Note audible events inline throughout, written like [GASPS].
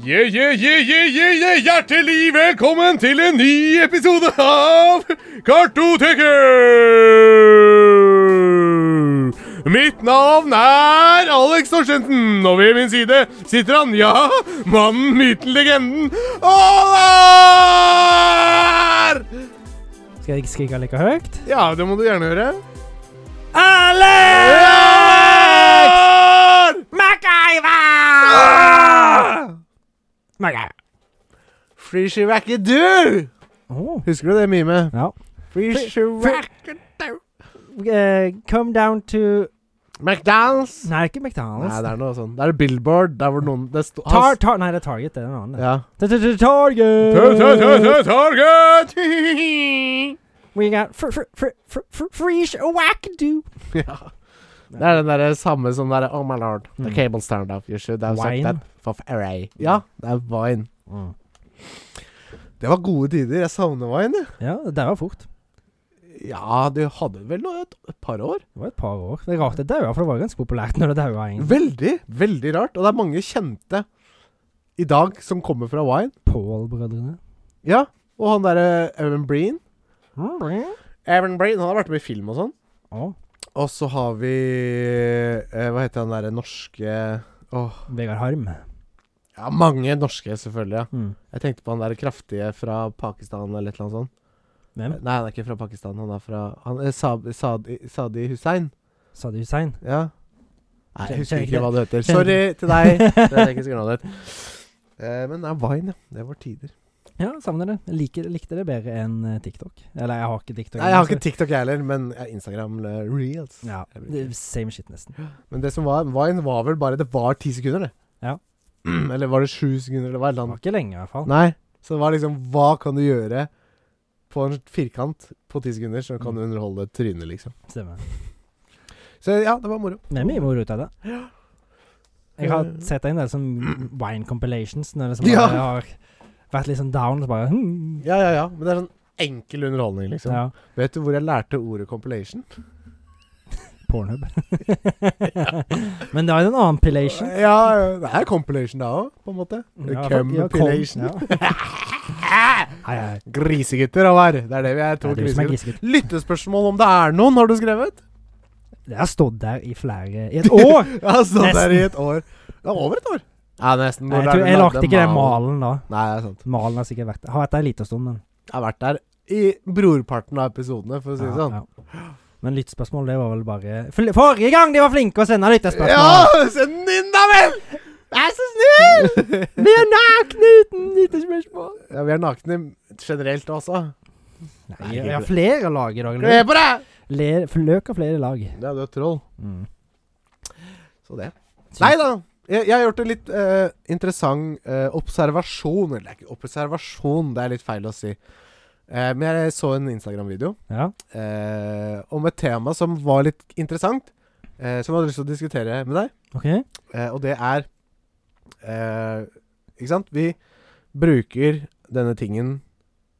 Yeah, yeah, yeah, yeah, yeah, yeah. Hjertelig velkommen til en ny episode av Kartoteket! Mitt navn er Alex Torstensen, og ved min side sitter han, ja, mannen, myten, legenden, Olar! Skal jeg ikke skrike like høyt? Ja, det må du gjerne gjøre. Alex! Olar! Ah! MacGyver! MacGyver. Frishiwackidoo! Oh. Husker du det mimet? Ja. Frishiwackidoo! Eh, come down to McDonald's! Nei, ikke McDonald's. Nei, det er noe sånn. Det er Billboard. Der hvor noen det sto, tar, tar, nei, det er Target. Det er en annen. Ja. Target! Target! Target! We got fr fr fr fr fr freesh wackadoo. ja. [LAUGHS] Det er den derre samme som derre Oh my lord, the Mm. cables turned off. You should have Wine. sucked that for array. Ja, det er wine. Mm. Det var gode tider. Jeg savner wine, jeg. Ja, det der var fort. Ja, du hadde vel noe et, et par år? Det var et par år. Det er rart det daua, for det var ganske populært når det daua en. Mm. Veldig, veldig rart. Og det er mange kjente i dag som kommer fra wine. Paul-brødrene. Ja, og han derre Evan Breen. Mm. Evan Breen, han har vært med i film og sånn. Å, Og så har vi eh, Hva heter han derre norske Åh Vegard Harm. Ja, mange norske, selvfølgelig. ja Mm. Jeg tenkte på han der kraftige fra Pakistan eller et eller annet sånt. Hvem? Nei, han er ikke fra Pakistan. Han er fra han, eh, Saab- Saadi, Saadi Hussein. Sadi Hussein. Ja. Nei, jeg husker Kjenner ikke ikke hva det heter. Kjenner Sorry til deg. Det vet jeg ikke sikkert hva det heter. Eh, men det er Vine, ja. Det var tider. Ja, savner det. Liker, likte det bedre enn eh, TikTok. Eller jeg har ikke TikTok. Nei, Jeg har ikke TikTok, jeg heller, men jeg har Instagram eh, reels. Ja, det- Same shit, nesten. Men det som var Vine, var vel bare Det var ti sekunder, det. Ja. [CLEARS THROAT] Eller var det sju sekunder? Det var et eller Det annet. var ikke lenge, i hvert fall. Nei. Så det var liksom Hva kan du gjøre på en firkant på ti sekunder, så kan du Mm. underholde trynet, liksom. Stemmer. Så ja, det var moro. Det er mye moro ut av det. Jeg har sett en del sånn wine compilations når det som Eh. Ja. bare har vært litt sånn down. Og så bare hmm. Ja, ja, ja. Men det er sånn enkel underholdning, liksom. Ja. Vet du hvor jeg lærte ordet compilation? Pornhub. [LAUGHS] Men det var en annen compilation. Mm, Ja, det er compilation da òg, på en måte. Ja, ja, [LAUGHS] kom. Compilation. Ja. Hei, hei. Grisegutter, Håvard. Det er det vi er. Det To er du som er grisegutter. grisegutt. Lyttespørsmål om det er noen, har du skrevet? Det har stått der i flere [LAUGHS] I et år! Ja, stått der i Nesten. et år. Det er over et år. Ja, nesten. Nei, Når jeg, er tror, det jeg du lagde ikke den malen? malen da. Nei, det er sant. Malen har sikkert vært der. Har vært der en liten stund, men Jeg har vært der i brorparten av episodene, for å si det sånn. Ja, ja. Men lyttespørsmål, det var vel bare Fl- Forrige gang de var flinke å sende lyttespørsmål! send den inn, da vel! Vær så snill! Vi er nakne uten lyttespørsmål. [LAUGHS] Ja, vi er nakne generelt også. Nei, jeg har flere lag i dag. Kle på deg! Le, løk av flere lag. Ja, du er troll. Mm. Så det. Så- Nei da. Jeg, jeg har gjort en litt eh, interessant eh, observasjon. Eller det er ikke observasjon, det er litt feil å si. Eh, men jeg så en Instagram-video Ja. eh, om et tema som var litt interessant. eh, som jeg hadde lyst til å diskutere med deg. OK. Eh, og det er eh, Ikke sant? Vi bruker denne tingen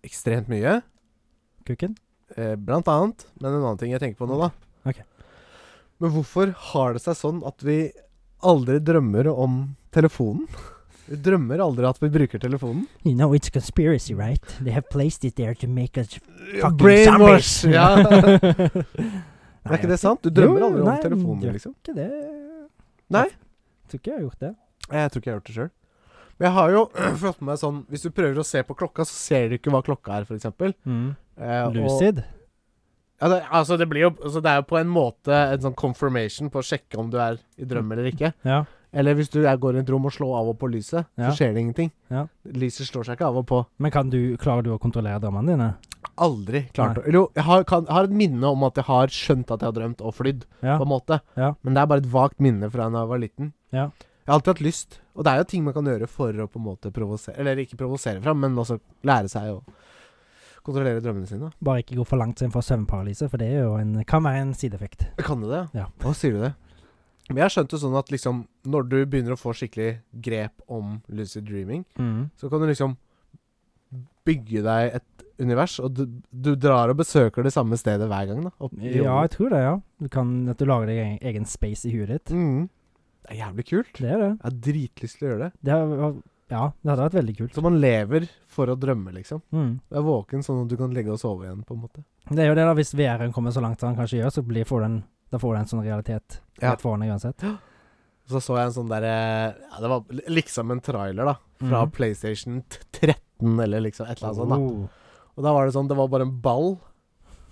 ekstremt mye. Kukken. eh, blant annet. Men en annen ting jeg tenker på nå, da. Ok. Men hvorfor har det seg sånn at vi aldri drømmer om telefonen? Vi drømmer aldri at vi bruker telefonen. You know it's conspiracy, right? They have placed it there to make us fucking Brainwash! zombies. [LAUGHS] Ja. Nei, Er ikke det jeg sant? Du drømmer Jo, aldri om nei, telefonen, gjør liksom. tror ikke det. Nei. Jeg tror ikke jeg har gjort det. Jeg tror ikke jeg har gjort det sjøl. Men jeg har jo [CLEARS THROAT] fått med meg sånn Hvis du prøver å se på klokka, så ser du ikke hva klokka er, f.eks. Mm. Eh, og- Lucid. Ja, det, altså det, blir jo, altså det er jo på en måte en sånn confirmation på å sjekke om du er i drøm eller ikke. Ja. Eller hvis du er, går i et rom og slår av og på lyset, Ja. så skjer det ingenting. Ja. Lyset slår seg ikke av og på. Men kan du, klarer du å kontrollere drømmene dine? Aldri klart å Eller jo, jeg har, kan, jeg har et minne om at jeg har skjønt at jeg har drømt og flydd, Ja. på en måte. Ja. Men det er bare et vagt minne fra da jeg var liten. Ja. Jeg har alltid hatt lyst. Og det er jo ting man kan gjøre for å på en måte provosere Eller ikke provosere fram, men også lære seg å kontrollere drømmene sine. Bare ikke gå for langt inn for søvnparalyse, for det er jo en, kan være en sideeffekt. Kan du det? Ja. Hva sier du det? Men jeg har skjønt det sånn at liksom når du begynner å få skikkelig grep om lucid dreaming, Mm. så kan du liksom bygge deg et univers, og du, du drar og besøker det samme stedet hver gang, da. Opp i Ja, hodet. jeg tror det, ja. Du kan, at du lager deg egen- egen space i huet ditt. mm. Det er jævlig kult. Det er det. Jeg har dritlyst til å gjøre det. Det har, Ja, det hadde vært veldig kult. Så man lever for å drømme, liksom. Mm. Du er våken sånn at du kan legge og sove igjen, på en måte. Det er jo det, da. Hvis VR-en kommer så langt som den kanskje gjør, så blir, får du en, da får du en sånn realitet Ja. rett foran deg uansett. Så så jeg en sånn derre Ja, det var li- liksom en trailer, da. [LAUGHS] Fra Mhm. PlayStation t- 13, eller liksom et eller annet sånt. da Oh. Og da var det sånn, det var bare en ball.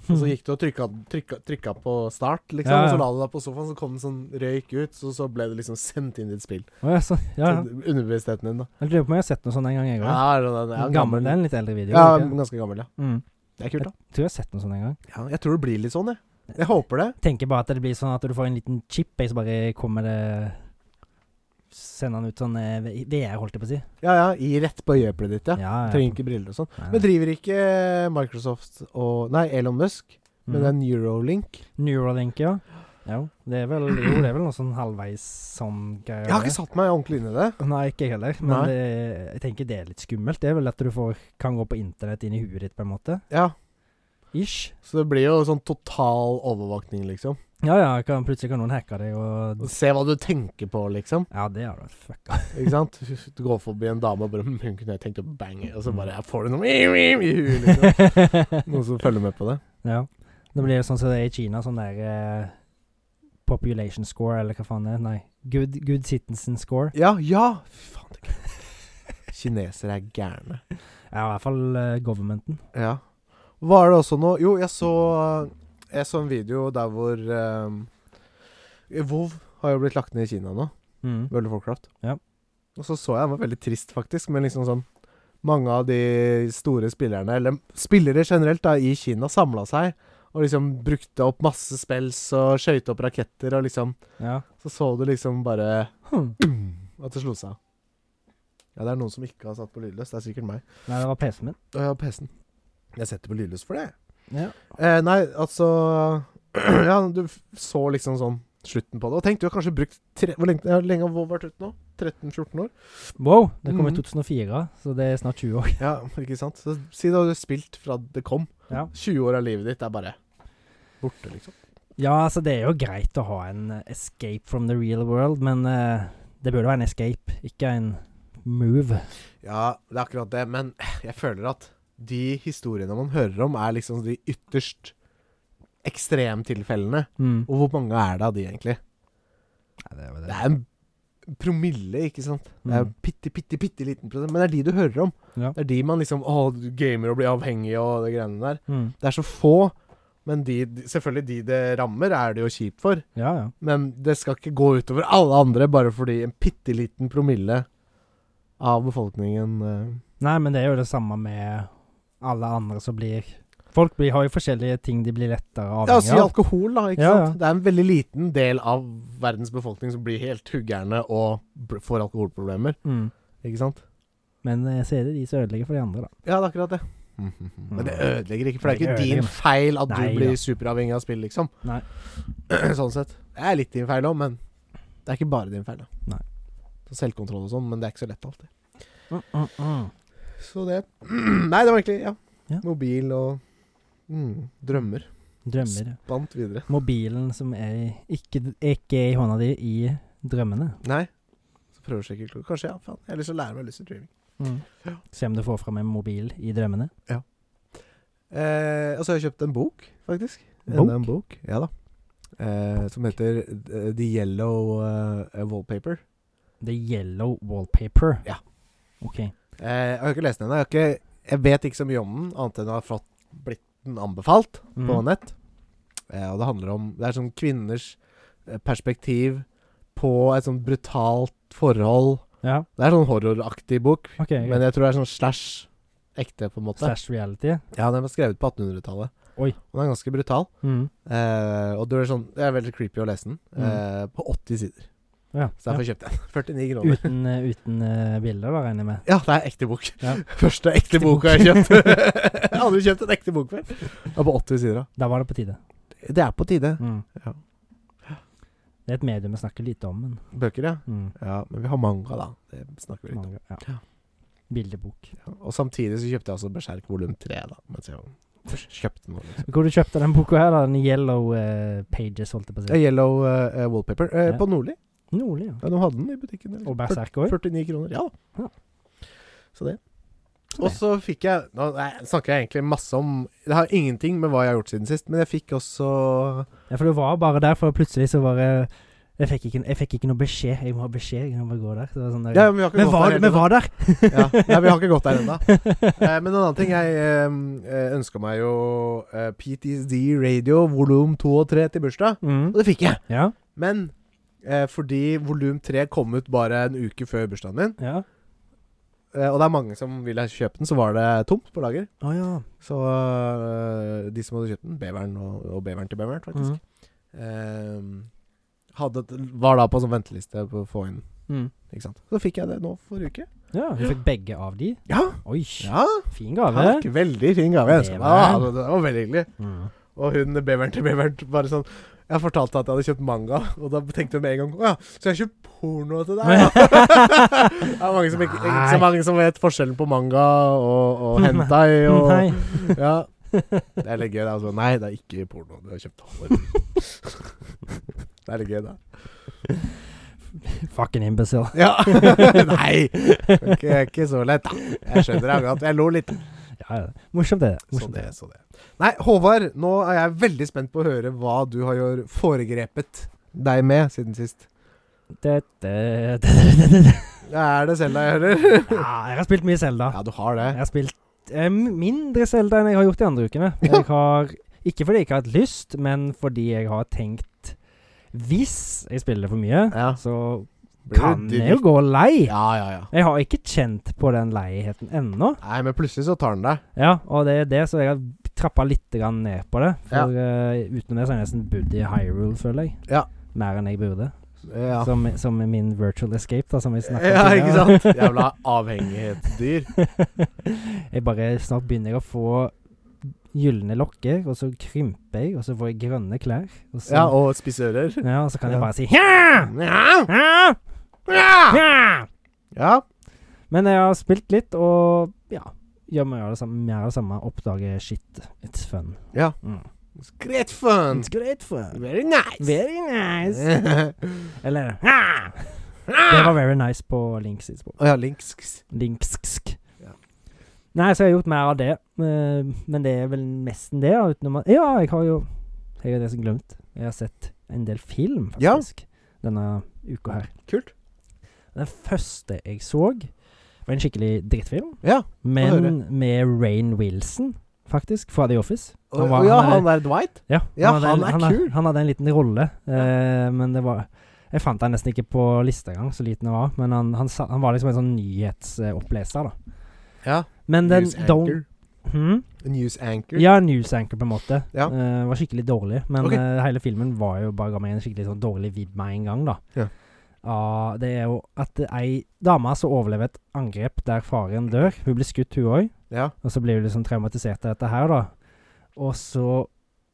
Og så gikk du og trykka, trykka, trykka på start, liksom. Ja, Og ja. så la du deg på sofaen, så kom det sånn røyk ut, så, så ble det liksom sendt inn i et spill. [LAUGHS] Å, ja, så, ja, ja. Så Underbevisstheten din, da. Jeg lurer på om jeg har sett noe sånt en gang, jeg òg. Ja, sånn, ja, gammel, det er en litt eldre video. Ja, ikke? ganske gammel, ja. Mm. Det er kult, da. Jeg tror jeg har sett noe sånt en gang. Ja, jeg tror det blir litt sånn, jeg. Jeg håper det. Tenker bare at det blir sånn at du får en liten chip, jeg, så bare kommer det Sender den ut sånn eh, V- VR, holdt jeg på å si. Ja, ja, i rett på øyeeplet ditt, ja. ja. Trenger ikke briller og sånn. Nei, Men nei. driver ikke Microsoft og Nei, Elon Musk med Mm. den Neurolink? Neuralink, ja. Jo, det er vel, jo, det er vel noe sånn halvveis sånn greier. Jeg har ikke satt meg ordentlig inn i det. Nei, ikke jeg heller. Men Nei. det, jeg tenker det er litt skummelt. Det er vel at du får, kan gå på internett inn i huet ditt, på en måte. Ja, Ish. Så det blir jo sånn total overvåkning, liksom. Ja ja, kan, plutselig kan noen hacke deg og Og Se hva du tenker på, liksom. Ja, det har du vært fucka. Ikke sant? [LAUGHS] Du går forbi en dame og bare "Hm, Hun kunne jeg tenkt å bange, og så bare får du noe [LAUGHS] i huet, liksom. [LAUGHS] Noen som følger med på det. ja. Det blir sånn som det er i Kina, sånn der eh, Population score, eller hva faen det er. Nei. Good, good citizen score. Ja, ja! Fy faen, det er gøy. Kinesere er gærne. Ja, i hvert fall eh, governmenten. Ja. Var det også noe Jo, jeg så Jeg så en video der hvor eh, WoW har jo blitt lagt ned i Kina nå. Mm. World of Warcraft. Ja. Og så så jeg, han var veldig trist faktisk, men liksom sånn Mange av de store spillerne, eller spillere generelt da, i Kina, samla seg og liksom brukte opp masse spells og skøyte opp raketter og liksom Ja. Så så du liksom bare Hm. at det slo seg av. Ja, det er noen som ikke har satt på lydløs. Det er sikkert meg. Nei, det var PC-en min. Og jeg har PC-en. Jeg setter på lydløs for det. Ja. Eh, nei, altså [CLEARS THROAT] Ja, du f- så liksom sånn slutten på det. Og tenk, du har kanskje brukt tre, Hvor lenge, ja, lenge har WoW vært ute nå? 13-14 år? Wow, det kom i Mhm. 2004, så det er snart 20 år. Ja, ikke sant? Så Si da du har spilt fra det kom. Ja. 20 år av livet ditt er bare borte, liksom. Ja, altså det er jo greit å ha en eh, escape from the real world, men eh, det burde være en escape, ikke en move. Ja, det er akkurat det, men jeg føler at de historiene man hører om, er liksom de ytterst ekstremtilfellene. Mm. Og hvor mange er det av de, egentlig? Nei, det er jo Det er en promille, ikke sant? Det er Mm. bitte, bitte, bitte liten prosent. Men det er de du hører om. Ja. Det er de man liksom Å, du gamer og blir avhengig og de greiene der. Mm. Det er så få. Men de, de- selvfølgelig de det rammer, er det jo kjipt for. Ja, ja. Men det skal ikke gå utover alle andre bare fordi en bitte liten promille av befolkningen eh, Nei, men det er jo det samme med alle andre som blir Folk blir, har jo forskjellige ting de blir lettere Ja, si avhengig av. alkohol, da. ikke Ja, ja. sant? Det er en veldig liten del av verdens befolkning som blir helt huggerne og br- får alkoholproblemer. Mm. Ikke sant? Men eh, så er det de som ødelegger for de andre, da. Ja, det er akkurat det. [LAUGHS] Men det ødelegger ikke, for det er Det ikke din ødelegger. feil at Nei, du blir da. superavhengig av spill, liksom. [CLEARS THROAT] Nei. sånn sett. Det er litt din feil òg, men det er ikke bare din feil. da. Nei. Så Selvkontroll og sånn, men det er ikke så lett alltid. Mm, mm, mm. Så det [CLEARS THROAT] Nei, det var egentlig ja. Ja. Mobil og mm, drømmer. Drømmer. Spant videre. Mobilen som er i- ikke, ikke er i hånda di i drømmene. Nei. Så prøver jeg å sjekke klokka. Kanskje, ja. Faen. Jeg har lyst til å lære meg lyst til streaming. Mm. Ja. Se om du får fram en mobil i drømmene. Eh, og så har jeg kjøpt en bok, faktisk. Bok? Enda en bok. Ja da. Eh, som heter eh, The Yellow eh, Wallpaper. The Yellow Wallpaper. Ja. OK. Eh, jeg har ikke lest den ennå. Jeg, har ikke- jeg vet ikke så mye om den, annet enn å ha fått blitt den anbefalt Mm. på nett. Eh, og det handler om Det er sånn kvinners eh, perspektiv på et sånn brutalt forhold. Ja, Det er sånn horroraktig bok, ok. men jeg tror det er sånn slash ekte, på en måte. Slash reality. Ja, den var skrevet på 1800-tallet. Oi. Og den er ganske brutal. Mm. Eh, og det er, sånn, det er veldig creepy å lese den. Mm. Eh, på 80 sider. Ja. Så derfor kjøpte jeg den. [LAUGHS] 49 ja. kroner. Uten, eh, uten eh, bilder, da, regner jeg med. Ja, det er ekte bok. Ja. [LAUGHS] Første ekte Ekte boka jeg [LAUGHS] kjøpt. jeg har aldri kjøpt en ekte bok før. Det er på 80 sider, da. Da var det på tide. Det er på tide. Mm. Ja. Det er et medium vi snakker lite om, men Bøker, ja. mm. Ja, Men vi har manga, da. Det snakker vi litt om. manga, ja. Ja. Bildebok. Ja. Og samtidig så kjøpte jeg også Berserk volum 3, da. Mens jeg først kjøpte den. Liksom. Hvor du kjøpte den boka her, da? Den Yellow eh, Pages, holdt jeg på å Eh, si. Yellow eh, eh, Wallpaper eh, Ja. på Nordli. Nordli, ja. Ja, de hadde den i butikken. eller? Og Berserk òg. 49 kroner. Ja da. Ja. Så det. Så Og det. så fikk jeg Nå nei, snakker jeg egentlig masse om Det har ingenting med hva jeg har gjort siden sist, men jeg fikk også Ja, for du var bare der, for plutselig så bare Jeg fikk ikke, jeg fikk ikke noe beskjed. Jeg må ha beskjed. Jeg må bare gå der. Så det var sånn der, Ja, men vi har ikke vi gått var, der vi ennå. var der! Ja, nei, vi har ikke gått der [LAUGHS] ennå. [LAUGHS] Eh, men en annen ting Jeg eh, ønska meg jo eh, PTSD Radio volum 2 og 3 til bursdag, og Mm. det fikk jeg. Ja. Men eh, fordi volum 3 kom ut bare en uke før bursdagen min, Ja. eh, og det er mange som ville kjøpe den, så var det tomt på lager. Å ja. Så øh, de som hadde kjøpt den, beveren og, og beveren til beveren, faktisk, Mm. ehm, hadde, var da på sånn venteliste på å få inn. Mm. Ikke sant? Så fikk jeg det nå forrige uke. Ja, du fikk begge av de? Ja! Oi, ja fin gave. takk. Veldig fin gave. Jeg ønsker meg. Beveren. Ja, det- det var veldig hyggelig. Mm. Og hun beveren til beveren bare sånn Jeg fortalte at jeg hadde kjøpt manga, og da tenkte hun med en gang Å ja, så jeg har kjøpt porno til deg? [LAUGHS] Ja. det er mange som ikke, ikke så Nei. mange som vet forskjellen på manga og, og [LAUGHS] hentai og Nei. ja. Det er litt gøy. Det er altså, nei, det er ikke porno. Du har kjøpt hår. Det er litt gøy, da. Fucking imbecile. Ja. [LAUGHS] [LAUGHS] Nei! Ikke, ikke så lett, da. Jeg skjønner det godt. Jeg lo litt. Ja, ja. Morsomt, det. Så Morsomt, det, så det. Nei, Håvard, nå er jeg veldig spent på å høre hva du har gjort foregrepet deg med siden sist. Det, det, det, det, det, det. Det er det Selda jeg hører. Ja, jeg har spilt mye Zelda. Ja, du har det. Jeg har spilt eh, mindre Zelda enn jeg har gjort de andre ukene. Ja. Jeg har, ikke fordi jeg ikke har hatt lyst, men fordi jeg har tenkt Hvis jeg spiller for mye, Ja. så Blir kan du jeg jo dypt? gå lei. Ja, ja, ja. Jeg har ikke kjent på den leieheten ennå. Nei, men plutselig så tar den deg. Ja, og det er det, så jeg har trappa litt grann ned på det. For eh, utenom det så har jeg nesten bodd i Hyrule, føler jeg. Ja. Mer enn jeg burde. Ja. Som, som er min virtual escape, da, som vi snakket ja, tidligere. ikke sant? [LAUGHS] Jævla avhengighetsdyr. jeg bare Snart begynner jeg å få gylne lokker, og så krymper jeg, og så får jeg grønne klær. Og så, Ja, og spissører. Ja, og så kan Ja. jeg bare si Hja! Ja. Hja! Ja. Hja! ja. Men jeg har spilt litt, og ja. Gjør mer av det samme. Mer av det samme oppdager shit. It's fun. Ja. Mm. It's great fun. It's great fun. Very nice. Very [LAUGHS] nice. Å Eller [LAUGHS] Hja! Det var very nice på Links sitt språk. ja, links. Linksk. Ja. Nei, så jeg har gjort mer av det. eh, Men det er vel nesten det. da, Utenom at Ja, jeg har jo Jeg har det som glemt. Jeg har sett en del film, Ja. faktisk, denne uka her. Kult. Den første jeg så, var en skikkelig drittfilm. Ja. Men med Rain Wilson, faktisk, fra The Office. Å var- ja, han er- han der Dwight. Ja, Ja, en- han er had- kul. Han hadde en liten rolle, eh, men det var Jeg fant han nesten ikke på lista engang, så liten han var. Men han, han, sa, han var liksom en sånn nyhetsoppleser, da. Ja. Men den News don't, anchor. hmm? News anchor. Ja, news anchor, på en måte. Ja. Eh, var skikkelig dårlig. Men Ok. eh, hele filmen var jo bare ga meg en skikkelig sånn dårlig vibb med en gang, da. Ja. Ja, det er jo at det er ei dame som overlever et angrep der faren dør. Hun blir skutt, hun òg. Ja. Og så blir du liksom traumatisert av dette her, da. Og så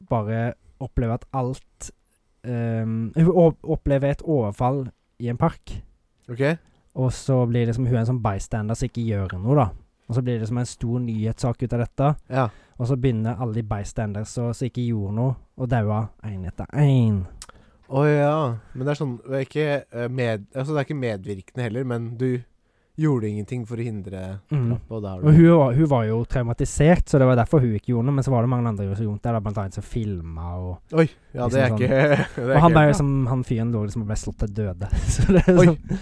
bare oppleve at alt ehm, Hun o- opplever et overfall i en park, OK. og så blir liksom hun en sånn bystander som ikke gjør noe, da. Og så blir det liksom en stor nyhetssak ut av dette, Ja. og så begynner alle de bystanders som som ikke gjorde noe, å daue én etter én. Å ja. Men det er sånn det er ikke, eh, med, altså, det er ikke medvirkende heller, men du gjorde ingenting for å hindre Mm. drapet, og da har Og du hun var, hun var jo traumatisert, så det var derfor hun ikke gjorde noe, men så var det mange andre som gjorde det, da, blant annet som filma og Oi. Ja, det er Liksom ikke [LAUGHS] det er Og han, ikke- ble, liksom, han fyren lå liksom og ble slått til døde. [LAUGHS] Så det, er Oi. sånn-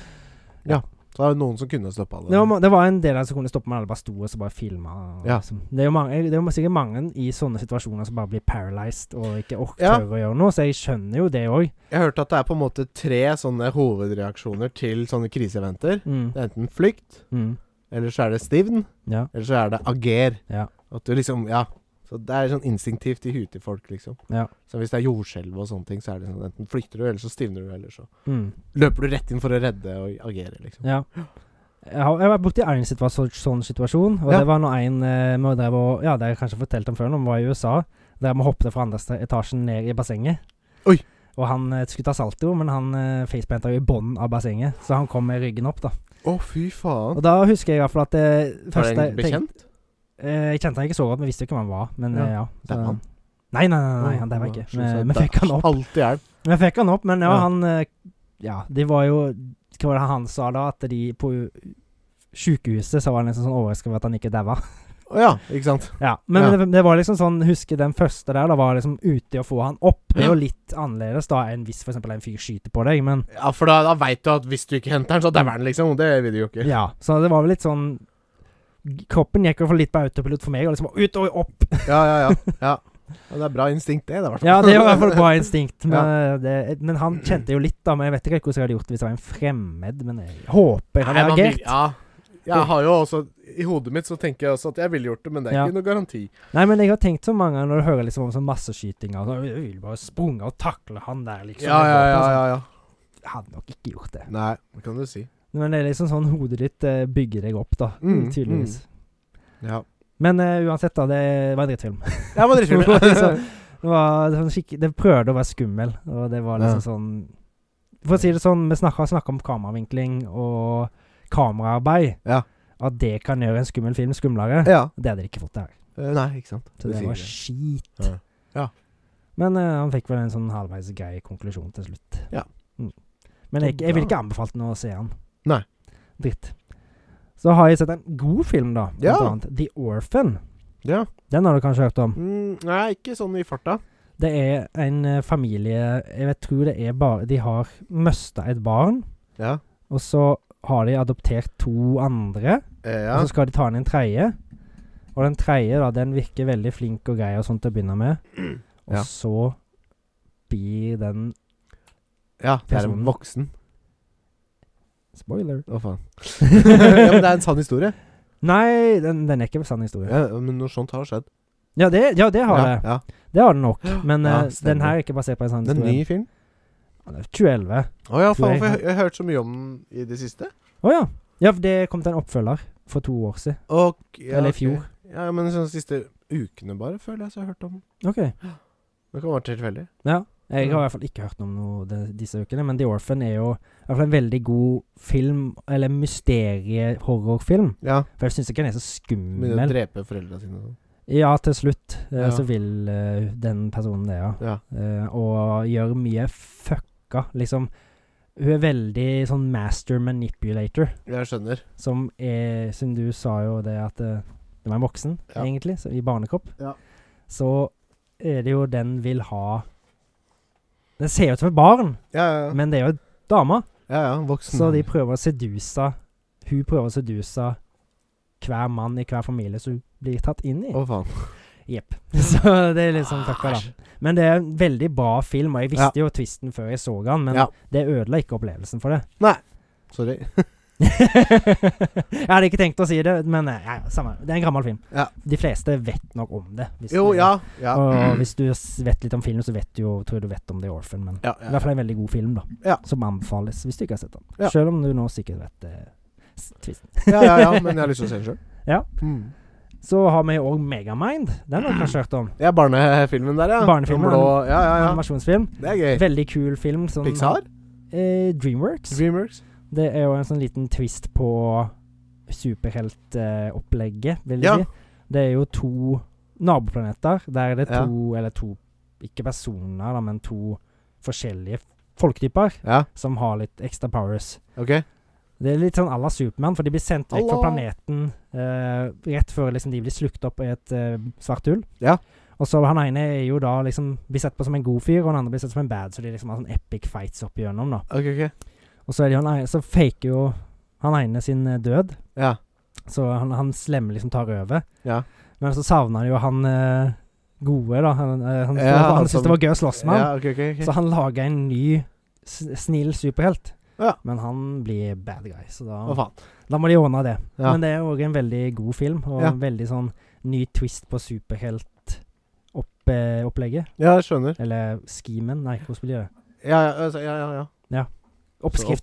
Så er det noen som kunne stoppa det. det, var, ma- det var en del av dem som kunne stoppe, men alle bare sto og så bare filma. Ja. Liksom. Det er jo mange, det er jo sikkert mange i sånne situasjoner som bare blir paralyzed og ikke orker Ja. å gjøre noe, så jeg skjønner jo det òg. Jeg hørte at det er på en måte tre sånne hovedreaksjoner til sånne kriseeventer. Mm. Det er enten flykt, Mm. eller så er det stivn. Ja. Eller så er det ager. Ja. At du liksom, ja Så Det er sånn instinktivt i huet til folk, liksom. Ja. Så Hvis det er jordskjelv og sånne ting, så er det sånn enten flykter du, eller så stivner du, eller så Mm. løper du rett inn for å redde og agere, liksom. ja. Jeg har, jeg har vært borti én sånn situasjon, og Ja. det var når en eh, vi drev og Ja, det har jeg kanskje fortalt om før, når vi var i USA. Der vi hoppet fra andre sta- etasjen ned i bassenget. Oi. Og han eh, skulle ta salto, men han eh, faceplanta jo i bunnen av bassenget, så han kom med ryggen opp, da. Å, fy faen. Og da husker jeg i hvert fall at det Er første det en jeg tenkte- bekjent? Eh, jeg kjente han ikke så godt, men visste jo hvem han var. Men Ja. eh, ja. Det er så- han. Nei, nei, nei, nei, han der var ikke. Slo seg Men, men fikk han opp. Alltid hjelp. Men fikk han opp, men ja, Ja. han eh, Ja, det var jo Hva var det han sa da? At de på sykehuset så var han liksom sånn overrasket over at han ikke daua. Å ja, ikke sant? [LAUGHS] Ja, men Ja. Det, det var liksom sånn Husker den første der, da var liksom ute i å få han opp. Det er jo Ja. litt annerledes da enn hvis for eksempel en fyr skyter på deg, men Ja, for da, da veit du at hvis du ikke henter den, så dauer den, liksom. Det vil du jo ikke. ja. Så det var vel litt sånn Kroppen gikk i hvert fall litt på autopilot for meg, og liksom ut og opp. Ja, ja, ja. ja. Ja, det er bra instinkt, det, da, i hvert fall. [LAUGHS] Ja, det var i [LAUGHS] hvert fall et bra instinkt, men, eh, det, men han kjente jo litt, da. Men jeg vet ikke hvordan jeg hadde gjort det hvis det var en fremmed, men jeg håper han Nei, hadde man vil- reagert. Ja. Jeg har jo også I hodet mitt så tenker jeg også at jeg ville gjort det, men det er Ja. ikke noe garanti. Nei, men jeg har tenkt så mange ganger når du hører liksom om sånn masseskytinger og sånn, Jeg vil bare sprunge og takle han der, liksom. ja. Jeg hadde nok ikke gjort det. Nei, det kan du si. Men det er liksom sånn hodet ditt eh, bygger deg opp, da. Mm, tydeligvis. Ja. Men eh, uansett, da. Det var en drittfilm. Jeg var Det [LAUGHS] var [LAUGHS] liksom- det var sånn skikk- Det prøvde å være skummel, og det var liksom sånn For å si det sånn, vi snakka om kameravinkling og kameraarbeid. Ja. At det kan gjøre en skummel film skumlere. ja. Det hadde de ikke fått der. Eh, Nei, ikke sant. Så det, sier var jeg. skit. Ja. Ja. Men eh, han fikk vel en sånn halvveis grei konklusjon til slutt. Ja. Mm. Men jeg, Så jeg vil bra. ikke anbefale den å se han. Nei. Dritt. Så har jeg sett en god film, da. Blant Ja. annet The Orphan. Ja. Den har du kanskje hørt om. Mm, nei, ikke sånn i farta. Det er en eh, familie Jeg vet, tror det er bare De har mista et barn, Ja. og så har de adoptert to andre. Eh, Og ja. så skal de ta inn en tredje. Og den tredje da, den virker veldig flink og grei og sånt til å begynne med. Og Ja. så blir den ja, det er en personen. voksen. Spoiler. Å, faen. [LAUGHS] ja, men det er [LAUGHS] en sann historie. Nei, den, den er ikke sann historie. Ja, Ja, men noe sånt har skjedd. det, ja, det har det. ja, Det har den nok. Men Ja, eh, stemmer. den her er ikke basert på en sann ja. Det er en ny historie. film. Ja, det er 2011. Å ja, Tror faen, jeg- for jeg, jeg har hørt så mye om den i det siste. Å ja. Ja, for det kom til en oppfølger for to år siden. Og, ja, Eller i ok. fjor. Ja, men de siste ukene bare, føler jeg så jeg har hørt om den. OK. Det kan være tilfeldig. Ja. Jeg har Ja. i hvert fall ikke hørt om noe de, disse ukene, men The Orphan er jo i hvert fall en veldig god film, eller mysterie-horrorfilm. Ja. For jeg syns ikke den er så Begynner skummel. å drepe foreldra sine og sånn. Ja, til slutt eh, Ja. så vil eh, den personen det, ja. Ja. Eh, og gjør mye fucka, liksom. Hun er veldig sånn master manipulator, Jeg skjønner. som er Som du sa jo det at eh, det var en voksen, Ja. egentlig, så, i barnekropp. Ja. Så er det jo den vil ha Den ser jo ut som et barn, Ja, ja, Mm. ja. men det er jo en dame, ja, ja voksen. så de prøver å seduse Hun prøver å seduse hver mann i hver familie som hun blir tatt inn i. Å, faen. Jepp. [LAUGHS] Så det er Ah, liksom takka, da. Men det er en veldig bra film, og jeg visste jo twisten før jeg så den, men Ja. det ødela ikke opplevelsen for det. [LAUGHS] Sorry. jeg hadde ikke tenkt å si det, men eh, ja, samme. det er en gammel film. Ja. De fleste vet nok om det. hvis Jo, du- ja. Ja. Mm. Og hvis du s- vet litt om film, så vet du jo, tror jeg du vet om The Orphan, men Ja, i ja, hvert fall en veldig god film, da. Ja. Som anbefales, hvis du ikke har sett den. Ja. Selv om du nå sikkert vet eh, s- twisten. ja, ja, ja, men jeg har lyst til å se den sjøl. [LAUGHS] Ja. Mm. Så har vi òg Megamind. Den har du kanskje hørt om? Det er barnefilmen der, ja. Barnefilmen, Den Blå. Ja, [CLEARS THROAT] ja, ja. Animasjonsfilm. Det er gøy. Veldig kul film. Sånn, Pixar? Eh, Dreamworks. Dreamworks? Det er jo en sånn liten twist på superheltopplegget, vil jeg Ja. si. Det er jo to naboplaneter. Der er det Ja. to, eller to Ikke personer, da, men to forskjellige folketyper Ja, som har litt ekstra powers. ok. Det er litt sånn à la Supermann, for de blir sendt vekk fra Allah. planeten eh, rett før liksom, de blir slukt opp i et eh, svart hull. Ja. Og så han ene er jo da liksom blir sett på som en god fyr, og den andre blir sett som en bad, så de liksom har sånn epic fights opp igjennom, da. Ok, ok. Og så, er det han ene, så faker jo han ene sin eh, død, Ja. så han, han slemme liksom tar over. Ja. Men så savner han jo han eh, gode, da. Han, eh, han, Ja, han, han syntes som- det var gøy å slåss med han. Ja, ok, ok. ok. Så han lager en ny s- snill superhelt. Ja. Men han blir bad guy, så da Å, faen. da må de ordne det. Ja. Men det er òg en veldig god film, og Ja. veldig sånn ny twist på superheltopplegget. Ja, jeg skjønner. Eller schemen, nei, hvordan blir det? Ja, ja, altså, ja. ja, ja. Oppskrift,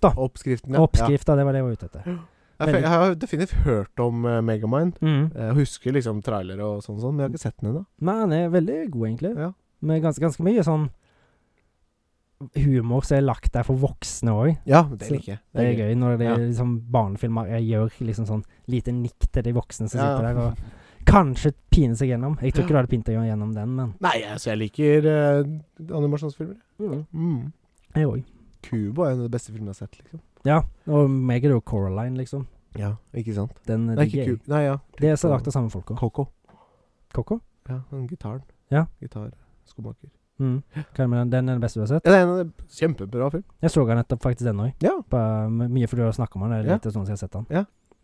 Så da. opp- Oppskriften, ja. Mm. Oppskrifta, det var det jeg var ute etter. Ja. Jeg, fe- jeg har definitivt hørt om eh, Megamind. Mm. Jeg husker liksom trailere og sånn, sånn, men jeg har ikke sett den ennå. Men den er veldig god, egentlig. Ja. Med ganske, ganske mye sånn humor som er lagt der for voksne òg. Ja, men det Så liker jeg. Det er gøy når det Ja. er liksom barnefilmer jeg gjør liksom sånn lite nikk til de voksne som Ja, sitter ja. der og kanskje piner seg gjennom. Jeg tror ikke du hadde pint deg gjennom den, men Nei, altså, jeg liker eh, animasjonsfilmer. Mm. jeg òg. Kubo er en av de beste filmene jeg har sett, liksom. Ja, og meg er det jo Coraline, liksom. Ja, ikke sant? Den Det er digger ikke liksom. jeg. ku... Nei, ja. Det er så lagt av samme folka. Coco. Coco? Ja, den gitaren. Ja. Gitar. Skomaker. Mm. Hva er det med den? Den er den beste du har sett? Ja, det er en av de kjempebra film. Jeg så den nettopp faktisk den òg. Ja. Mye fordi du har snakka om den. Det er Ja. litt sånn som jeg har sett den.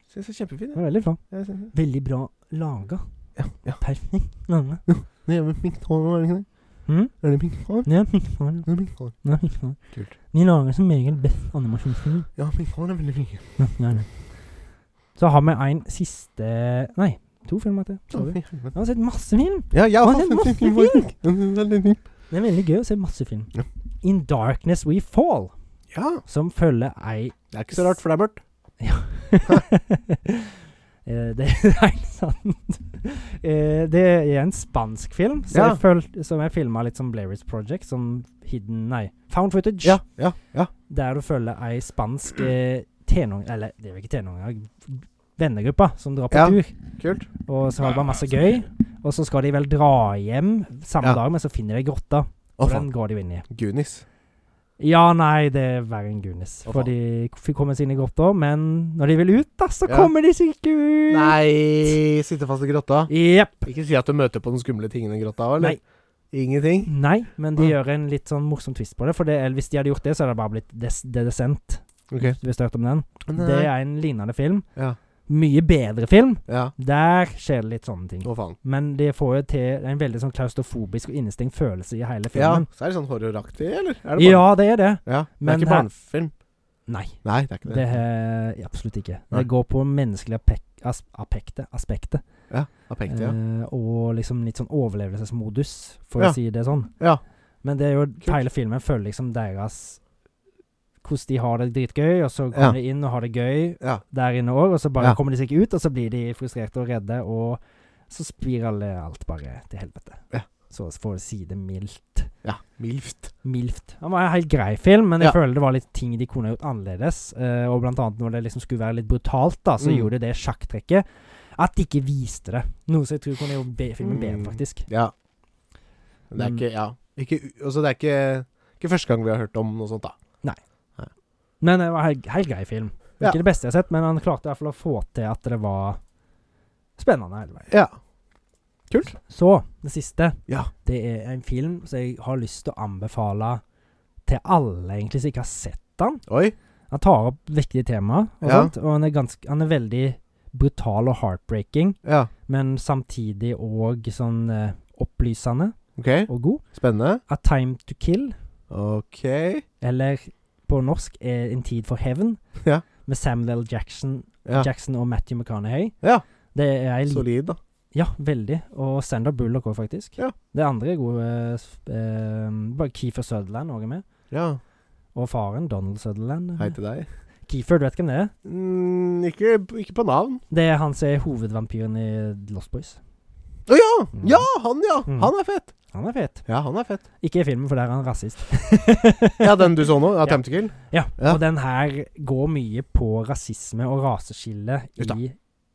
Syns jeg er kjempefin. Den er veldig bra. Ja. Jeg synes det. Veldig bra laga. Ja, ja. Perfekt laga. Det er med pinkt hår, er det ikke det? Mm. Er det pinkt hår? Det er pinkt hår. Det er pinkt hår. Det er pinkt hår. Kult. De lager som regel best animasjonsfilm. Ja, pinkt hår er veldig flinke. Ja, det er det. Så har vi en siste Nei, to filmer til. Ja, Sorry. fy helvete. Jeg har sett masse film. ja, jeg Å, har det er fått en masse film film. faktisk. Den er veldig fin. Det er veldig gøy å se masse film. Ja. In Darkness We Fall, Ja. som følger ei Det er ikke så rart, for det er mørkt. [LAUGHS] Eh, Det er helt sant. Eh, Det er en spansk film som Ja. jeg, føl- som jeg filma litt som Blairwitch Project, som hidden Nei, found footage. Ja, ja, ja. Der du følger ei spansk eh, tenåring Eller det er jo ikke tenåringer, vennegruppe som drar på Ja. tur. Kult. Og så har de bare masse gøy. Og så skal de vel dra hjem samme Ja. dag, men så finner de ei Å, grotte. Og faen. den går de inn i. Goonies. Ja, nei, det er verre enn Gunis. Å, for de k- fikk komme seg inn i grotta, men når de vil ut, da, så Ja. kommer de seg ikke ut! Nei, sitte fast i grotta. Jepp. Ikke si at du møter på den skumle tingen i grotta, eller? Nei. Ingenting? Nei, men de Mm. gjør en litt sånn morsom twist på det. For det, eller hvis de hadde gjort det, så hadde det bare blitt des The Descent. Ok. Hvis du har hørt om den. Nei. Det er en lignende film. Ja. Mye bedre film. Ja. Der skjer det litt sånne ting. Å, faen. Men de får jo til en veldig sånn klaustrofobisk og innestengt følelse i hele Ja, filmen. så er det sånn horroraktig, eller? Er det Ja, det er det. barn- ja. Det men er ikke her- barnefilm. Nei. Nei, det er ikke Det det. er absolutt ikke. Nei. Det går på menneskelig apek- as apekte, aspektet. Ja, Apekte, ja. Eh, og liksom litt sånn overlevelsesmodus, for Ja. å si det sånn. Ja. Men det er jo hele filmen følger liksom deres Hvordan de har det dritgøy, og så Ja. kommer de inn og har det gøy Ja. der inne òg, og så bare Ja. kommer de seg ikke ut, og så blir de frustrerte og redde, og så spiraler alt bare til helvete. Ja. Så for å si det mildt. ja. Milft. Mildt. Han var en helt grei film, men jeg Ja. føler det var litt ting de kunne gjort annerledes. eh, og blant annet når det liksom skulle være litt brutalt, da, så Mm. gjorde det sjakktrekket at de ikke viste det. Noe som jeg tror kunne gjort be filmen bedre, Mm. faktisk. Ja. Men Det er Men- ikke Ja. Ikke, u- altså, det er ikke, ikke første gang vi har hørt om noe sånt, da. Men det var en helt, helt grei film. Ja. Ikke det beste jeg har sett, men han klarte i hvert fall å få til at det var spennende hele veien. Ja. Så, det siste. Ja. Det er en film som jeg har lyst til å anbefale til alle, egentlig, som ikke har sett den. Oi. Han tar opp viktige temaer, og, Ja. sånt, og han, er ganske, han er veldig brutal og heartbreaking, Ja. men samtidig òg sånn eh, opplysende Ok. og god. Spennende. A Time To Kill, Ok. eller på norsk eh, En tid for hevn, Ja. med Samuel L. Jackson, Ja. Jackson og Matthew McConaughey. Ja. Det er ei li- Solid, da. Ja, veldig. Og Sander Bullock òg, faktisk. Ja. Det andre er gode eh, s- eh, Bare Keefer Sutherland òg er med. Ja. Og faren, Donald Sutherland. Hei til deg. Keefer, du vet hvem det er? Mm, ikke, ikke på navn. Det er han som er hovedvampyren i Lost Boys. Å ja! Mm. Ja, han, ja! Mm. Han er fett. Han er fet. Ja, han er fett. Ikke i filmen, for der er han rasist. [LAUGHS] Ja, den du så nå? Ja, [LAUGHS] Ja. Temptacle? Ja, Ja. Og den her går mye på rasisme og raseskille USA. i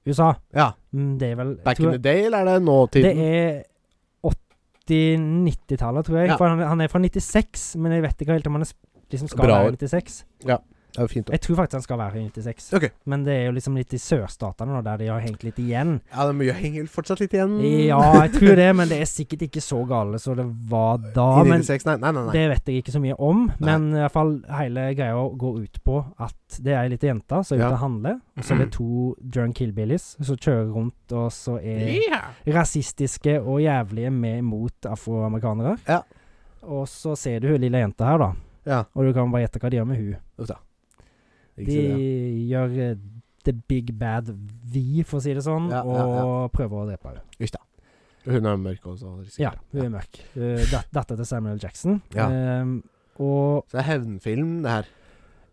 USA. Ja. Mm, Det er vel Back in tror, the day, eller er det nåtiden? Det er 80-90-tallet, tror jeg. Ja. For han, han er fra 96, men jeg vet ikke helt om han er, sp- liksom skal Bra år. være 96. Det er jo fint. da. Jeg tror faktisk han skal være 96. Ok. Men det er jo liksom litt i sørstatene, nå, der de har hengt litt igjen. Ja, det er mye henger fortsatt litt igjen. Ja, jeg tror det, men det er sikkert ikke så gale som det var da. I Men 96? Nei, nei, nei. nei. Det vet jeg ikke så mye om, men i hvert fall hele greia går ut på at det er ei lita jente som er ute Ja. og handler, og så er det to drunk hillbillies som kjører rundt og så er Ja. rasistiske og jævlige med mot afroamerikanere. Ja. Og så ser du hun lille jenta her, da, Ja. og du kan bare gjette hva de gjør med hun. Ikke De så det, gjør eh, the big bad vi, for å si det sånn, Ja, ja, og prøver å drepe henne. ja. Hun er mørk også. og risikerer. Ja, hun er mørk. Eh, dat- Datter til Samuel L. Jackson. Ja. Ehm, og Så det er hevnfilm, det [LAUGHS] her.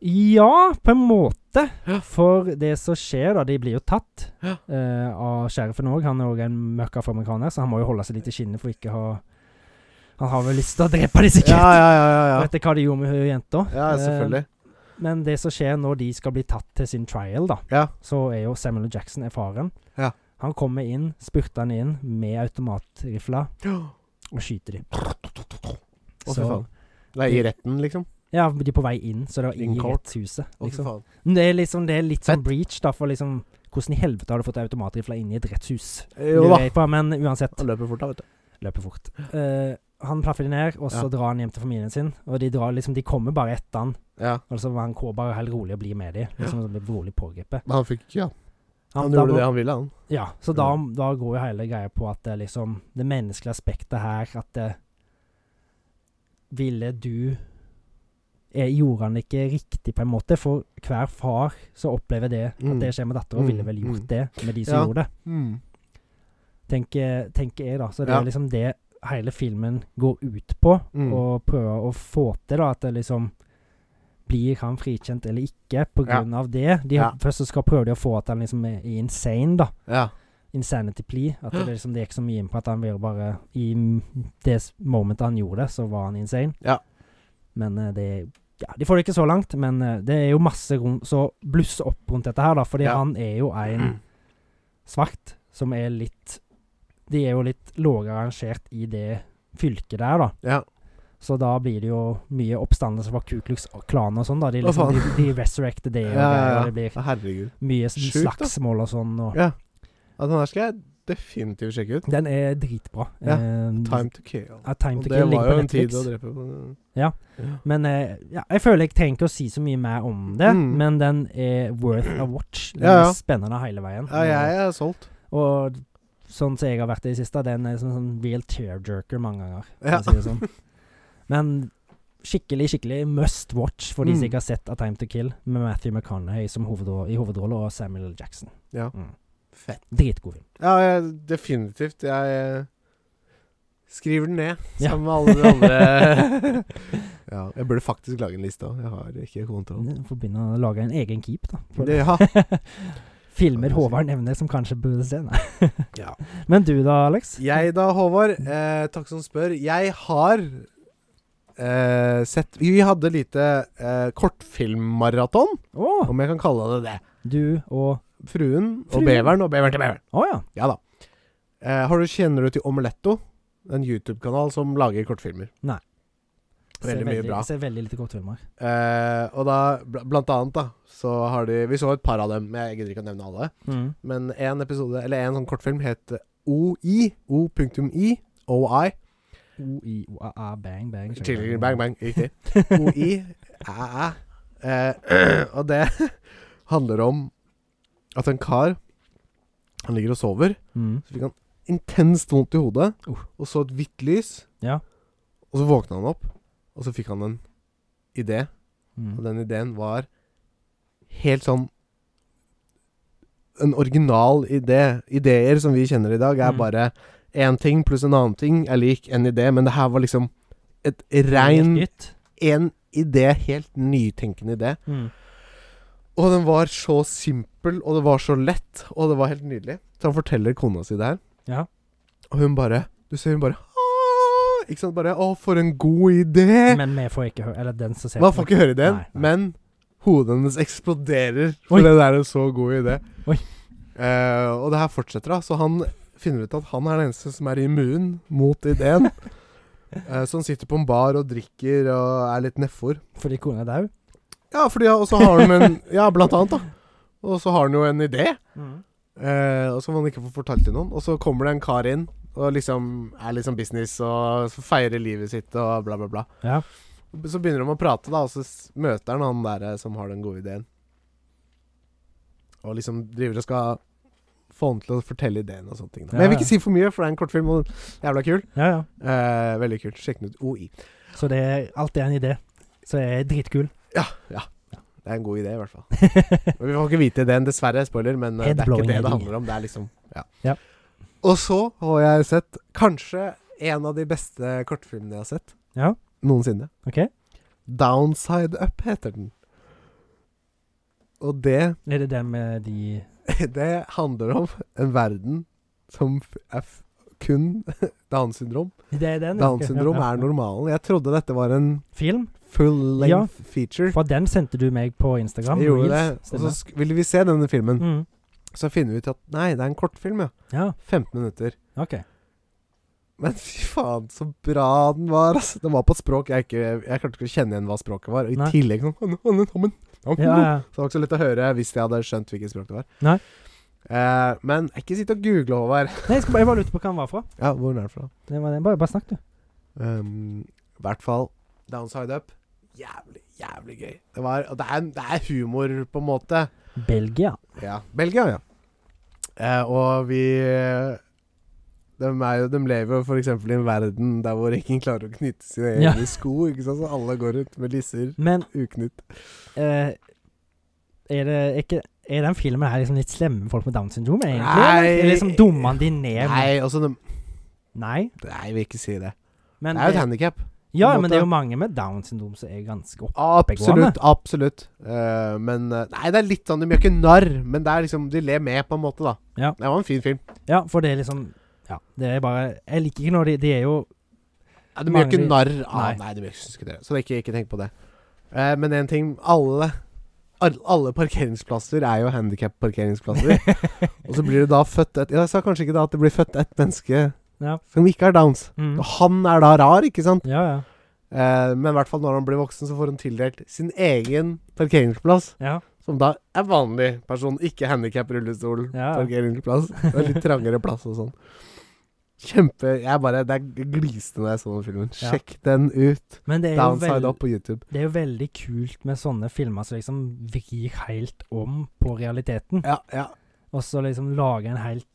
Ja, på en måte. Ja. For det som skjer, da De blir jo tatt Ja. eh, av sheriffen òg. Han er òg en mørk afroamerikaner, så han må jo holde seg litt i skinnet for ikke å ha Han har vel lyst til å drepe de sikkert. Ja, ja, ja. ja, ja. Vet du hva de gjorde med hun jenta? ja selvfølgelig. Eh, men det som skjer når de skal bli tatt til sin trial, da, Ja. så er jo Samuel L. Jackson erfaren. Ja. Han kommer inn, spurter han inn med automatrifla Å, og skyter de. fy faen. Det er i retten, liksom? Ja, de er på vei inn, så det var i Inn court. rettshuset. Å, fy Liksom. faen. Men Det er liksom Det er litt sånn Fett. breach, da, for liksom Hvordan i helvete har du fått automatrifla inn i et rettshus? Eh, Jo da. Lurer jeg på, men uansett, Han løper fort, da, vet du. løper fort. Eh, han plaffer de ned, og så Ja. drar han hjem til familien sin. Og de drar liksom De kommer bare etter han. Ja. Og så var han K bare helt rolig og blir med de Liksom så blir rolig pågrepet. Men han fikk Ja. Han da gjorde må- det han ville, han. Ja, så da, da går jo hele greia på at det er liksom Det menneskelige aspektet her At det Ville du eh, Gjorde han det ikke riktig på en måte? For hver far så opplever det Mm. at det skjer med dattera, Mm, ville vel gjort mm. det med de som Ja. gjorde det. Mm. Tenker, tenker jeg, da. Så det Ja. er liksom det hele filmen går ut på. Mm. Og prøver å få til, da, at det liksom blir han frikjent eller ikke på Ja. grunn av det? De, Ja. Først så skal prøve de å få at han liksom er insane, da Ja. insanity plea. At det, liksom, det gikk så mye inn på at han ville bare I m- det s- momentet han gjorde det, så var han insane. Ja. Men eh, det ja, De får det ikke så langt, men eh, det er jo masse rom Så blusse opp rundt dette her, da. Fordi Ja. han er jo en [CLEARS THROAT] svart som er litt De er jo litt lågere rangert i det fylket der, da. ja. Så da blir det jo mye oppstandelse fra Ku Klux Klan og sånn, da. De, Å, liksom, de, faen. de resurrecter det, og, Ja, ja, greier, ja. og det blir Herregud. mye Sjukt, da. slagsmål og sånn. Og. Ja. Ja, den her skal jeg definitivt sjekke ut. Den er dritbra. Ja, Eh, Time to kill. A Time Og to det Kill var ligger jo på en tid å Netflix. drepe på. Ja. Men eh, ja, jeg føler jeg trenger ikke å si så mye mer om det, Mm. men den er worth a watch. Den Ja, ja. er spennende hele veien. Ja, jeg er solgt. Og sånn som jeg har vært i det siste, den er som en sånn real tearjerker mange ganger. Ja. for å Si [LAUGHS] det sånn. Men skikkelig, skikkelig must watch for de Mm. som ikke har sett A Time to Kill, med Matthew McConaughey som hovedrolle, i hovedrolle og Samuel L. Jackson. Ja. Mm. Fett. Dritgod film. Ja, jeg, definitivt. Jeg eh, skriver den ned, Ja. sammen med alle de [LAUGHS] andre Ja, jeg burde faktisk lage en liste òg. Jeg har ikke kontroll. Du får begynne å lage en egen keep, da. på Det, ja. Filmer Håvard nevner som kanskje burde se. Nei. [LAUGHS] Ja. Men du da, Alex? Jeg da, Håvard. Eh, takk som spør. Jeg har eh, sett Vi hadde lite eh, kortfilmmaraton, Å, om jeg kan kalle det det. du og Fruen og Fruen. beveren og beveren til beveren. Å ja. Ja da. Eh, har du, kjenner du til Omeletto? En YouTube-kanal som lager kortfilmer. Ser Veldig mye bra. Ser veldig lite kortfilmer. Eh, og da, bl blant annet, da, så har de Vi så et par av dem, men jeg gidder ikke å nevne alle. Mm. Men en episode, eller en sånn kortfilm, het OI. O.I. OI. O-I-O-A-A, bang, bang. Tidligere bang, [LAUGHS] bang. Riktig. OI. Æ, æ. Eh, og det [LAUGHS] handler om at en kar Han ligger og sover. Mm. Så fikk han intenst vondt i hodet, Uh. og så et hvitt lys. Ja. Og så våkna han opp, og så fikk han en idé. Og Mm. den ideen var helt sånn En original idé. Ideer som vi kjenner i dag, er Mm. bare én ting pluss en annen ting er lik en idé, men det her var liksom et Helt rein nytt. En idé, helt nytenkende idé. Mm. Og den var så simpel, og det var så lett, og det var helt nydelig. Så han forteller kona si det her, Ja. og hun bare Du ser hun bare «Åh!» Ikke sant? Bare Å, for en god idé! Eh. Men vi får ikke høre Eller den som ser Man får ikke høre ideen, Nei, nei. men hodet hennes eksploderer. Oi. For det der er en så god idé. Oi. Eh, og det her fortsetter, da. Så han finner ut at han er den eneste som er immun mot [LAUGHS] ideen. Eh, så han sitter på en bar og drikker og er litt nedfor. Fordi kona er dau. Ja, fordi, og så har han [LAUGHS] en Ja, blant annet, da. Og så har han jo en idé, Mm. eh, og som han ikke får fortalt til noen. Og så kommer det en kar inn og liksom er liksom business og feirer livet sitt og bla, bla, bla. Ja. Så begynner de å prate, da, og så s- møter han han der eh, som har den gode ideen. Og liksom driver og skal få han til å fortelle ideen og sånne ting. Da. Men jeg vil Ja, ja. ikke si for mye, for det er en kortfilm, og den er jævla kul. ja, ja. Eh, veldig kult. Sjekk den ut. OI. Så det er alt er en idé. Så jeg er dritkul. Det er en god idé, i hvert fall. [LAUGHS] Men vi får ikke vite ideen, dessverre. Spoiler, men eh, det er Headblowing ikke det idea. det handler om. Det er liksom ja. Ja. Og så har jeg sett kanskje en av de beste kortfilmene jeg har sett Ja. noensinne. OK? Downside Up heter den. Og det [LAUGHS] Er det den med de Det handler om en verden som f- er f kun [LAUGHS] Downs syndrom. Det er den? ja. Downs syndrom Ja, ja, er ja. normalen. Jeg trodde dette var en Film? full length Ja. feature. For den sendte du meg på Instagram. Jeg gjorde det. Reels, Og så stemmer. sk- ville vi se denne filmen. mm. Så finner vi ut at nei, det er en kortfilm, ja. Ja, 15 minutter. OK. Men fy faen, så bra den var, altså. Den var på et språk jeg ikke Jeg klarte ikke å kjenne igjen hva språket var. Og i Nei. tillegg sånn «Åh, nå, nå, nå, men, nå, Ja, ja. Så det var ikke så lett å høre hvis jeg hadde skjønt hvilket språk det var. Nei. Eh, men ikke sitt og google, Håvard. Nei, jeg, skal bare, jeg bare lurte på hva den var fra. Ja, hvor er den fra? Det var det. Bare, bare snakk, du. Um, I hvert fall Downside Up. Jævlig, jævlig gøy. Det, var, og det, er, det er humor, på en måte. Belgia. Ja. Belgia, ja. Eh, og vi de, er jo, de lever jo f.eks. i en verden der hvor ingen klarer å knytte sine Ja. egne sko. Ikke sant? Så alle går rundt med lisser Men uknytt. eh, er det ikke er den filmen her liksom litt slemme folk med Downs syndrom, egentlig? Nei. eller? Eller liksom dummer han de ned? med- Nei, altså de, Nei. Nei, jeg vil ikke si det. Men Det er jo et det, handikap. ja, på en men det er måte. jo mange med Downs syndrom som er ganske opp... Absolutt. absolutt Eh, Men eh, Nei, det er litt sånn De gjør ikke narr, men det er liksom de ler med, på en måte, da. Ja. Det var en fin film. Ja, for det er liksom Ja, det er bare Jeg liker ikke når de De er jo Ja, de gjør Mange ikke vil- narr av Nei, Nei. de gjør ikke synes ikke det. Så ikke, ikke tenk på det. Eh, men én ting alle, al- alle parkeringsplasser er jo handikap-parkeringsplasser. og så blir det da født et Jeg sa kanskje ikke da at det blir født et menneske Ja. som ikke er downs. mm, Og han er da rar, ikke sant? Ja, ja. Eh, men i hvert fall når han blir voksen, så får han tildelt sin egen parkeringsplass. Ja. Som da er vanlig person, ikke handikap-rullestol. Ja. Parkeringsplass. Og litt trangere plass og sånn. Kjempe Jeg bare det er- Jeg gliste når jeg så den filmen. Ja. Sjekk den ut. Men det er, jo Downside veld, Up på YouTube. det er jo veldig kult med sånne filmer som liksom vrir helt om på realiteten. Ja, ja. Og så liksom lage en helt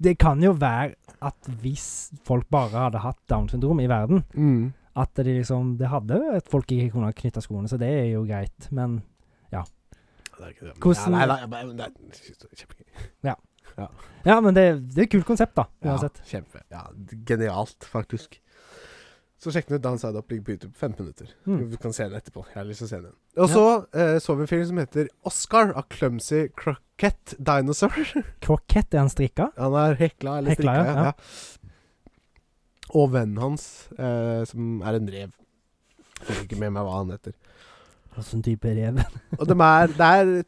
Det kan jo være at hvis folk bare hadde hatt Downs syndrom i verden, Mm. at de liksom Det hadde at folk ikke kunne knytte skoene, så det er jo greit, men Det er ikke det. Hvordan- ja, nei, nei, nei, men det er kjempegøy. Ja, men det, det er et kult konsept, da, Ja, uansett. kjempe. Ja, genialt, faktisk. Så sjekk den ut. Downside Up ligger på YouTube. 15 minutter. Mm. Du kan se den etterpå. Jeg har lyst til å se den. Og så eh, så vi en film som heter Oscar av Clumsy Croquette Dinosaur. Krokett, er han strikka? Han er hekla eller Hekla, strikka, ja, ja. ja. ja. Og vennen hans, eh, som er en rev. Fikk ikke med meg hva han heter. Åssen type rev? [LAUGHS] Og dem er, det er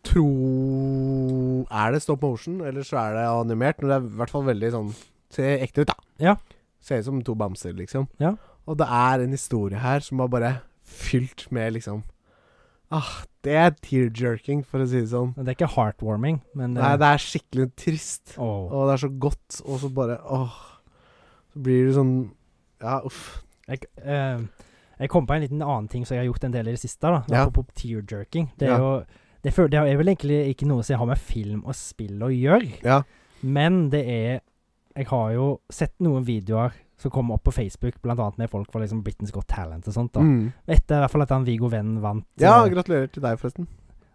tro Er det stop motion, eller så er det animert? Men det er i hvert fall veldig sånn Ser ekte ut, da. Ja. Ser ut som to bamser, liksom. Ja. Og det er en historie her som er bare fylt med liksom Ah, det er tear-jerking, for å si det sånn. Det er ikke heartwarming, men Nei, det er skikkelig trist. Åh. Og det er så godt, og så bare åh. Så blir det sånn Ja, uff. Jeg, eh, jeg kom på en liten annen ting som jeg har gjort en del i det siste. da Ja. Apropos tear-jerking. Det Ja. er jo det, føl- det er vel egentlig ikke noe som jeg har med film og spill å gjøre, Ja. men det er Jeg har jo sett noen videoer som kommer opp på Facebook, blant annet med folk fra liksom Britain's Got Talent og sånt. da Mm. Etter i hvert fall at han Viggo Venn vant Ja, eh, gratulerer til deg, forresten.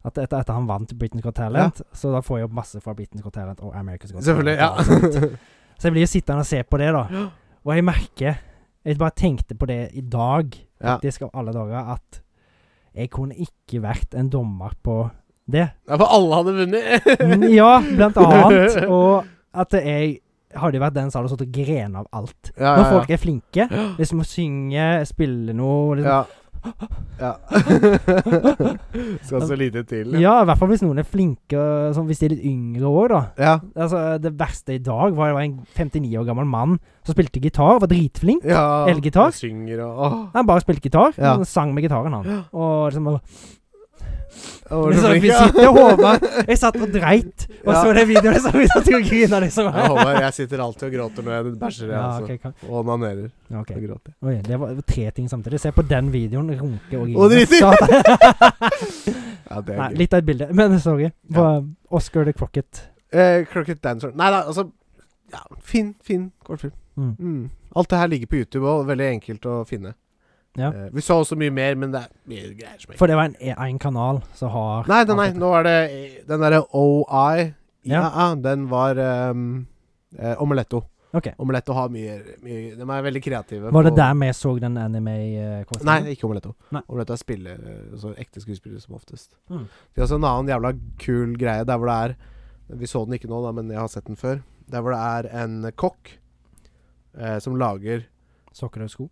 at etter, etter han vant Britain's Got Talent, så da får jeg opp masse fra Britain's Got Talent og America's Got Selvfølgelig. Talent. [LAUGHS] [LAUGHS] Ja. Så jeg blir jo sittende og se på det, da. Ja. Og jeg merker Jeg bare tenkte på det i dag, Ja. faktisk, av alle dager, at jeg kunne ikke vært en dommer på det. Ja, for alle hadde vunnet. Men [LAUGHS] ja, blant annet. Og at jeg hadde jo vært den som hadde sittet og grene av alt. Ja, Når folk er flinke, liksom å synge, spille noe liksom, [LAUGHS] Ja. ja. Skal så lite til. ja. i hvert fall hvis noen er flinke, sånn, hvis de er litt yngre òg, da. Ja. Altså, det verste i dag var det var en 59 år gammel mann som spilte gitar, var dritflink. ja. Elgitar? og Synger og åh. Han bare spilte gitar, Ja. og sang med gitaren, han. Og liksom Åh, Men så så flink, vi ja. sitter og håper [LAUGHS] Jeg satt og dreit og Ja. så den videoen, så vi satt og grina liksom. Ja, Håvard, jeg sitter alltid og gråter når jeg bæsjer. jeg, Ja, altså. ok, kan- Og onanerer. ok. Og gråter. Oi, det var tre ting samtidig. Se på den videoen, runke og grine. Og driting! [LAUGHS] Satan. Ja, det er Nei, gøy. litt av et bilde. [LAUGHS] Men sorry. Hva- Oscar the Crocket. Eh, Crooked Dancer. Nei da, altså ja, Fin, fin kortfilm. Mm. Mm. Alt det her ligger på YouTube og veldig enkelt å finne. Ja. Eh, vi så også mye mer, men det er mye greier som ikke For det var en, en kanal som har Nei, nei, nei, nå er det eh, den derre OI ja. Ja. Den var ehm, eh, Omeletto. Ok. Omeletto har mye, mye De er veldig kreative. Var det på- der vi så den eh, anime-kåsen? Nei, ikke Omeletto. Nei. Omeletto er spiller, eh, altså ekte skuespillere som oftest. Mm. De har også en annen jævla kul greie der hvor det er Vi så den ikke nå, da, men jeg har sett den før. Der hvor det er en kokk eh, som lager Sokker [LAUGHS] og sko.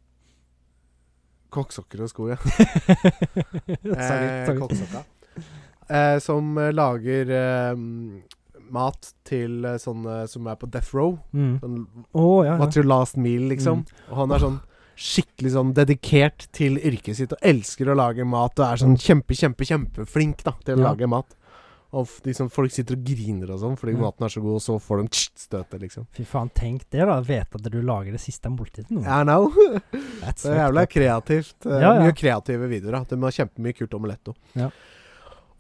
kokksokker og sko, ja. sorry. Eh, [LAUGHS] sorry. kokkesokka. Eh, som eh, lager eh, mm, mat til eh, sånne som er på death row. Mm. Sånn, Å, ja, Mm. ja. What's your last meal, liksom? Og han er sånn skikkelig sånn dedikert til yrket sitt og elsker å lage mat og er sånn kjempe, kjempe, kjempeflink da til å Ja. lage mat. Og f- liksom, folk sitter og griner og sånn fordi Ja. maten er så god, og så får de tsk, støtet, liksom. Fy faen, tenk det, da. Vite at du lager det siste måltidet nå. I know. [LAUGHS] That's Det er fucked jævla up. kreativt. eh, Ja, ja. Mye kreative videoer. da. De har kjempemye kult omelett òg. Ja.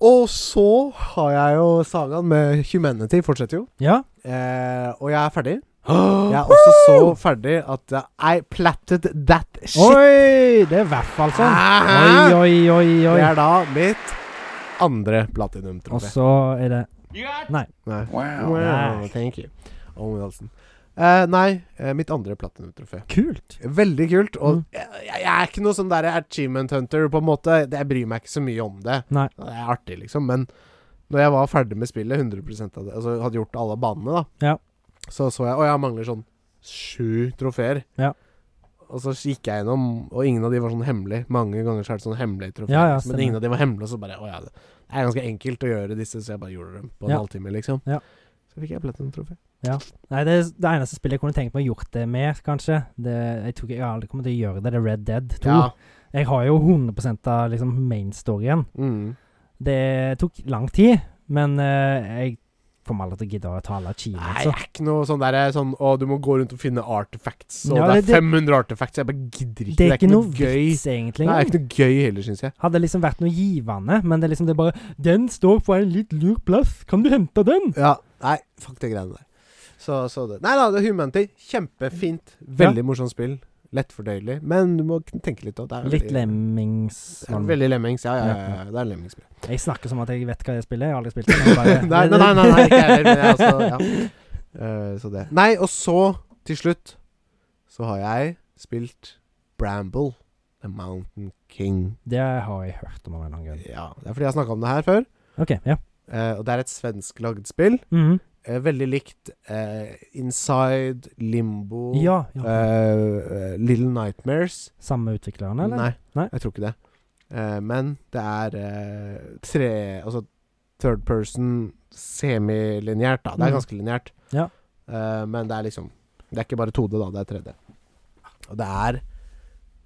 Og så har jeg jo sagaen med Humanity, fortsetter jo. Ja. Eh, og jeg er ferdig. [GASPS] Jeg er også så ferdig at jeg I platted that shit. Oi! Det er i hvert fall sånn. Oi, oi, oi, Det oi. er da mitt andre Og platinum-trofé. så er det Nei. Wow. Wow, thank you. Owen Wilson. Eh, nei, eh, mitt andre platinum-trofé. kult. Veldig kult. Og Mm. jeg, jeg er ikke noe sånn der achievement hunter, på en måte. Det- Jeg bryr meg ikke så mye om det. Nei. Det er artig, liksom. Men når jeg var ferdig med spillet, 100 av det, altså hadde gjort alle banene, da, Ja. så så jeg Å, jeg mangler sånn sju trofeer. Ja. Og så gikk jeg gjennom, og ingen av de var sånn hemmelig. Mange ganger så er det sånn hemmelige trofeer. Ja, ja, liksom, men stemmer. ingen av de var hemmelige, og så bare Å ja, det er ganske enkelt å gjøre disse, så jeg bare gjorde dem på en Ja. halvtime, liksom. Ja. Så fikk jeg platinum-trofé. Nei, det, er det eneste spillet jeg kunne tenkt meg å gjort det mer, kanskje det, Jeg tror ikke jeg aldri kommer til å gjøre det. Det er Red Dead 2. Ja. Jeg har jo 100 av liksom main storyen. Mm. Det tok lang tid, men eh, jeg kommer aldri til å gidde å ta alle altså. Nei, jeg achievements. er ikke noe sånn der sånn, Å, du må gå rundt og finne artifacts, og Ja, det, det- det- er 500 artifacts. Jeg bare gidder ikke. Det er ikke noe gøy. vits, egentlig. Nei, det er ikke engang. noe gøy heller, syns jeg. Hadde liksom vært noe givende, men det er liksom det er bare 'Den står på en litt lur plass. Kan du hente den?' Ja, nei, fuck de greiene der. Så, så det. Nei da, det er Humanity. Kjempefint. Veldig morsomt spill. Lettfordøyelig. Men du må k- tenke litt òg. Det er Litt veldig- lemmings... det er Veldig lemmings. Ja, ja, ja, Ja. ja. det er lemmingsspill. Jeg snakker som at jeg vet hva jeg spiller. Jeg har aldri spilt det. men [LAUGHS] jeg nei, bare- nei, nei, nei, nei, ikke heller. Men jeg altså, ja. [LAUGHS] Eh, så det. Nei, og så, til slutt, så har jeg spilt Bramble. The Mountain King. Det har jeg hørt om av en eller annen grunn. Ja, Det er fordi jeg har snakka om det her før. OK. Ja. Eh, og det er et svensklagd spill. Mhm. Eh, veldig likt eh, Inside, Limbo ja, ja. eh, Little Nightmares. Samme utviklerne, eller? Nei, Nei. jeg tror ikke det. Eh, men det er eh, tre Altså third person semilinjært, da. Det Mm. er ganske linjært. Ja. Eh, men det er liksom Det er ikke bare 2D, da. Det er 3D. Og det er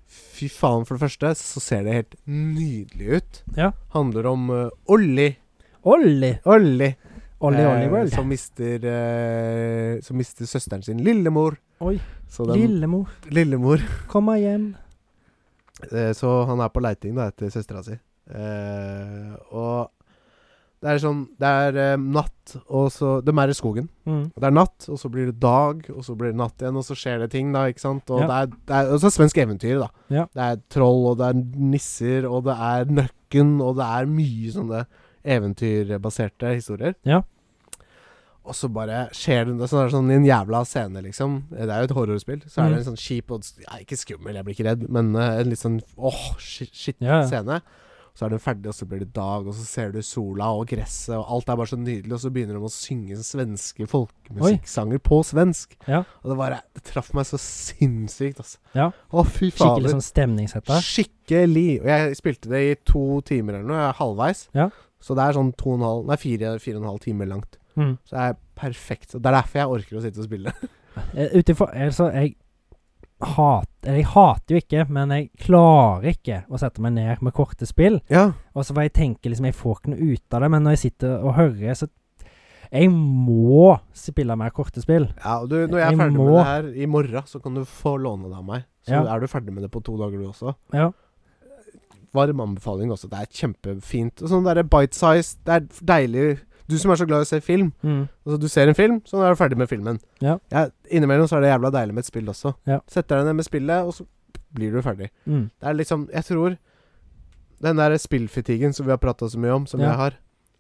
Fy faen, for det første så ser det helt nydelig ut. Ja. Handler om eh, Olli. Olli! Olli. Olli eh, Olli World. Som mister eh, Som mister søsteren sin. Lillemor. Oi. Så den, Lillemor, Lillemor kom meg hjem. Eh, Så han er på leiting da etter søstera si. Eh, og det er sånn Det er eh, natt, og så De er i skogen. Mhm. Det er natt, og så blir det dag, og så blir det natt igjen, og så skjer det ting, da, ikke sant? Og Ja. det er, det er også svensk eventyr, da. Ja. Det er troll, og det er nisser, og det er nøkken, og det er mye sånne eventyrbaserte historier. Ja. Og så bare skjer det så er det sånn i en jævla scene, liksom. Det er jo et horrorspill. Så Mhm. er det en sånn kjip og ja, Ikke skummel, jeg blir ikke redd, men eh, en litt sånn åh, shit, shit Ja, ja. scene. Så er den ferdig, og så blir det dag, og så ser du sola og gresset, og alt er bare så nydelig, og så begynner de å synge svenske folkemusikksanger på svensk. Ja. Og det bare Det traff meg så sinnssykt, altså. Ja. Å, fy fader. Skikkelig sånn stemningshette. Skikkelig. Og jeg spilte det i to timer eller noe, jeg er halvveis. Ja. Så det er sånn to og en halv Nei, fire, fire og en halv time langt. Mhm. Så det er perfekt. Og det er derfor jeg orker å sitte og [LAUGHS] spille. Eh, Utenfor Altså, jeg hat- eller Jeg hater jo ikke, men jeg klarer ikke å sette meg ned med korte spill. Ja. Og så får jeg tenke liksom Jeg får ikke noe ut av det, men når jeg sitter og hører, så Jeg må spille mer korte spill. og du, når jeg er ferdig Jeg med må- det her i morgen, så kan du få låne det av meg. Så Ja. er du ferdig med det på to dager, du også. Ja. Varm anbefaling også. Det er kjempefint. Og sånn derre bite-size. Det er deilig. Du som er så glad i å se film. Mm. Altså, du ser en film, så er du ferdig med filmen. Ja. innimellom så er det jævla deilig med et spill også. Ja. Setter deg ned med spillet, og så blir du ferdig. Mm. Det er liksom Jeg tror den der spillfatigen som vi har prata så mye om, som Ja. jeg har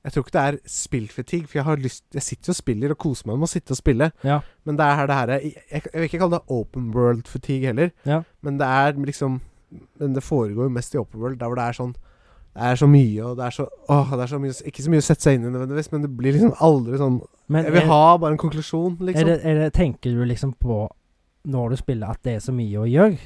Jeg tror ikke det er spillfatig, for jeg har lyst Jeg sitter jo og spiller og koser meg med å sitte og spille. Ja. Men det er her det her er jeg, jeg vil ikke kalle det open world fatigue heller, Ja. men det er liksom Men det foregår jo mest i open world, der hvor det er sånn det er så mye, og det er så Åh, det er så mye Ikke så mye å sette seg inn i nødvendigvis, men det blir liksom aldri sånn Men eh, Jeg vil ha bare en konklusjon, er, liksom. det, er det, tenker du liksom på når du spiller, at det er så mye å gjøre?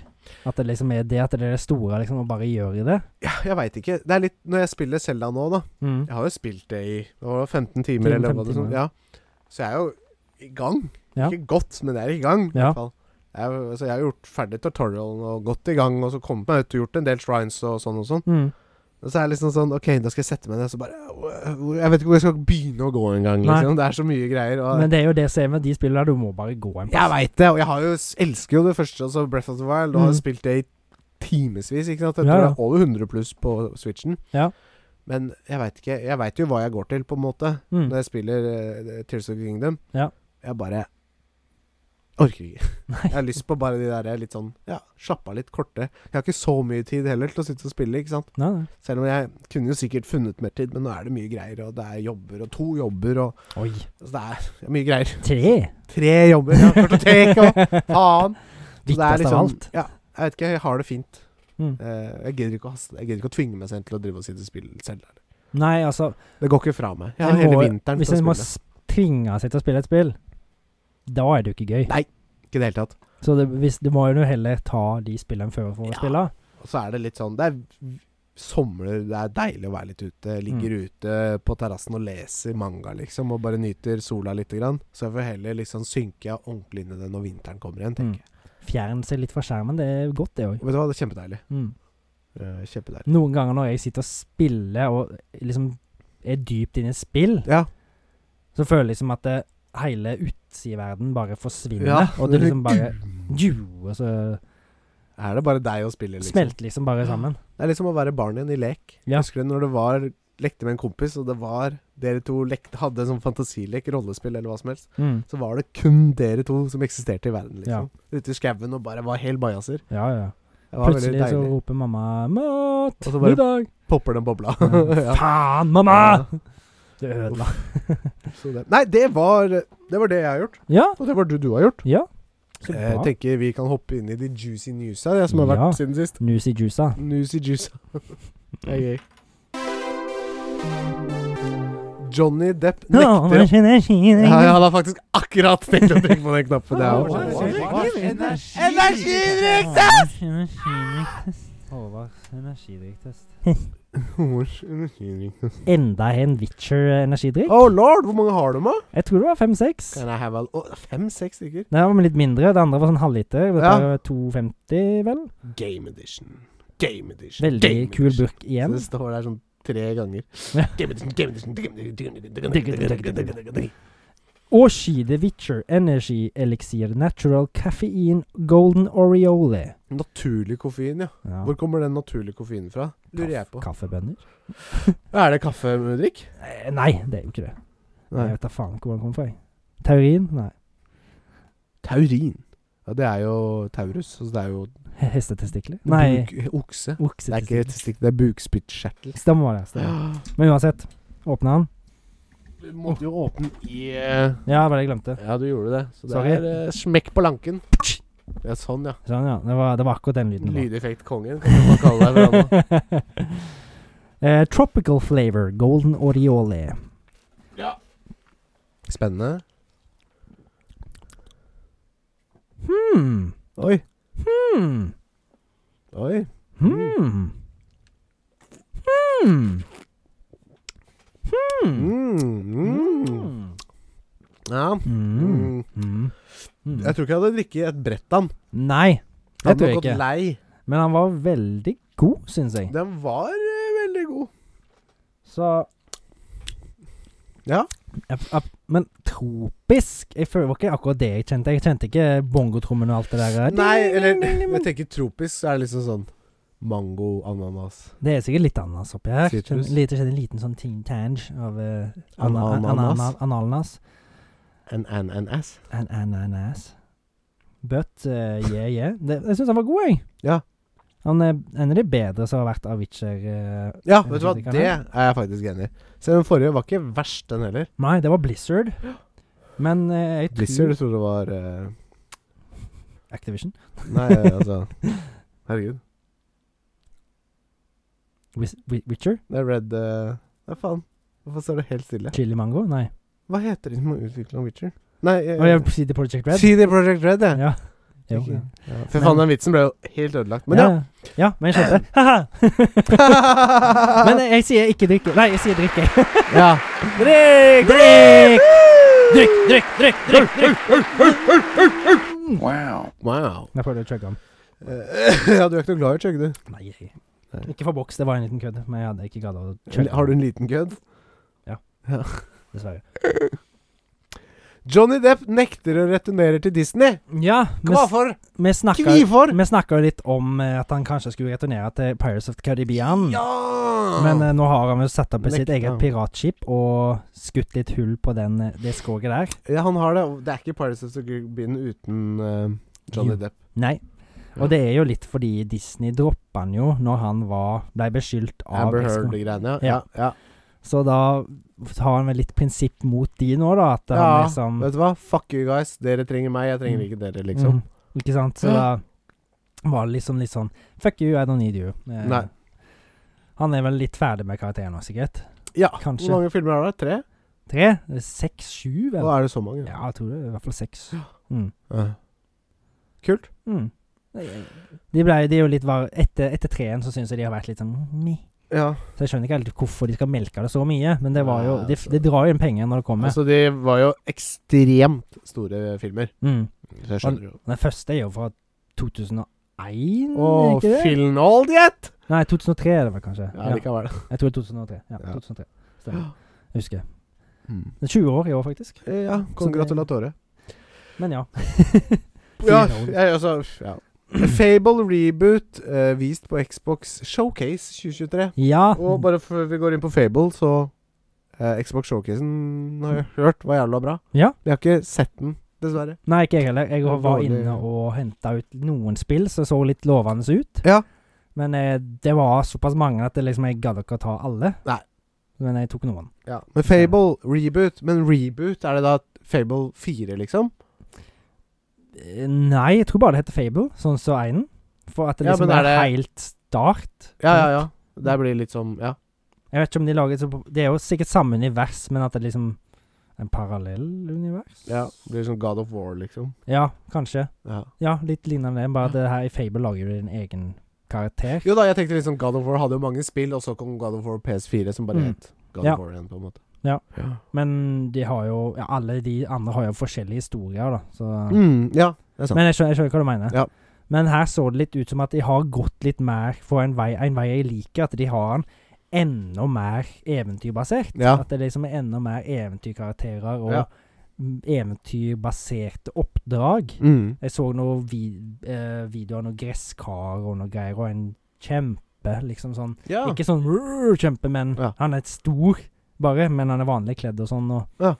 At det liksom er det at det er det store, liksom, og bare gjøre det? Ja, jeg veit ikke. Det er Mm. litt Når jeg spiller Selda nå, da, Jeg har jo spilt det i det var 15 timer, Timer, eller 15 hva det sånn. timer. Ja. Så jeg er jo i gang. Ja. Ikke godt, men jeg er i gang. I Ja. hvert fall. Jeg, er- altså, jeg har gjort ferdig tutorialen og gått i gang, og så kommet meg ut og gjort en del shrines og sånn og sånn. Mm. Og så er jeg liksom sånn OK, da skal jeg sette meg ned, og så bare øh, hvor- Jeg vet ikke hvor jeg skal begynne å gå engang, Nei. liksom. Det er så mye greier. Og Men det er jo det som er med de spillene, du må bare gå en jeg veit det, og jeg har jo, elsker jo det første, altså Breath of the Wild, og har Mm. spilt det i timevis, ikke sant. Jeg Ja, tror ja. det er over 100 pluss på Switchen. Ja. Men jeg veit ikke Jeg veit jo hva jeg går til, på en måte Mm. når jeg spiller eh, Tears of the Kingdom. Ja. Jeg bare orker [LAUGHS] ikke. Nei. Jeg har lyst på bare de der litt sånn Ja, slappe av litt korte. Jeg har ikke så mye tid heller til å sitte og spille, ikke sant. Nei, nei. Selv om jeg kunne jo sikkert funnet mer tid, men nå er det mye greier, og det er jobber, og to jobber, og Oi. altså, Det er det er mye greier. [LAUGHS] Tre! Tre jobber, ja, [LAUGHS] kartotek og faen. Så det er Viktigst av liksom- alt. Ja, jeg vet ikke, jeg har det fint. Mm. Eh, jeg gidder ikke å haste. Jeg gidder ikke å tvinge meg selv til å drive og sitte og spille selv. Nei, altså Det går ikke fra meg. Jeg har jeg hele må- vinteren Hvis til å en må spille. s- tvinge seg til å spille et spill, da er det jo ikke gøy. Nei. Ikke i det hele tatt. Så det, hvis, du må jo heller ta de spillene før for å Ja. spille. Og så er det litt sånn Det er v- sommer, det er deilig å være litt ute. Ligger Mm. ute på terrassen og leser manga, liksom, og bare nyter sola lite grann. Så jeg får heller liksom synke ordentlig inn i det når vinteren kommer igjen, tenker Mm. Fjern seg litt fra skjermen, det er godt, det òg. jeg. Vet du hva, det er kjempedeilig. Mm. Eh, kjempedeilig. Noen ganger når jeg sitter og spiller, og liksom er dypt inne i et spill, Ja. så føler jeg liksom at det, hele utsideverden bare forsvinner. ja. og det liksom bare [LAUGHS] Jo, og så [CLEARS THROAT] Er det bare deg å spille, liksom? smelter liksom bare sammen. Det er liksom å være barn igjen i lek. Ja. Husker du når det var lekte med en kompis, og det var dere to lekte, hadde en sånn fantasilek, rollespill eller hva som helst, Mm. så var det kun dere to som eksisterte i verden, Ja. liksom. Ute i skauen og bare var helt bajaser. Ja, ja. Det var veldig Plutselig så deilig. roper mamma 'Mat! Og så bare- Middag!' popper den bobla. Ja. [LAUGHS] ja. Faen, mamma! Det ødela. [LAUGHS] Så det. Nei, det var, det var det jeg har gjort. Ja. Og det var det du har gjort. ja. Så Jeg bra. tenker vi kan hoppe inn i de juicy newsa jeg, som har Ja. vært siden sist. Nusi Juica. Newsy juica. det er gøy. Johnny Depp nekter ja, ja, Han har faktisk akkurat tenkt å trykke på den knappen. Det er jo Energidrikktest! Håvard, energidrikktest. Mors energidrikk. Enda en Witcher-energidrikk. Oh lord, hvor mange har du med? Jeg tror det var fem-seks. Kan jeg have all- Å, Fem-seks stykker. Det var litt mindre. Det andre var sånn halvliter. Dette Ja. var 2,50, vel? Game edition. Game edition. Veldig Game kul edition. burk igjen. Så det står der sånn tre [LAUGHS] ganger. Ja. Game edition, game edition, game edition, game edition. Oshi the Witcher Energy Elixir Natural Caffeine Golden Oriole. Naturlig koffein, ja. Ja. Hvor kommer den naturlige koffeinen fra? Lurer jeg på. Kaff- Kaffebønner? Er det kaffedrikk? Eh, Nei, det er jo ikke det. Nei. Jeg vet da faen ikke hvor den kommer fra. jeg. Taurin? Nei. [LAUGHS] Taurin. Ja, det er jo taurus. Altså det er jo He- Hestetestikler? Nei, Buk, okse. Det er ikke oksetestikler. testikk, det er bukspyttkjertel. Stemmer det. Stemmer. Men uansett, åpna den. Du måtte jo åpne i eh, Ja, det var det jeg glemte. Ja, du gjorde det. Så det Sorry. er eh, smekk på lanken. Ja, sånn, ja. Sånn, ja. Det var, det var akkurat den lyden. det var. Lydeffektkongen, kan man kalle deg for noe. [LAUGHS] Eh, tropical flavor, golden oriole. Spennende. Hmm. Oi. Hmm. Oi. Hmm. Hmm. Hmm. Mm. Mm. Hmm. Ja. Mm. Hmm. Hmm. Jeg tror ikke jeg hadde drikket et brett av den. Nei, det Den tror hadde jeg gått ikke. lei. Men han var veldig god, syns jeg. Den var eh, veldig god. Så Ja. Ap- ap- Men tropisk Jeg føler det var ikke akkurat det jeg kjente. Jeg kjente ikke bongotrommen og alt det der. Nei, eller Jeg tenker tropisk, så er det liksom sånn mango, ananas Det er sikkert litt ananas oppi her. Sitrus. Litt, jeg kjenner en liten sånn ting tange av eh, ana- An- an- ananas. ana- Ananas. An ananas. An ananas. But eh, yeah, yeah. Det, jeg syns han var god, jeg. Ja. Han er en av de bedre som har vært av Witcher. eh. Ja, vet du hva, Kritikerne. det er jeg faktisk enig i. Selv den forrige var ikke verst, den heller. Nei, det var Blizzard. Men eh, jeg tror Blizzard jeg trodde det var eh, Activision. [LAUGHS] Nei, altså Herregud. Wis- Wi- Witcher? Det er Red eh, Nei, faen. Hvorfor står det helt stille? Chili Mango? Nei. Hva heter de som har utvikla Witcher? Nei eh, Og jeg CD Project Red? CD Projekt Red, jeg. Ja. Jo, Ikke- ja. ja. Fy faen, den vitsen ble jo helt ødelagt. Men ja. ja. Ja, men jeg skjønte. [LAUGHS] [LAUGHS] eh, [LAUGHS] eh, Haha. men jeg, jeg sier ikke drikke. Nei, jeg sier drikke. ja. Drikk! Drikk! Drikk, drikk, drikk, drikk! drikk. Wow. Wow. Jeg prøvde å chugge den. Eh, [LAUGHS] ja, du er ikke noe glad i chugg, du. Nei, jeg- Nei. ikke for boks, det var en liten kødd. Men jeg hadde ikke gadd å chugge. Har du en liten kødd? Dessverre. Johnny Depp nekter å returnere til Disney. Ja, vi, s- for? vi snakka Hvorfor? vi snakka jo litt om eh, at han kanskje skulle returnere til Pirates of the Caribbean. Ja! Men eh, nå har han jo satt opp i sitt Nekta. eget piratskip og skutt litt hull på den, eh, det skroget der. ja, han har det. og Det er ikke Pirates of the Caribbean uten eh, Johnny Jo. Depp. Nei. Og det er jo litt fordi Disney droppa han jo når han var ble beskyldt av Amber Exco. Heard-greiene. Ja. Ja. Ja, Så da har han vel litt prinsipp mot de nå, da. At ja. han liksom Vet du hva? Fuck you guys. Dere trenger meg, jeg trenger Mm. ikke dere, liksom. Mm, ikke sant? Så da var det liksom litt sånn Fuck you, I don't need you. Eh, Nei. Han er vel litt ferdig med karakteren nå, sikkert? Ja. Kanskje. Hvor mange filmer har du? Tre? Tre? Seks? Sju, Å, vel? er det så mange? Ja, jeg tror det. er I hvert fall seks. Mm. Ja. Kult. Mm. De, ble, de er jo litt var, etter, etter treen så syns jeg de har vært litt sånn meh. Ja. Så jeg skjønner ikke helt hvorfor de skal melke det så mye, men det var jo Nei, Det altså. de drar jo inn penger når det kommer. Altså, de var jo ekstremt store filmer. mm. Så jeg skjønner jo. Den første er jo fra 2001, Å, er Mm, ikke det? Phil Nold, gjett! Nei, 2003 er det vel kanskje. Ja, likevel. Jeg tror det er 2003. Ja, Ja. 2003. Stemmer. Jeg husker. Mm. Det er 20 år i år, faktisk. Eh, Ja, congratulatore. Men ja. Ja, Phil Nold. jeg, altså ja. Fable reboot eh, vist på Xbox Showcase 2023. Ja, Og bare før vi går inn på Fable, så eh, Xbox Showcasen har jeg hørt var jævla bra. Ja. Jeg har ikke sett den, dessverre. Nei, ikke jeg heller. Jeg Det er var dårlig. inne og henta ut noen spill som så litt lovende ut. Ja. Men eh, det var såpass mange at det liksom jeg gadd ikke å ta alle. Nei. Men jeg tok noen. Ja. Men Fable reboot Men reboot, er det da Fable 4, liksom? Eh, Nei, jeg tror bare det heter Fable, sånn som einen. For at det Ja, liksom men er er, det- helt start. Ja, ja, ja. Det blir litt som Ja. Jeg vet ikke om de lager så Det er jo sikkert samme univers, men at det liksom En parallell univers? ja. Det blir som God of War, liksom. Ja, kanskje. Ja. Ja, litt lignende det. Bare at det her i Fable lager du din egen karakter. Jo da, jeg tenkte liksom God of War hadde jo mange spill, og så kom God of War PS4, som bare Mm. het God Ja. of War igjen, på en måte. Ja. Men de har jo ja, Alle de andre har jo forskjellige historier, da. Så, Mm, ja, det er sant. Men jeg skjønner, jeg skjønner hva du mener. Ja. Men her så det litt ut som at de har gått litt mer for en vei, en vei jeg liker. At de har den enda mer eventyrbasert. Ja. At det liksom er enda mer eventyrkarakterer og Ja. m- eventyrbaserte oppdrag. Mm. Jeg så noen vi, eh, videoer av noen gresskar og noe greier, og en kjempe, liksom sånn Ja. Ikke sånn "Rrr, kjempe, men Ja. han er et stor, bare. Men han er vanlig kledd og sånn. Og. Ja.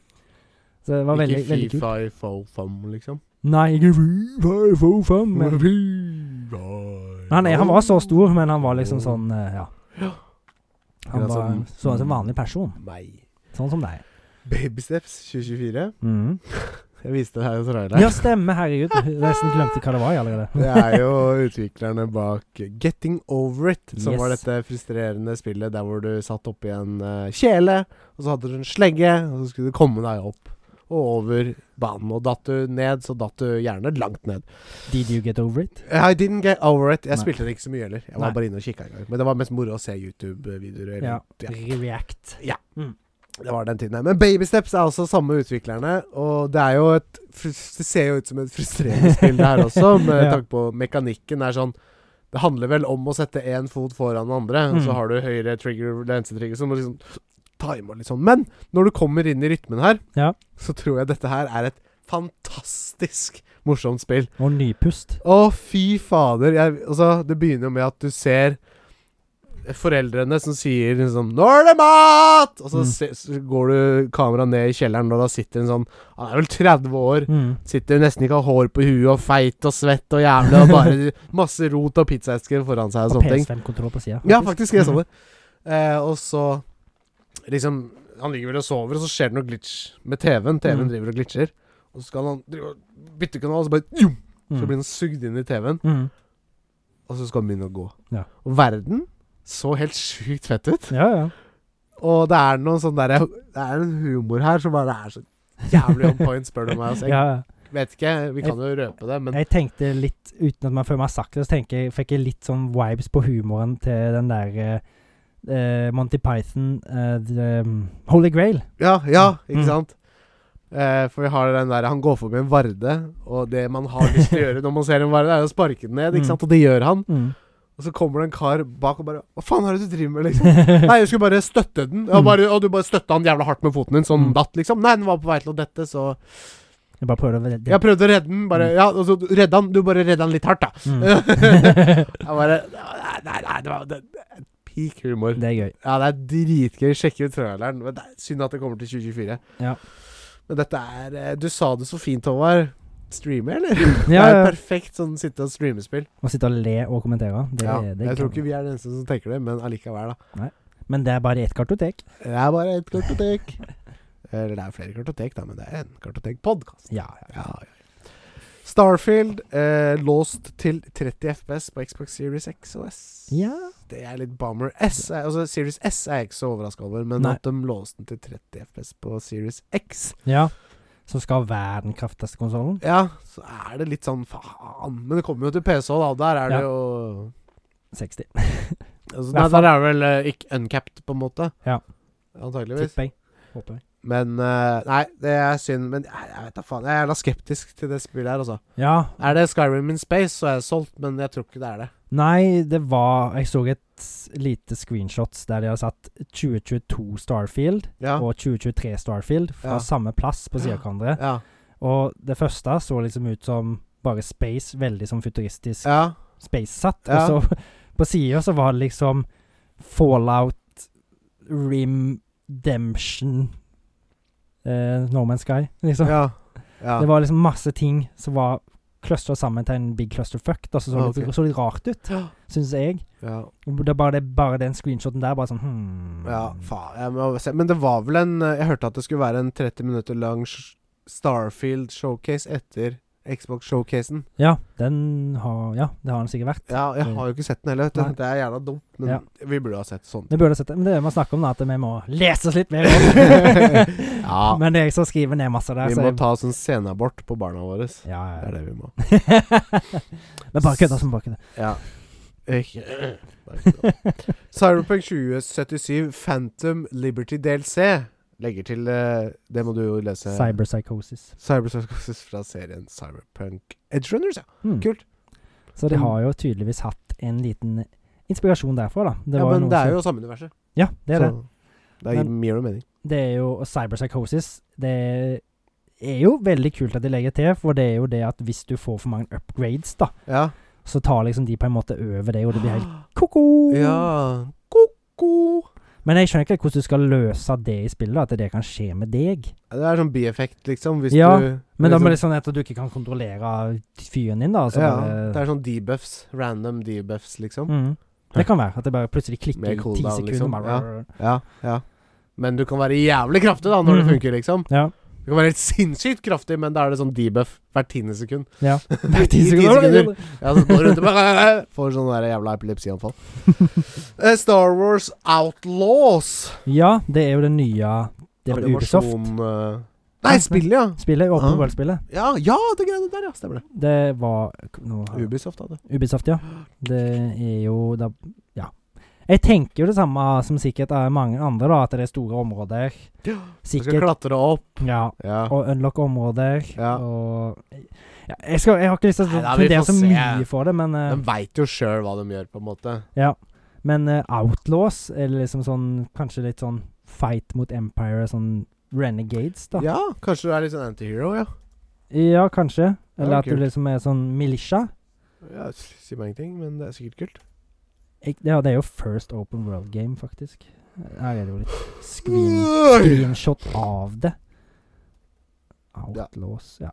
Så det var veldig, veldig Ikke Fifi kult. Fofum, liksom. Nei, ikke FIFA, FIFA, men han, er, han var så stor, men han var liksom sånn eh, Ja. Han Ja, var sånn- sånn som en vanlig person. Meg. Sånn som deg. Babysteps 2024. Mm. Jeg viste det her i traileren. Ja, stemmer. Herregud. Jeg Nesten glemte hva det var jeg allerede. Det er jo utviklerne bak Getting Over It, som Yes. var dette frustrerende spillet der hvor du satt oppi en eh, kjele, og så hadde du en slegge, og så skulle du komme deg opp og over banen. Og datt du ned, så datt du gjerne langt ned. Did you get over it? I didn't get over it. Jeg Nei. spilte det ikke så mye heller. Jeg var Nei. bare inne og kikka en gang. Men det var mest moro å se YouTube-videoer. eller- Ja. Ja. React. Det var den tiden. her. Men Babysteps er også samme utviklerne, og det er jo et frus- Det ser jo ut som et frustrerende spill, [LAUGHS] det her også, med Ja. tanke på mekanikken er sånn Det handler vel om å sette én fot foran den andre, og Mm. så har du høyre trigger, lensetrigger, som liksom timer litt sånn. Men når du kommer inn i rytmen her, Ja. så tror jeg dette her er et fantastisk morsomt spill. Og nypust. Å, fy fader. Jeg, altså, det begynner jo med at du ser foreldrene som sier liksom 'Nå er det mat!' Og så, Mm. se, så går du kameraet ned i kjelleren, og da sitter en sånn Han er vel 30 år. Mm. Sitter nesten ikke har hår på huet og feit og svett og jævlig og bare [LAUGHS] masse rot og pizzaesker foran seg og Og sånne ting. PS5-kontroll på Mm. sida. Ja, faktisk. Jeg så det. Eh, og så liksom Han ligger vel og sover, og så skjer det noe glitch med TV-en. TV-en Mm. driver og glitcher. Og så skal han drive og bytte kanal, og så bare jum, Så blir han sugd inn i TV-en. Mm. Og så skal han begynne å gå. Ja. Og verden så helt sjukt fett ut. Ja, ja. Og det er noen sånn derre Det er en humor her som bare er så jævlig on point, spør du meg. [LAUGHS] Altså, ja, jeg ja. vet ikke, vi kan jo røpe det, men Jeg tenkte litt, uten at man før man har sagt det, så tenker jeg, fikk jeg litt sånn vibes på humoren til den der eh, eh, Monty Python eh, the, um, Holy Grail. Ja, ja, Mm. ikke sant? Eh, for vi har den der Han går forbi en varde, og det man har lyst til å gjøre når man ser en varde, er å sparke den ned, Mm. ikke sant? Og det gjør han. [LAUGHS] Mm. Og så kommer det en kar bak og bare Hva faen er det du driver med, liksom? [LAUGHS] Nei, jeg skulle bare støtte den. Og, Mm. bare, og du bare støtta han jævla hardt med foten din, sånn Mm. datt, liksom. Nei, den var på vei til å dette, så Jeg bare prøvde å redde Jeg prøvde å redde den, bare Mm. Ja, og så redda han. Du bare redda han litt hardt, da. [LAUGHS] Mm. Jeg bare Nei, nei, nei det var det, det er peak humor. det er gøy. Ja, det er dritgøy. Sjekke ut traileren. Men det er synd at det kommer til 2024. Ja. Men dette er eh, Du sa det så fint, Håvard. Streame, eller? Det [LAUGHS] Ja, er ja. et perfekt sånn sitte og streame-spill. Å sitte og le og kommentere. Det, Ja, det, jeg tror ikke kan- vi er den eneste som tenker det, men allikevel, da. Men det er bare ett kartotek. Det er bare ett [LAUGHS] kartotek. Eller det er flere kartotek, da, men det er en kartotek-podkast. Ja, Ja, ja. Starfield eh, låst til 30 FPS på Xbox Series X og S. ja. Det er litt bummer. S er, altså Series S er jeg ikke så overraska over, men Nei. at de låste den til 30 FPS på Series X ja. Som skal være den kraftigste konsollen. Ja, så er det litt sånn faen. Men det kommer jo til PC òg, da. Der er Ja. det jo 60, Altså, Hvert nei, der er det vel eh, ikke uncapped, på en måte. Ja. Antageligvis. tipper jeg. Håper jeg. Men eh, Nei, det er synd. Men jeg, jeg vet da faen. Jeg er jævla skeptisk til det spillet her, altså. Ja. Er det Skyrim in Space, så er jeg solgt, men jeg tror ikke det er det. Nei, det var Jeg så et lite screenshots der de har satt 2022 Starfield Ja. og 2023 Starfield fra Ja. samme plass på siden av hverandre. Ja. Og det første så liksom ut som bare space, veldig sånn futuristisk ja. space-satt. Ja. Og så [LAUGHS] på sida så var det liksom Fallout, Rim, Demption eh, No Man's Sky, liksom. Ja. ja. Det var liksom masse ting som var clustra sammen til en big clusterfuck. Da, så så, Ah, litt, ok. så litt rart ut, Ja. syns jeg. ja. Det er bare, det, bare den screenshoten der, bare sånn hmm. ja faen. Jeg må se. Men det var vel en eh, Jeg hørte at det skulle være en 30 minutter lang sh- Starfield-showcase etter Xbox-showcasen. Ja, den har Ja, det har den sikkert vært. Ja, jeg har jo ikke sett den heller. vet Nei. du. Det er jævla dumt, men Ja. vi burde ha sett sånn. Vi burde sett det. Men det man snakker om, da, at vi må lese oss litt mer opp. [LAUGHS] ja. [LAUGHS] Men det er jeg som skriver ned masse der, Vi så må jeg ta sånn senabort på barna våre. Det ja, ja, ja. er det vi må. [LAUGHS] Men bare kødda som bare kødda. Ja. Ikke- [CLEARS THROAT] [LAUGHS] Cyberpunk 2077 Phantom Liberty DLC legger til eh, Det må du jo lese. Cyberpsychosis. Cyberpsychosis fra serien Cyberpunk Edgerunners, ja. Mm. Kult. Så de har jo tydeligvis hatt en liten inspirasjon derfra, da. Det ja, var men noe det er som- jo samme universet. Ja, det er det. det gir Men- mer mening. Det er jo og cyberpsychosis. Det er jo veldig kult at de legger til, for det er jo det at hvis du får for mange upgrades, da, Ja. så tar liksom de på en måte over det, og det blir [GASPS] helt ko-ko. Ja. Ko-ko. Men jeg skjønner ikke hvordan du skal løse det i spillet, at det kan skje med deg. Ja, Det er sånn bieffekt, liksom. Hvis Ja, du Men da liksom, må det sånn at du ikke kan kontrollere fyren din, da. Så ja, bare- Det er sånn debuffs. Random debuffs, liksom. mm. det kan være at det bare plutselig klikker Med i ti cooldown, sekunder. liksom. Bare, Ja, ja. Men du kan være jævlig kraftig da, når Mhm. det funker, liksom. ja. Du kan være helt sinnssykt kraftig, men da er det sånn debuff hvert tiende sekund. Ja. [LAUGHS] [LAUGHS] I [LAUGHS] ti sekunder. Ja, så går du rundt og bare [LAUGHS] Får sånn der jævla epilepsianfall. [LAUGHS] Eh, Star Wars Outlaws. Ja, det er jo det nye Det er vel Ubisoft. Animasjon, eh, Nei, spillet, ja. Spillet, Open Ah. World-spillet. Ja, ja, det greiene der, ja. Stemmer det. Det var nå, har- Ubisoft, da. Det. Ubisoft, ja. Det er jo da, Ja. Jeg tenker jo det samme som sikkert er mange andre, da, at det er store områder. Ja, Du skal Sikkert klatre opp. Ja. Ja. Og unlock områder. Ja. Og ja, jeg, skal, jeg har ikke lyst til Nei, å da, vi fundere får så se. mye for det, men eh, De veit jo sjøl hva de gjør, på en måte. Men eh, Outlaws, eller liksom sånn Kanskje litt sånn fight mot Empire, sånn renegades, da. Ja, Ja, kanskje du er litt sånn antihero, ja. kanskje. Eller Ja, at du kult. liksom er sånn militia. ja. Si meg ingenting, men det er sikkert kult. Jeg, ja, det er jo first open world game, faktisk. Her er det jo litt screen, Skvin. screenshot av det. Ja. Outlaws, ja.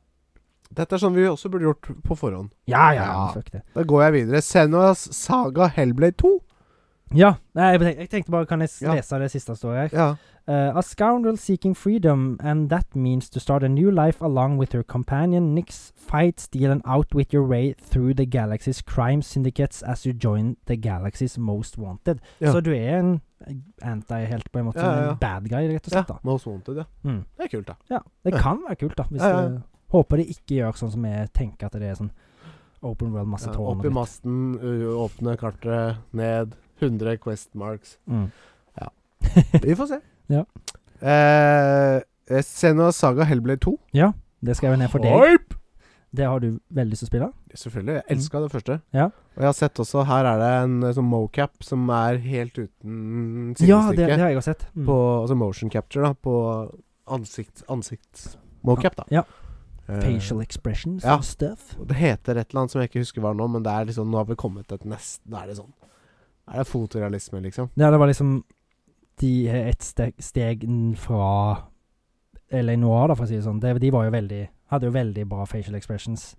Dette er sånn vi også burde gjort på forhånd. Ja, ja, Ja. fuck det. Da går jeg videre. Senuas Saga Hellblade 2. Ja, nei, jeg tenkte- jeg tenkte bare, kan jeg s- Ja. lese det siste som står her? Ja. Uh, a scoundrel seeking freedom, and that means to start a new life along with her companion Nyx. Fight, steal, and outwit your way through the galaxy's crime syndicates as you join the galaxy's most wanted. Ja. Så du er en antihelt, på en måte. Ja, ja, ja. En bad guy, rett og ja. slett. da Most Wanted, ja. Mm. Det er kult, da. Ja, Det Ja. kan være kult, da. Hvis Ja, ja. du Håper de ikke gjør sånn som jeg tenker at det er sånn open world, masse Ja, tårn opp og i dritt. masten, ø- åpne kartet, ned. 100 quest marks. Mm. Vi får se. Ja. Eh, Eh, Senua Saga Hellblade 2. Ja, [LAUGHS] det skrev jeg ned for deg. Hype! Det har du veldig lyst til å spille. Selvfølgelig. Jeg elska det første. Mm. Ja. Og jeg har sett også Her er det en eh, sånn mocap som er helt uten Ja, det, det sidestykke. har jeg også sett. Mm. På Altså motion capture, da. På ansikt... Ansikts... Mocap, da. Ja. Eh, Facial expressions Ja. and stuff. og Det heter et eller annet som jeg ikke husker hva nå, men det er liksom Nå har vi kommet til et nest Nå er det sånn Er det fotorealisme, liksom? Ja, det var liksom De er et steg, steg n- fra Eller noir, da, for å si det sånn. De, de var jo veldig Hadde jo veldig bra facial expressions.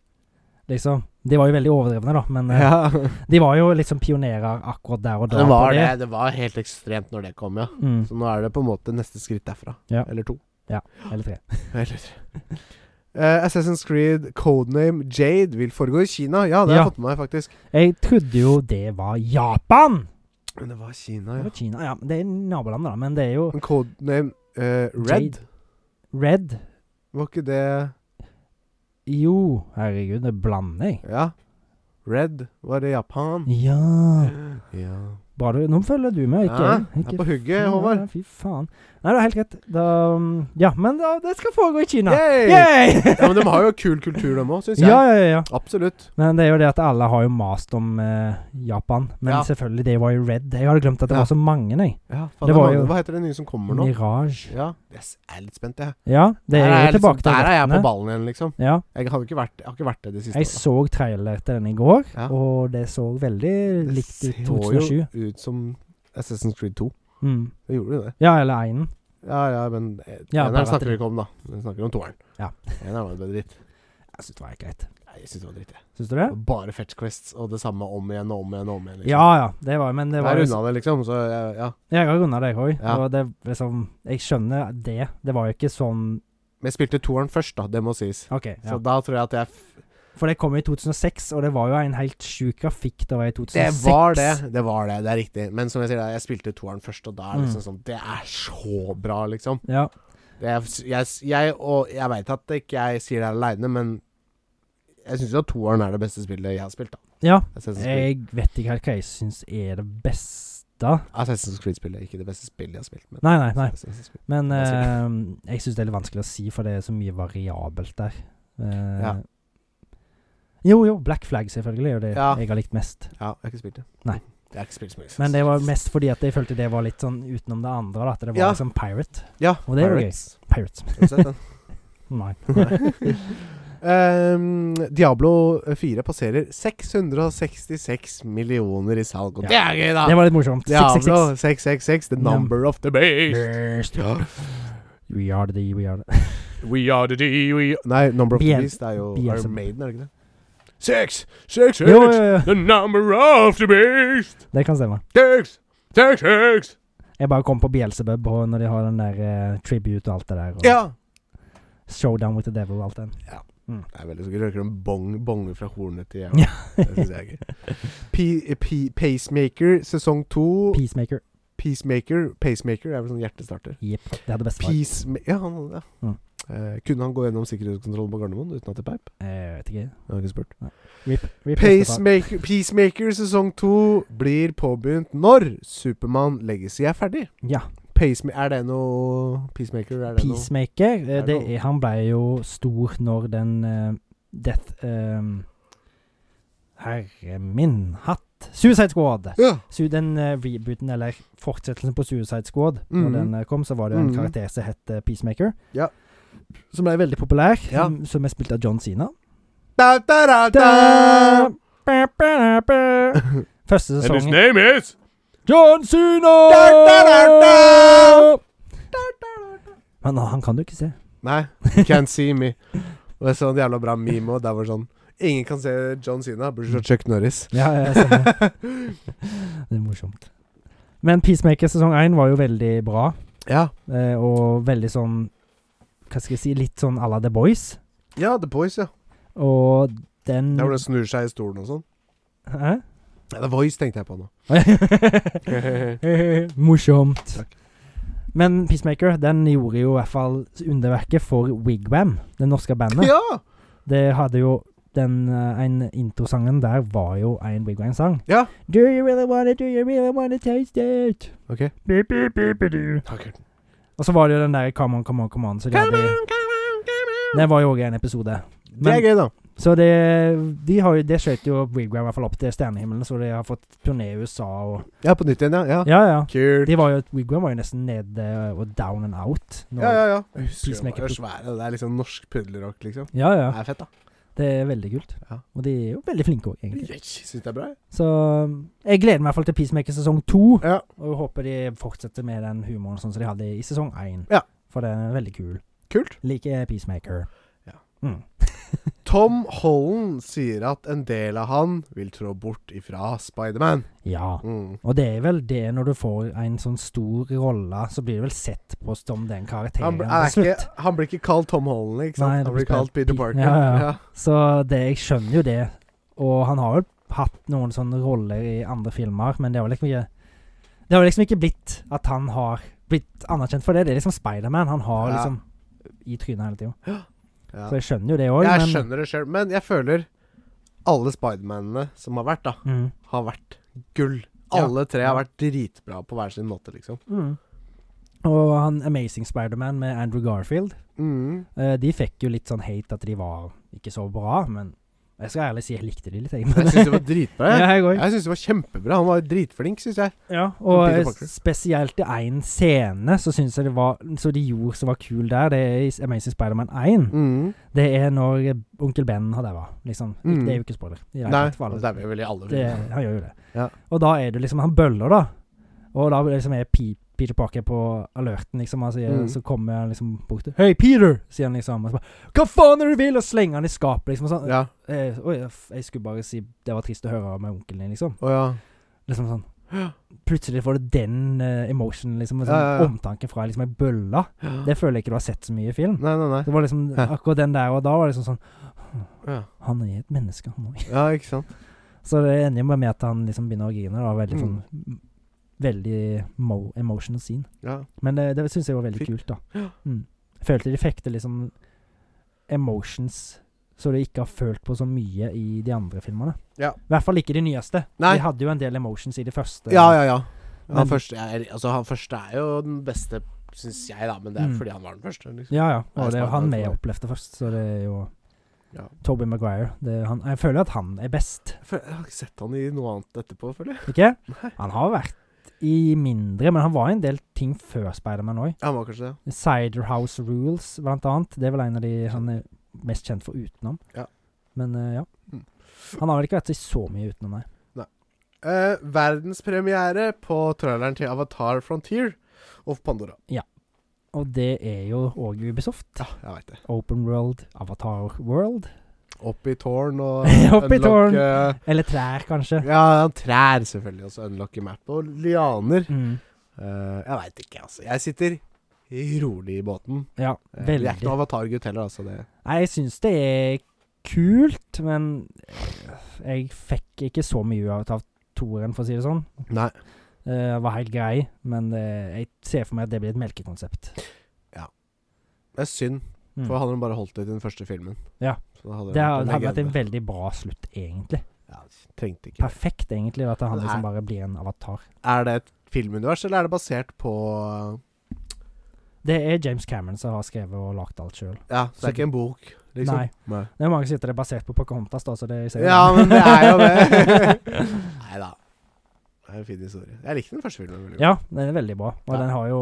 Liksom. De var jo veldig overdrevne, da, men eh, [LAUGHS] Ja. de var jo liksom pionerer akkurat der og da. Det var på det. Det var helt ekstremt når det kom, ja. Mm, Så nå er det på en måte neste skritt derfra. Ja. Eller to. eller tre. Eller [LAUGHS] Eh, Assassin's Creed, codename Jade, vil foregå i Kina. Ja, det har jeg Ja. fått med meg, faktisk. Jeg trodde jo det var Japan! Men det var Kina, Det ja. var Kina, ja. Det er nabolandet, da, men det er jo Men codename eh, Red, Red var ikke det Jo, herregud, det blander jeg. Ja. Red var det Japan. Ja Ja. Bra du Nå følger du med, ikke Ja, jeg. jeg Ikke er på hugget, Ja, Håvard. Fy faen. Nei, det er helt greit. Da, um, ja, men da, det skal foregå i Kina. Yay! Yay! Ja, men de har jo kul kultur, de òg, syns jeg. ja, ja, ja, ja. Absolutt. Men det er jo det at alle har jo mast om eh, Japan. Men Ja. selvfølgelig, det var jo Red. Jeg hadde glemt at det Ja. var så mange, nei. Ja, Det faen, det er var mange- jo- Hva heter det nye som kommer nå? Mirage. Ja. Yes, jeg er litt spent, jeg. Ja, det Der er jo jeg liksom, tilbake til Der er jeg på røttene. ballen igjen, liksom. Ja. Jeg har jo ikke vært, jeg har ikke vært det de siste Jeg så trailer til den i går, Ja. og det så veldig likt ut 2007. Det ser jo ut som Assassin's Creed 2. Mm. Det gjorde jo det. Ja, eller Einen. Ja, ja, men eh, Ja, eneren bare at snakker det- vi ikke om, da. Vi snakker om toeren. Ja. Eneren var jo bare dritt. Jeg syns det var helt greit. Nei, Jeg syns det var dritt, jeg. Syns du det? Det var Bare fetch quests og det samme om igjen og om igjen og om igjen. liksom. Ja ja, det var men det Jeg var jo runda det, liksom. Så jeg- ja. Jeg har runda det, jeg òg. Ja. Og det liksom Jeg skjønner det. Det var jo ikke sånn Men jeg spilte toeren først, da. Det må sies. OK. Ja. Så da tror jeg at jeg f For det kom jo i 2006, og det var jo en helt sjuk grafikk da i 2006. Det var det. Det var det, det er riktig. Men som jeg sier, da, jeg spilte toeren først, og da Mm. er det liksom sånn Det er så bra, liksom. Ja. Det er, jeg, jeg, og jeg veit at ikke jeg sier det aleine, men jeg syns jo at toeren er det beste spillet jeg har spilt, da. ja. Assassin's Creed. Jeg vet ikke helt hva jeg syns er det beste. Assassin's Creed-spillet. Ikke det beste spillet jeg har spilt. Men Nei, nei, nei. Assassin's Creed. Men Hva eh, jeg syns det er litt vanskelig å si, for det er så mye variabelt der. Eh, Ja. Jo, jo. Black Flag, selvfølgelig, er jo det Ja. jeg har likt mest. Ja, jeg har ikke spilt det. Nei. Jeg har ikke spilt så mye. Men det var mest fordi at jeg følte det var litt sånn utenom det andre. Da, at det var Ja. liksom pirate. Ja, Og det er jo Pirates. Pirates. Har du sett den? [LAUGHS] Nei. Ehm, Diablo 4 passerer 666 millioner i salg, og Ja. det er gøy, da! Det var litt morsomt. Diablo 666, the Ja. number of the beast. 666. Ja. We are the We are the We are the D, we Nei, number of the Beelze- beast er jo Beelzebub. Iron Maiden, er det ikke det? Six, six, six, Jo, jo, jo. the number of the beast. Det kan stemme. Six, six, six. Jeg bare kom på Beelzebub og når de har den der eh, tribute og alt det der. Og Ja. Showdown with the devil og alt den. Det er veldig så gøy. Røyker de bong, bonger fra hornet [LAUGHS] til Ja. jævla? Det syns jeg er gøy. P P Pacemaker sesong to. [LAUGHS] Peacemaker. Peacemaker Pacemaker er vel sånn hjertestarter. Jepp. Det hadde bestefar. Peacema ja, han, ja. Mm. Eh, kunne han gå gjennom sikkerhetskontrollen på Gardermoen uten at det peip? Eh, Jeg vet ikke. Jeg har ikke spurt. Rip, rip bestefar. Pacemaker, Peacemaker sesong to blir påbegynt når Supermann Legacy er ferdig. Ja. Pacema er det noe Peacemaker? Er det noe? Peacemaker. eh, Er det Det noe? er, han ble jo stor når den eh, Death ehm, Herre min hatt. Suicide Squad. Ja. Su den eh, rebooten, eller fortsettelsen på Suicide Squad, Mhm. når den eh, kom, så var det jo en Mhm. karakter som het eh, Peacemaker. Ja. Som ble veldig populær, Ja. som- som er spilt av John Sina. Da, da, da, da. Første sesongen name is John Sina! Da, da, da, da! Men ah, han kan du ikke se. Nei, you can't see me. Og jeg så en jævla bra meme, og der var det sånn Ingen kan se John Sina, bortsett fra Chuck Norris. Ja, jeg ser det. [LAUGHS] det er morsomt. Men Peacemaker sesong én var jo veldig bra, Ja. eh, og veldig sånn Hva skal jeg si? Litt sånn à la The Boys. ja, The Boys, ja. Og den Der hvor det snur seg i stolen og sånn. Hæ? [LAUGHS] Ja, The Voice tenkte jeg på nå. Morsomt. Takk. Men Peacemaker den gjorde jo i hvert fall underverket for Wigwam, det norske bandet. ja! Det hadde jo den eh, en introsangen der var jo en Wigwam-sang. Ja. Do you really wanna, do you really wanna taste it? Ok. Beep, beep, beep, beep, do. Takk. Og så var det jo den der Come on, come on, come on. Så de Come hadde, on, come on, come on. det var jo òg en episode. det er Men, gøy, da. så det de har jo, det skjøt jo Wigwam i hvert fall opp til stjernehimmelen, så de har fått turné i USA og Ja, på nytt igjen, ja. ja. Ja, ja. Kult. De var jo, Wigwam var jo nesten nede og down and out. Nå. Ja, ja, ja. Jeg husker det Peacemaker var Pro- svære. Det er liksom norsk puddelrock, liksom. ja, ja. Det er fett, da. Det er veldig kult. Ja. Og de er jo veldig flinke òg, egentlig. Jeg syns det er bra. jeg. Så um, jeg gleder meg i hvert fall til Peacemaker sesong to. Ja. Og håper de fortsetter med den humoren sånn som de hadde i sesong én. Ja. For den er veldig kul. Kult. Liker Peacemaker. Ja. Mm. Tom Holland sier at en del av han vil trå bort ifra Spiderman. ja. Mm. Og det er vel det, når du får en sånn stor rolle, så blir du vel sett på som den Han, karakteren bl- til er slutt. ikke, han blir ikke kalt Tom Holland, ikke sant? Nei, det han blir blir kalt spilt- Peter Parker. Ja, ja, ja. Så det, jeg skjønner jo det. Og han har jo hatt noen sånne roller i andre filmer, men det har liksom ikke Det har liksom ikke blitt at han har blitt anerkjent for det. Det er liksom Spiderman. Han har Ja. liksom i trynet hele tida. Ja. Så jeg skjønner jo det òg, Jeg men skjønner det sjøl, men jeg føler alle Spidermanene som har vært, da, mm, har vært gull. Ja. Alle tre Ja. har vært dritbra på hver sin måte, liksom. mm. Og han Amazing Spiderman med Andrew Garfield, [LAUGHS] Mm. eh, de fikk jo litt sånn hate at de var ikke så bra, men jeg skal ærlig si jeg likte de litt, jeg. Jeg syns det var dritbra. [LAUGHS] ja, Jeg, jeg òg. jeg syns det var kjempebra. Han var dritflink, syns jeg. Ja, og Peter eh, Parker. spesielt i én scene så syns jeg det var Så de gjorde som var kul der, det er i Amazing Spiderman 1. Mm. Det er når eh, onkel Ben har daua, liksom. Ik- Mm. Det er jo ikke spoiler. i det hele Nei, tatt for alle. det er vi vel i alle det, filmer. han gjør jo det. Ja. Og da er det liksom Han bøller, da. Og da liksom er P Peter Parker på alerten, liksom. Han sier, Mm. Så kommer han liksom bort til 'Hei, Peter!' sier han liksom. Og så bare 'Hva faen er det du vil?' Og slenger han i skapet, liksom. og Sånn. Ja. Eh, oi, f- jeg skulle bare si det var trist å høre med onkelen din, liksom. Å ja. Liksom sånn. Plutselig får du den eh, emotionen, liksom. Og sånn, Ja, ja, ja. Omtanke fra liksom ei bølle. Det føler jeg ikke du har sett så mye i film. Nei, nei, nei. Det var liksom Hæ? akkurat den der og da var det liksom sånn Ja, Han er et menneske, han òg. ja ikke sant. Så det ender jo bare med at han liksom begynner å grine. Da, veldig sånn Mm. Veldig mo emotional scene. Ja. Men det, det syns jeg var veldig Fint. kult, da. Ja. Mm. Følte de fikk det liksom Emotions så du ikke har følt på så mye i de andre filmene. Ja. I hvert fall ikke de nyeste. Nei. De hadde jo en del emotions i de første. Ja, ja, ja. Han Men- første, er, altså, han første er jo den beste, syns jeg, da. Men det er Mm. fordi han var den første. Liksom. Ja, ja. Nei, Og det er jo han Spider-Man vi for meg. opplevde først, så det er jo Ja. Toby Maguire. Det er han, jeg føler at han er best, Jeg, føler, jeg har ikke sett han i noe annet etterpå, føler jeg. ikke? Nei. Han har vært i mindre, men han var i en del ting før Spiderman òg. Han var kanskje det. Cider House Rules, blant annet. Det er vel en av de han er mest kjent for utenom. Ja. Men eh, ja. Mm. Han har vel ikke vært i så mye utenom, nei. Eh, verdenspremiere på traileren til Avatar Frontier of Pandora. Og det er jo òg Ubisoft. Ja, jeg veit det. Open World, Avatar World. Opp i tårn og [LAUGHS] Opp i tårn. unlocke- Eller trær, kanskje. Ja, trær selvfølgelig, og så unlocke map og lianer. Mm. Eh, jeg veit ikke, altså. Jeg sitter rolig i båten. Ja, Eh, Jeg er ikke veldig. noe avatargutt heller, altså. Det. Nei, jeg syns det er kult, men jeg fikk ikke så mye ut av toeren, for å si det sånn. Nei. Eh, var helt grei, men eh, jeg ser for meg at det blir et melkekonsept. Det er synd, Mm. for han hadde bare holdt det til den første filmen. Ja. Så da hadde Det vært en hadde hadde vært en legende. veldig bra slutt, egentlig. ja, Trengte ikke. Perfekt, egentlig, at han Det er- liksom bare blir en avatar. Er det et filmunivers, eller er det basert på Det er James Cameron som har skrevet og lagd alt sjøl. Ja, så det er ikke en bok, liksom? Nei. Nei. Det er mange som sier at det er basert på Pocahontas, da, så det ser Ja, men det er jo [LAUGHS] det. [LAUGHS] Nei da. Det er en fin historie. Jeg likte den første filmen veldig godt. ja, den er veldig bra, og Ja. den har jo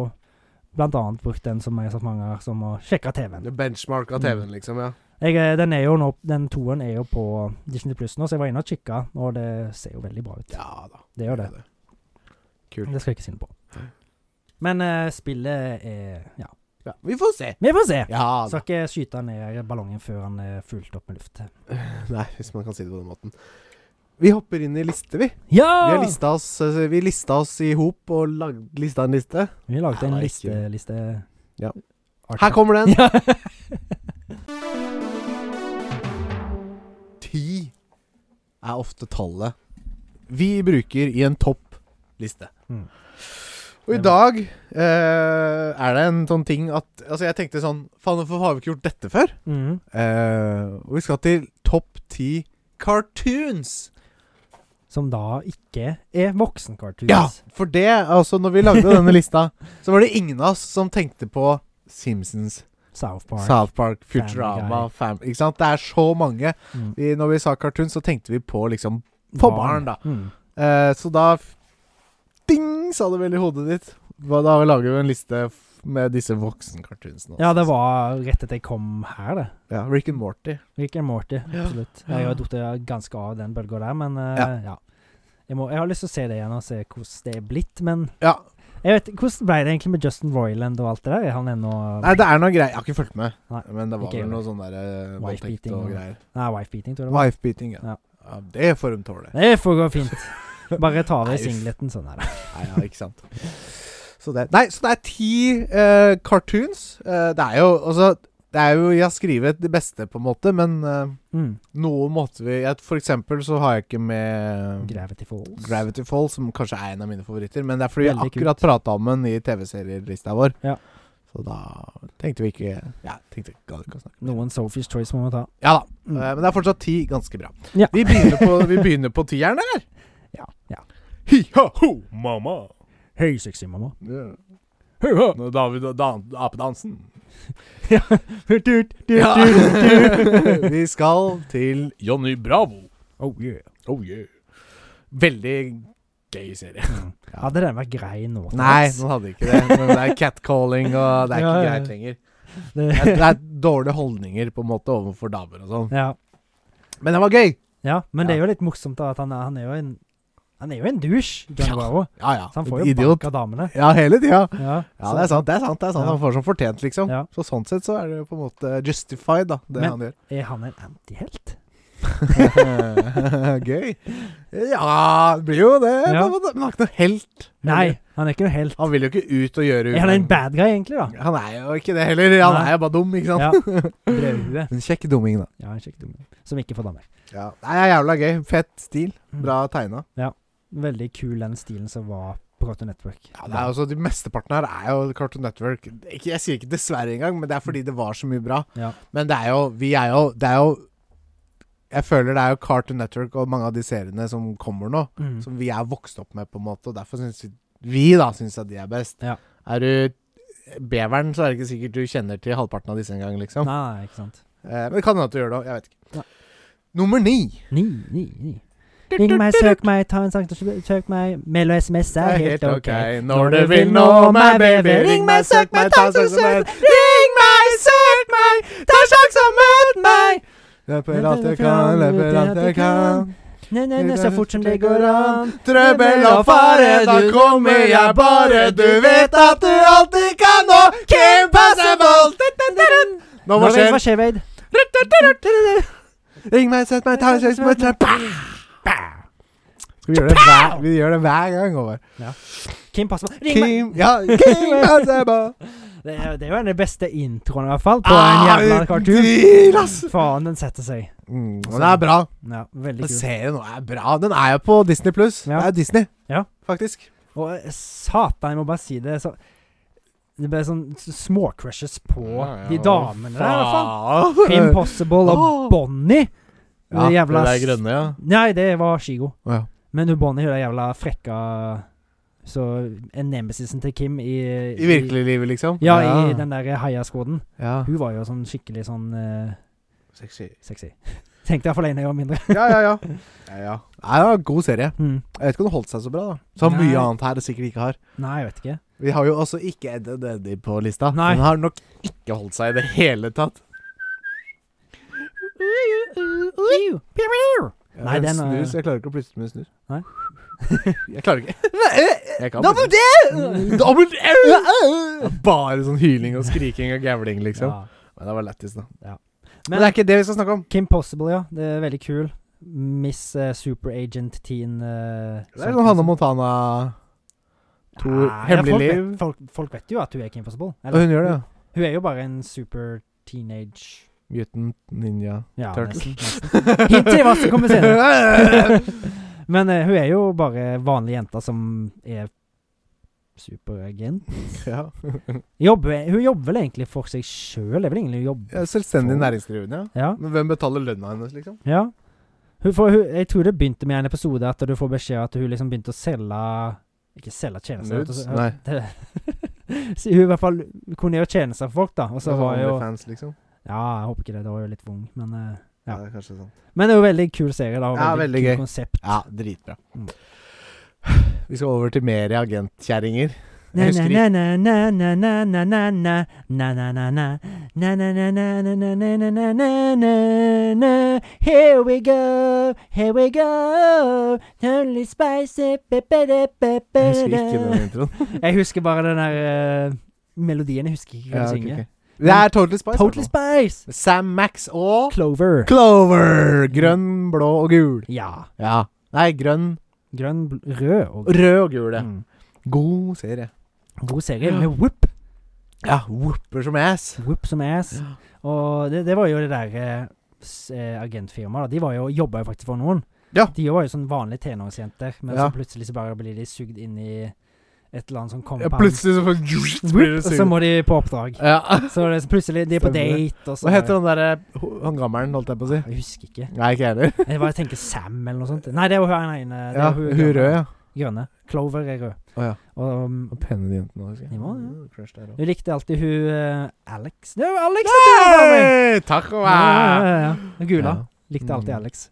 blant annet brukt den som jeg har sagt mange ganger, som å sjekke TV-en. Benchmark av Mm. TV-en, liksom. Ja. Jeg, eh, den er jo nå Den toeren er jo på Disney Plus nå, så jeg var inne og kikka, og det ser jo veldig bra ut. ja da. Det gjør det. Kult. Det skal jeg ikke si noe på. Men eh, spillet er Ja. Ja, vi får se. Vi får se! Ja da. Skal ikke skyte ned ballongen før han er fullt opp med luft. Nei, hvis man kan si det på den måten. Vi hopper inn i liste, vi. Ja! Vi, har lista oss, eh, vi lista oss i hop og lag, lista en liste. Vi lagde Ja, en det er liste, liste Ja. Artefakt. Her kommer den! Ja. [LAUGHS] Ti er ofte tallet vi bruker i en toppliste. Mm. Og i dag eh, er det en sånn ting at Altså, jeg tenkte sånn Faen, hvorfor har vi ikke gjort dette før? Mhm. Eh, og vi skal til topp ti cartoons som da ikke er voksenkarthus. Ja! For det, altså, når vi lagde denne lista, så var det ingen av oss som tenkte på Simpsons, South Park. South Park, Futurama, Family Ikke sant? Det er så mange. Mm. Vi, når vi sa cartoon, så tenkte vi på liksom på barn, da. Mm. eh, Så da f- Ding, sa det vel i hodet ditt. Hva Da lager vi en liste f- med disse voksenkartoonsene. Ja, det var rett etter jeg kom her, det. Ja, Rick and Morty. Rick and Morty, absolutt. Jeg har falt ganske av den bølga der, men eh, ja. Jeg, må, jeg har lyst til å se det igjen og se hvordan det er blitt, men Ja. jeg vet, Hvordan ble det egentlig med Justin Roiland og alt det der? Er han ennå Nei, det er noe greier. Jeg har ikke fulgt med. Nei, men det var ikke jeg vel noe sånn der eh, Wife voldtekt beating og og- greier. Nei, wife-beating, tror jeg det var. Wife-beating, ja. Ja. ja. Det får de tåle. Det får gå fint. [LAUGHS] Bare ta av deg Nei, uff. singleten sånn her. Nei, ja, ikke sant. Så det, nei, så det er ti eh, cartoons. Eh, det er jo altså Det er jo Jeg har skrevet det beste, på en måte, men eh, Mm. noe måtte vi jeg, For eksempel så har jeg ikke med Gravity Falls. Gravity Fall, som kanskje er en av mine favoritter. Men det er fordi vi Veldig akkurat prata om den i TV-serielista vår. Ja. Så da tenkte vi ikke Ja, tenkte ikke gadd ikke å snakke. Noen Sophie's Choice må man ta. Ja da. Mm. eh, men det er fortsatt ti ganske bra. Ja. Vi begynner på, vi begynner på tieren, eller? Ja. ja. Hi-ha-ho, mamma. Høy sexy mamma. Yeah. [LAUGHS] Høy, Når David og dan apedansen. høy, tut, tut, Ja. [LAUGHS] tut, tut. Vi skal til Johnny Bravo. Oh yeah. Oh yeah. Veldig gøy serie. Mm. Hadde den vært grei nå? til Nei, dags? den hadde ikke det. Men det er catcalling, og det er ikke Ja, ja. greit lenger. Det er, Det- det er dårlige holdninger på en måte overfor damer og sånn. ja. Men den var gøy! ja, men det er Ja. jo litt morsomt da, at han er, han er jo en Han er jo en douche, John Ja. Bravo. Ja ja. Så han får jo bank Idiot. av damene. Ja, hele tida. Ja, Ja, så- det er sant. det er sant, det er sant. Ja. Han får som fortjent, liksom. Ja. Så Sånn sett så er det jo på en måte justified, da, det Men- han gjør. Er han en antihelt? [LAUGHS] Gøy. Ja, det blir jo det. Ja. Men han er ikke noe helt. Nei, han er ikke noe helt. Han vil jo ikke ut og gjøre Er han en bad guy, egentlig, da? Han er jo ikke det heller. Han Nei. er jo bare dum, ikke [LAUGHS] sant. Ja. Brødhue. En kjekk dumming, da. Ja, en kjekk dumme. Som ikke får damer. Ja. Det er jævla gøy. Fett stil. Mm. Bra tegna. Veldig kul den stilen som var på Cartoon Network. Ja, det er jo også, de Mesteparten her er jo Cartoon Network. Ikke, jeg sier ikke dessverre engang, men det er fordi det var så mye bra. Ja. Men det er jo Vi er jo Det er jo Jeg føler det er jo Cartoon Network og mange av de seriene som kommer nå, Mm. som vi er vokst opp med, på en måte. Og derfor syns vi, vi da syns at de er best. Ja. Er du beveren, så er det ikke sikkert du kjenner til halvparten av disse engang, liksom. Nei, nei, ikke sant. Eh, men det kan hende at du gjør det òg. Jeg vet ikke. Nei. Nummer ni. Ni, ni, ni. Ring meg, søk meg, ta en sang, søk meg. Mail og SMS er helt ok. Når du vil nå meg, baby. Ring meg, søk meg, ta sjansen som en Ring meg, søk meg, ta sjansen mot meg. Løper alt jeg kan, løper alt jeg kan. Nei, nei, nei, så fort som det går an. Trøbbel og fare, da kommer jeg bare. Du vet at du alltid kan nå Kim Possible! Nå Nå må vet skje. hva skjer, Wade. Ring meg, sett meg, ta en sjanse med trøbbel. Skal vi gjøre det hver, vi gjør det hver gang, Håvard? Kim Possible. Ring meg! Kim, ja, Kim Possible. Det er, det er jo den beste introen, i hvert fall, på en jævla Ah, cartoon. Deal, ass! Faen, den setter seg. Mm, og den er bra. Ja, veldig Den kul. serien nå er bra. Den er jo på Disney pluss. Det Ja. er jo Disney, Ja. faktisk. Og eh, satan, jeg må bare si det. Så, det ble sånn s- små crushes på de damene der, i hvert fall. Kim Possible og Åh. Bonnie. Ja, Det jævla det der s- grønne, ja. Nei, det var Shigo. Å, ja. Men hun Bonnie, hun er jævla frekka Så en nemesisen til Kim i I virkelig livet, liksom? Ja, i den der heiaskoden. ja. Hun var jo sånn skikkelig sånn eh, Sexy. sexy. [LAUGHS] Tenkte iallfall en jeg var mindre. Ja, ja, ja. ja, ja. Nei, det var en god serie. Mm. Jeg vet ikke om det holdt seg så bra, da. Så har mye Nei. annet her det sikkert ikke har. Nei, jeg vet ikke. Vi har jo også ikke Ed and Eddy på lista. Nei. Den har nok ikke holdt seg i det hele tatt. Ja, Nei, den er- snus, Jeg klarer ikke å plystre med snus. eh, Nei. [LAUGHS] Jeg klarer ikke. Jeg kan plystre. Mm. Dobbelt Det er Bare sånn hyling og skriking og gavling, liksom. Ja. Men det var lættis, da. Ja. Men, det er ikke det vi skal snakke om. Kim Possible, ja. Det er veldig kul. Miss eh, Super Agent Teen eh, Det er sånn Hanne Montana to Nei, hemmelige folk liv. Vet, folk, folk vet jo at hun er Kim Possible. Og hun gjør det, ja. Hun er jo bare en super teenage Mutant Ninja Ja, Turtle. [LAUGHS] nesten. nesten. Hint til hva som kommer senere. Men eh, hun er jo bare vanlig jente som er superagent. ja. Jobber, hun jobber vel egentlig for seg sjøl? Er vel egentlig hun [LAUGHS] jobber Ja, Selvstendig For- næringsdrivende, ja. Ja. Men hvem betaler lønna hennes, liksom? ja. Hun får, hun, jeg tror det begynte med en episode at du får beskjed at hun liksom begynte å selge Ikke selge tjenester Nudes? at- Nei. det- Så hun i hvert fall kunne gjøre tjenester for folk, da. Og så Altså, var jo Onlyfans, liksom. Ja, jeg håper ikke det. Da var jeg jo litt vung, men eh, Ja. Ja. Det er kanskje sånn. Men det er jo veldig kul serie, da. Og Ja, veldig, veldig kul gøy. konsept. Ja, dritbra. Mm. Vi skal over til mer agentkjerringer. Na, Jeg husker na, na, na, na, na, na, na, na, na, na, na, na. Na, na, na, na, na, na, na, na, na, na, na. Here we go, here we go. Totally spicy Jeg husker ikke den Jeg introen. husker bare den der eh, melodien. Jeg husker ikke hva Ja, de ok, synger. ok. Det er Totally Spice. Totally hvertfall. Spice! Sam Max og Clover. Clover! Grønn, blå og gul. Ja. Ja. Nei, grønn, Grønn, bl- rød og rød og gul, ja. Mm. God serie. God serie med Whoop. Ja, whooper som ass. Whoop som ass. Og det, det var jo det der eh, s- eh, agentfirmaet, da. De var jo, jobba jo faktisk for noen. Ja. De var jo sånn vanlige tenåringsjenter, men Ja. så plutselig så bare blir de sugd inn i et eller annet sånn Ja, compound. plutselig så får- blir det Og så sur. må de på oppdrag. Ja. Så det, så plutselig de er på Stemmer date, og så Hva heter han derre Han gammelen, holdt jeg på å si? Jeg husker ikke. Nei, ikke jeg heller. Jeg bare tenker Sam eller noe sånt. Nei, det var hun ene. det Ja, var hun grønne. rød, ja. Grønne. Clover er rød. Å ja. Og um, Og pene de jentene òg, husker De var det, Crush der også. jeg likte alltid hun eh, Alex. Det var Alex! Hey! Hei! Taco! Ja, ja, ah! ja, ja. Den Gula. Ja. Likte alltid Mm. Alex.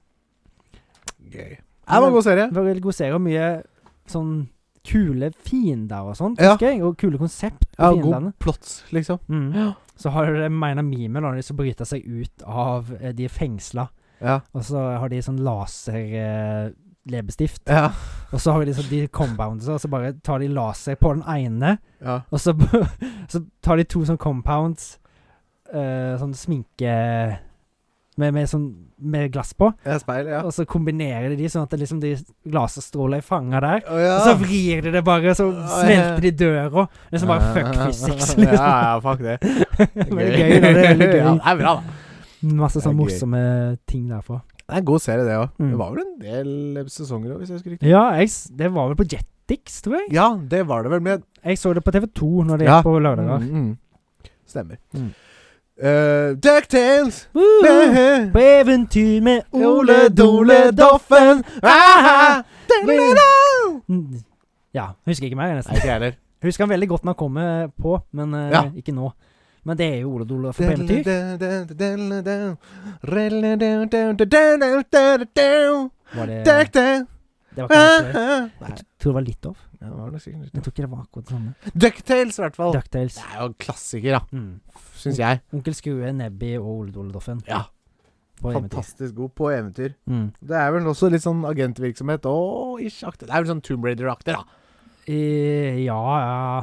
Gøy. Det Mm. var en god serie. Det var veldig god serie og mye sånn kule fiender og sånt, Ja. husker jeg. Og kule konsept på Ja, fiendene. god plots, liksom. Mm. Ja. Så har du det meina mime når de så bryter seg ut av eh, De er fengsla, Ja. og så har de sånn laser... Eh, Leppestift. Ja. Og så har de sånn de compounds, og så bare tar de laser på den ene, ja. og så, [LAUGHS] så tar de to sånn compounds eh, Sånn sminke med, med sånn med glass på, ja speil, ja. og så kombinerer de de sånn at det liksom de laserstråler fanger der. Å ja. Og så vrir de det bare, så Ja, smelter de døra. Liksom bare [LAUGHS] fuck physics, liksom. [LAUGHS] Ja, ja, fuck det. Veldig gøy, da. Det [LAUGHS] er veldig gøy. Ja, det er bra, da. Masse sånn Det er gøy. morsomme ting derfra. Det er en god serie, det òg. Mm. Det var vel en del sesonger òg, hvis jeg husker riktig. Ja, jeg, s- det var vel på Jetix, tror jeg. Ja, det var det vel, men Jeg så det på TV2 når det Ja. gikk på lørdager. Mm, mm. Stemmer. Mm. Eh, DuckTales! [LAUGHS] Woo! Eh, På eventyr med Ole Dole Doffen! Ah, da-da-da! Mm. Ja, husker ikke mer, Nei, nesten. ikke jeg heller. Husker han veldig godt når han kommer på, men eh, Ja. ikke nå. Men det er jo Ole Dole for på eventyr. Var det, det DuckTales! var [LAUGHS] kanskje Ah, det. ah. Nei, Jeg tror det var litt off. det var nok sikkert Jeg litt- tror ikke det var akkurat det samme. DuckTales, i hvert fall. Ducktails. Det er jo en klassiker, da. Mm. Syns jeg. Onkel Skrue, Nebbi og Ole Dole Doffen. Ja, På eventyr. Fantastisk god på eventyr. Mm. Det er vel også litt sånn agentvirksomhet og ish-aktig. Det er vel sånn Tomb Raider-aktig, da. Eh, ja, ja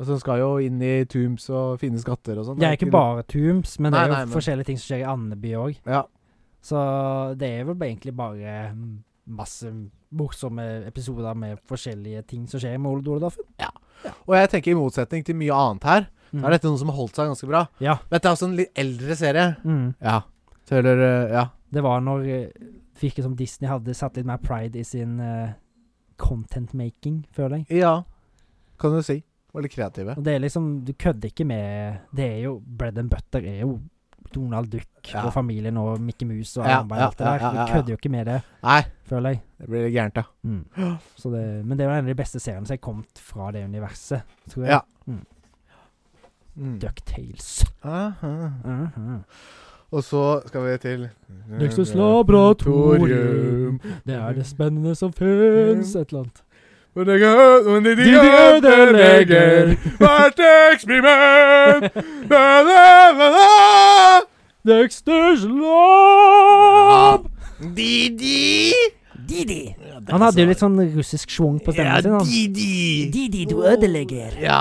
Og så skal jo inn i tombs og finne skatter og sånn. Det er ikke bare Tooms, men det Nei, er jo nei, men- forskjellige ting som skjer i Andeby òg. Ja. Så det er vel bare- egentlig bare mm, masse morsomme episoder med forskjellige ting som skjer med Ole Dole Doffen. Og jeg tenker i motsetning til mye annet her, Mm. så er dette noe som har holdt seg ganske bra. Ja. Dette er også en litt eldre serie. Mm. Ja. Så eller, eh, ja. Det var når eh, virket som Disney hadde satt litt mer pride i sin eh, content-making, føler jeg. Ja. Kan du si. Var litt kreative. Og det er liksom Du kødder ikke med Det er jo bread and butter er jo Donald Duck Ja. og familien og Mickey Mouse og Ja, Alma og ja, alt det ja, der. ja, ja, Du ja. kødder jo ikke med det, Nei, føler jeg. Mm. det blir litt gærent, da. Så det, men det var en av de beste seriene som er kommet fra det universet, tror jeg. Ja. Mm. Mm. DuckTales. Aha. Mhm. Og så skal vi til Nexus Laboratorium. Det er det spennende som fins, et eller annet. Men det er- men det er De ødelegger. hvert eksperiment. Da, da, da, da. Dexters Lab! Didi! Didi. Han hadde jo litt sånn russisk schwung på stemmen sin. han. Didi! Didi, du ødelegger. Ja.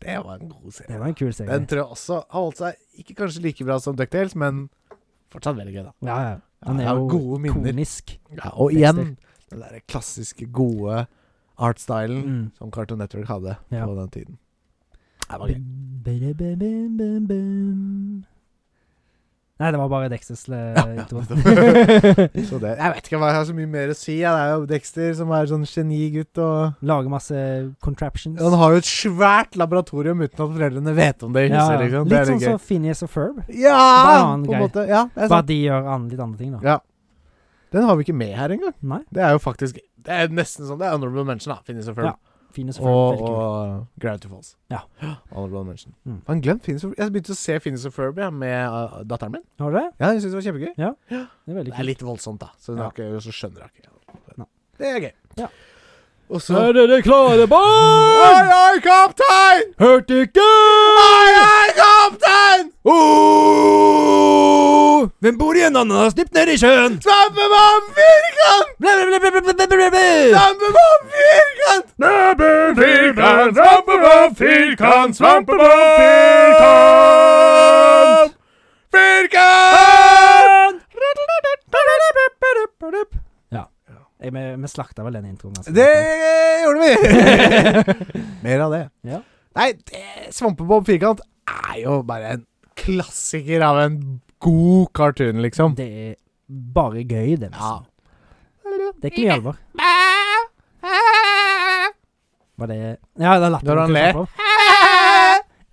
Det var en god serie. Det var en kul serie. Den tror jeg også har holdt seg ikke kanskje like bra som DuckTales, men fortsatt veldig gøy, da. Ja, ja. Han Ja, er jeg har jo gode minner. konisk. Ja, og igjen den derre klassiske, gode artstylen Mm. som Cartoon Network hadde Ja. på den tiden. Det var gøy. Bum-bum-bum-bum-bum. Nei, det var bare Dexters eh, intro. [LAUGHS] Så det, jeg vet ikke hva jeg har så mye mer å si. ja. Det er jo Dexter som er sånn genigutt. Og Lager masse contraptions. han har jo et svært laboratorium uten at foreldrene vet om det. i huset, Ja, ja. liksom. Det Litt er sånn litt som gøy. Phineas og Ferb. Ja! Bare en På en annen greie. måte. Ja, det er Bare sant. at de gjør an, litt andre ting, da. Ja. Den har vi ikke med her engang. Nei. Det er jo faktisk Det er nesten sånn Det er honorable mention, da. Finnes of Ferb. Ja, Fine som og Ferb. og veldig kul. Gravity Falls. Ja. [GASPS] Honorable mention. Mm. Faen, glemt Finnes of Jeg begynte å se Finnes of Ferb jeg, med uh, datteren min. Har du det? Ja, Hun syntes det var kjempegøy. Det er veldig Det er kult. litt voldsomt, da. Så hun har ikke, så skjønner hun ikke. Nei. Det er gøy. Ja. Og så dere klare, Oi, oi, kaptein! Hørte ikke! Oi, oi, kaptein! Hvem bor i en ananasdypp nede i [LAUGHS] sjøen? Svømmemann Firkant! Svømmemann Firkant! Firkant, svampemann, firkant, svampemann, firkant! Firkant! Ja. Jeg, vi, vi slakta vel den introen. altså. ganske Det godt, gjorde vi! Mer av det. Ja. Nei, det- Svampebob Firkant er jo bare en klassiker av en god cartoon, da. liksom. [LAUGHS] Det er sånn. bare gøy, det. Ja. nesten. Det er ikke mye alvor. Var det Ja, det er lappen. Når han ler.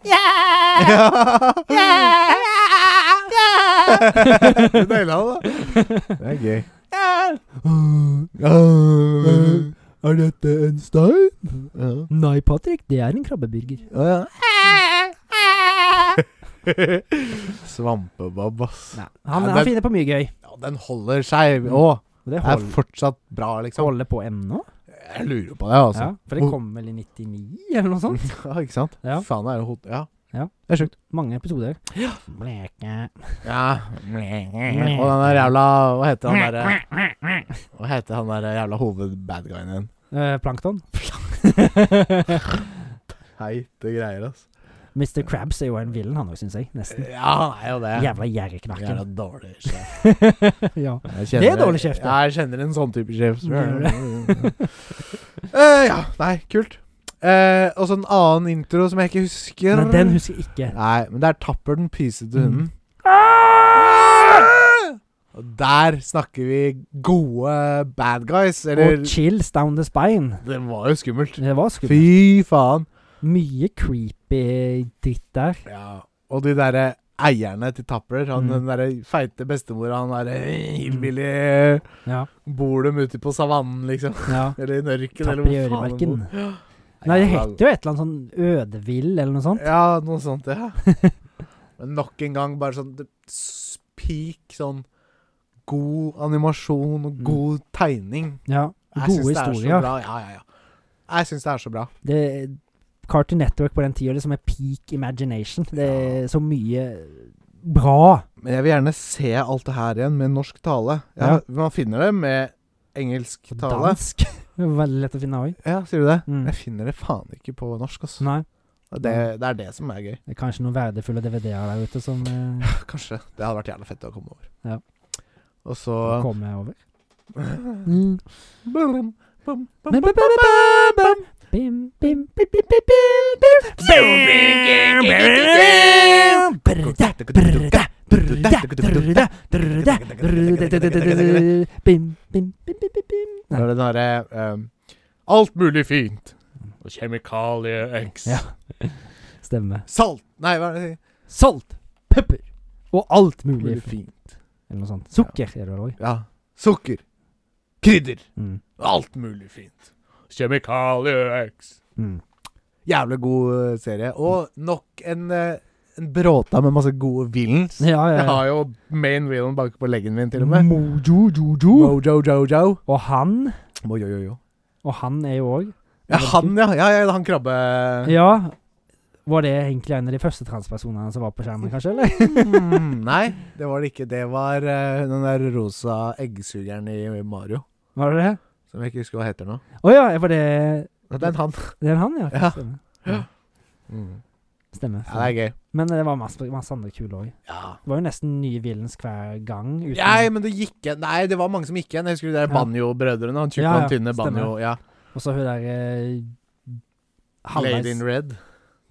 Ja. Du naila det, da. Det er gøy. Er dette en stein? Ja. Nei, Patrick, det er en krabbeburger. Å ja. Svampebob, ass. Nei, han, Nei, han men- finner på mye gøy. Ja, den holder seg òg. Og det Er hold, fortsatt bra, liksom. holder på ennå. Jeg lurer på det, altså. Ja, for det kom vel i 99, eller noe sånt? [LAUGHS] Ja, ikke sant? Ja. Faen, det er jo hot... Ja. Ja. Det er sjukt. Mange episoder. Bleke Ja. Og den der jævla Hva heter han derre Hva heter han der jævla hovedbadguyen igjen? Eh, Plankton. [LAUGHS] Heite greier, ass. Mr. Krabs er jo en villain, han òg, syns jeg. Nesten. Ja, han er jo det. Jævla Jævla gjerreknakken. dårlig sjef. [LAUGHS] ja. Jeg Det er kjenner- dårlig sjef, da. Ja, jeg kjenner en sånn type sjef. Gjør [LAUGHS] Eh, ja, nei, kult. Eh, og så en annen intro som jeg ikke husker. Men den husker jeg ikke. Nei, men det er Tapper den pysete hunden. Ah! Mm. Og der snakker vi gode bad guys, eller Og chills down the spine. Det var jo skummelt. Det var skummelt. Fy faen. Mye creepy dritt der. Ja. Og de derre eierne til Tapper, han Mm. den derre feite bestemora, han derre hillbilly Mm. Ja. Bor dem ute på savannen, liksom? [LAUGHS] ja. Eller i nørken, eller Tapper i øremarken. Nei, det heter jo et eller annet sånn Ødevill, eller noe sånt. Ja, noe sånt, ja. [LAUGHS] Men nok en gang bare sånn det- s- peak sånn god animasjon og Mm. god tegning. Ja. Jeg Gode syns det er så historier. bra. Ja, ja, ja. Jeg syns det er så bra. Det Cartoon Network på den tida liksom er peak imagination. Det er så mye bra. Men jeg vil gjerne se alt det her igjen med norsk tale. Ja, Ja. Man finner det med engelsk tale. Dansk. Det var Veldig lett å finne òg. Ja, sier du det? Mm. Jeg finner det faen ikke på norsk, altså. Nei. Det, det er det som er gøy. [LAUGHS] Det er kanskje noen verdifulle DVD-er der ute som eh, Kanskje. Det hadde vært jævla fett å komme over. Ja. Og så kommer over. Bum, bum, bum, Bim, bum, bum, bum. Bim, bim, bim, bim, bim, bim, bim. Brrda, brrda, brrda, brrda, brrda, brrda. Bim, bim, bim, bim, bim, bim. Det er den derre um, Alt mulig fint. Og kjemikalie X. Ja. Stemmer. Salt Nei, hva er det jeg sier? Salt, pepper og alt mulig. Mulig fint. Eller noe sånt. Sukker er det vel òg. Ja. Sukker. Krydder. Mm. Alt mulig fint. Kjemikalie X. Mm. Jævlig god eh, serie. Og nok en, eh, en bråta med masse gode villains. Ja, ja, Jeg ja. har jo main villain bak på leggen min, til og Mm, med. Mojo Jojo. Mojo Jojo. Og han, Mojo Jojo. og han er jo òg Ja, han, ja. Ja, ja, han krabbe... Ja. Var det egentlig en av de første transpersonene som var på skjermen, kanskje? eller? Mm, nei, det var det ikke. Det var eh, den der rosa eggsugeren i Mario. [LAUGHS] Var det det? Som jeg ikke husker hva heter nå. Å ja, var det Den han. Det er han, ja. Ja. Stemmer. Mm. Stemmer. Ja, det er gøy. Men eh, det var masse, masse andre kule òg. Ja. Det var jo nesten nye villains hver gang. uten- Nei, men det gikk igjen. Nei, det var mange som gikk igjen. Jeg husker de der Ja. Banjo-brødrene. Han tjukke Ja, og ja, han tynne stemmer. Banjo. Ja. Og så hun der eh, Lady in red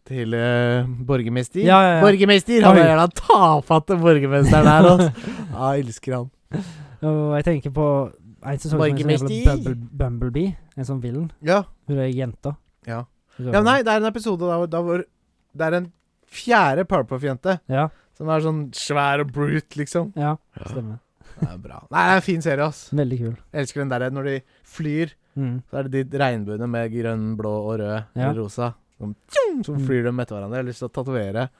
til eh, borgermester. Ja, ja, ja. Borgermester! Han Oi. er gjerne tafatte borgermesteren her, altså. Ja, jeg elsker han. Og jeg tenker på en sesong som heter Borgermester. Bumble, Bumblebee. En sånn villain. Ja. Hun er jenta. sånn- Ja. Rød. ja, nei, det er en episode da hvor, da hvor det er en fjerde Parpoff-jente Ja, som er sånn svær og brute, liksom. ja, stemmer. Det er bra. Nei, det er en fin serie, ass. Veldig kul. Jeg elsker den derre når de flyr, Mm. [LAUGHS] så er det de regnbuene med grønn, blå og rød Ja. eller rosa. Som, tjong, så Mm. flyr de etter hverandre. Jeg har lyst til å tatovere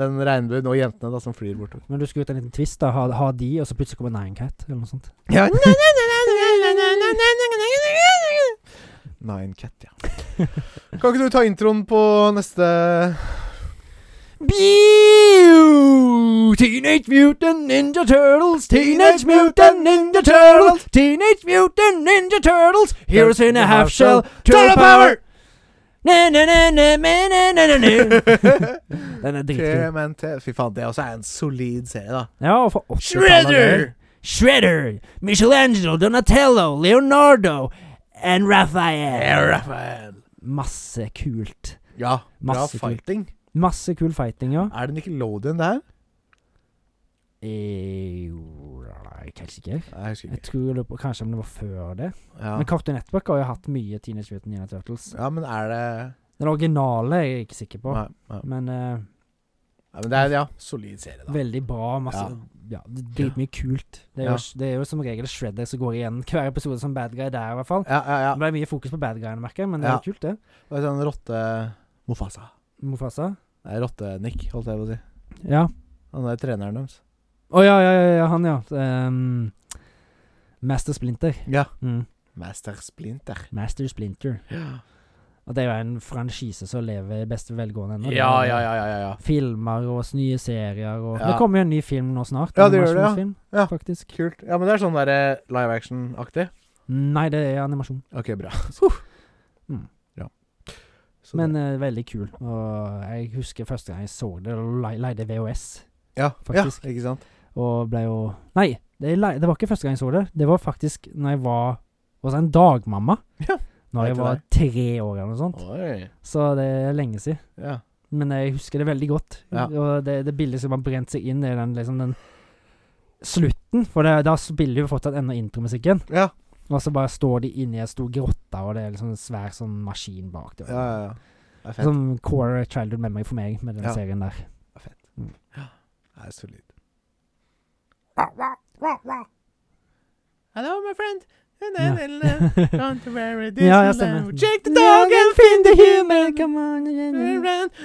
den regnbuen og jentene da som flyr bortover. Men du skulle gjort en liten twist, da. Ha, ha de, og så plutselig kommer Nine Cat, eller noe sånt. Ja. [LAUGHS] Nine Cat, ja. Kan ikke du ta introen på neste Pew! Teenage Mutant Ninja Turtles, Teenage Mutant Ninja Turtles, Teenage Mutant Ninja Turtles, heroes in a half shell, turtle [LAUGHS] power! Na, na, na, na, na, na, na, na, [LAUGHS] na. Den er dritkul. Clemente. Fy faen, det også er en solid serie, da. Ja, og for 80-tallet der. Shredder! Michelangelo, Donatello, Leonardo and Yeah, Raphael. Raphael. Masse kult. Eh, Ja, bra Masse kult. fighting. Masse kul fighting, ja. Er det Nickelodeon der? Eh, jo, nei, Kanskje ikke. Nei, jeg husker Jeg ikke. tror jeg lurer på, Kanskje om det var før det. Ja. Men Cartoon Network har jo hatt mye Teenage Mutant Ninja Turtles. ja, men er det Den originale er jeg ikke sikker på, Nei, nei. men eh, Ja, men det er ja, solid serie, da. veldig bra. Masse Ja. ja. det er Dritmye kult. Det er, Ja. jo, det er jo som regel Shredder som går igjen hver episode som bad guy der, i hvert fall. Ja, ja, ja. Det ble mye fokus på bad guy, merker jeg, men det er Ja. jo kult, det. Det er sånn rotte... Mofasa. Mofasa. Nei, rotte-Nick, holdt jeg på å si. Ja. Han er treneren deres. Å ja, ja, ja, ja, han, ja. Ehm, Master Splinter. Ja. Mm. Master Splinter. Master Splinter. Og det er jo en franchise som lever i beste velgående ennå. Ja, ja, ja, ja, ja, ja. Filmer og s- nye serier og Ja. Det kommer jo en ny film nå snart. Ja, det gjør det, ja. animasjonsfilm, Ja. Faktisk. Kult. Ja, men det er sånn derre live action-aktig. Nei, det er animasjon. Ok, bra. Mm. Ja. Så Men det- eh, veldig kul. Og jeg husker første gang jeg så det, le- leide VHS. ja, faktisk. Ja, ikke sant? Og ble jo Nei, det, er lei- det var ikke første gang jeg så det. Det var faktisk når jeg var hos en dagmamma. Ja, det Når er jeg til var deg. tre år eller noe sånt. Oi. Så det er lenge siden. Ja. Men jeg husker det veldig godt. Ja. Og det, det bildet som har brent seg inn, er den, liksom den slutten. For det, da spiller jo fortsatt ennå intromusikken. Ja. Og så bare står de inni ei stor grotte, og det er liksom en svær sånn maskin bak ja, der. ja, ja. Det er fett. Som core childhood memory for meg med den Ja. serien der. Det er solid. Hello, my friend. [LAUGHS] Ja, ja, stemmer.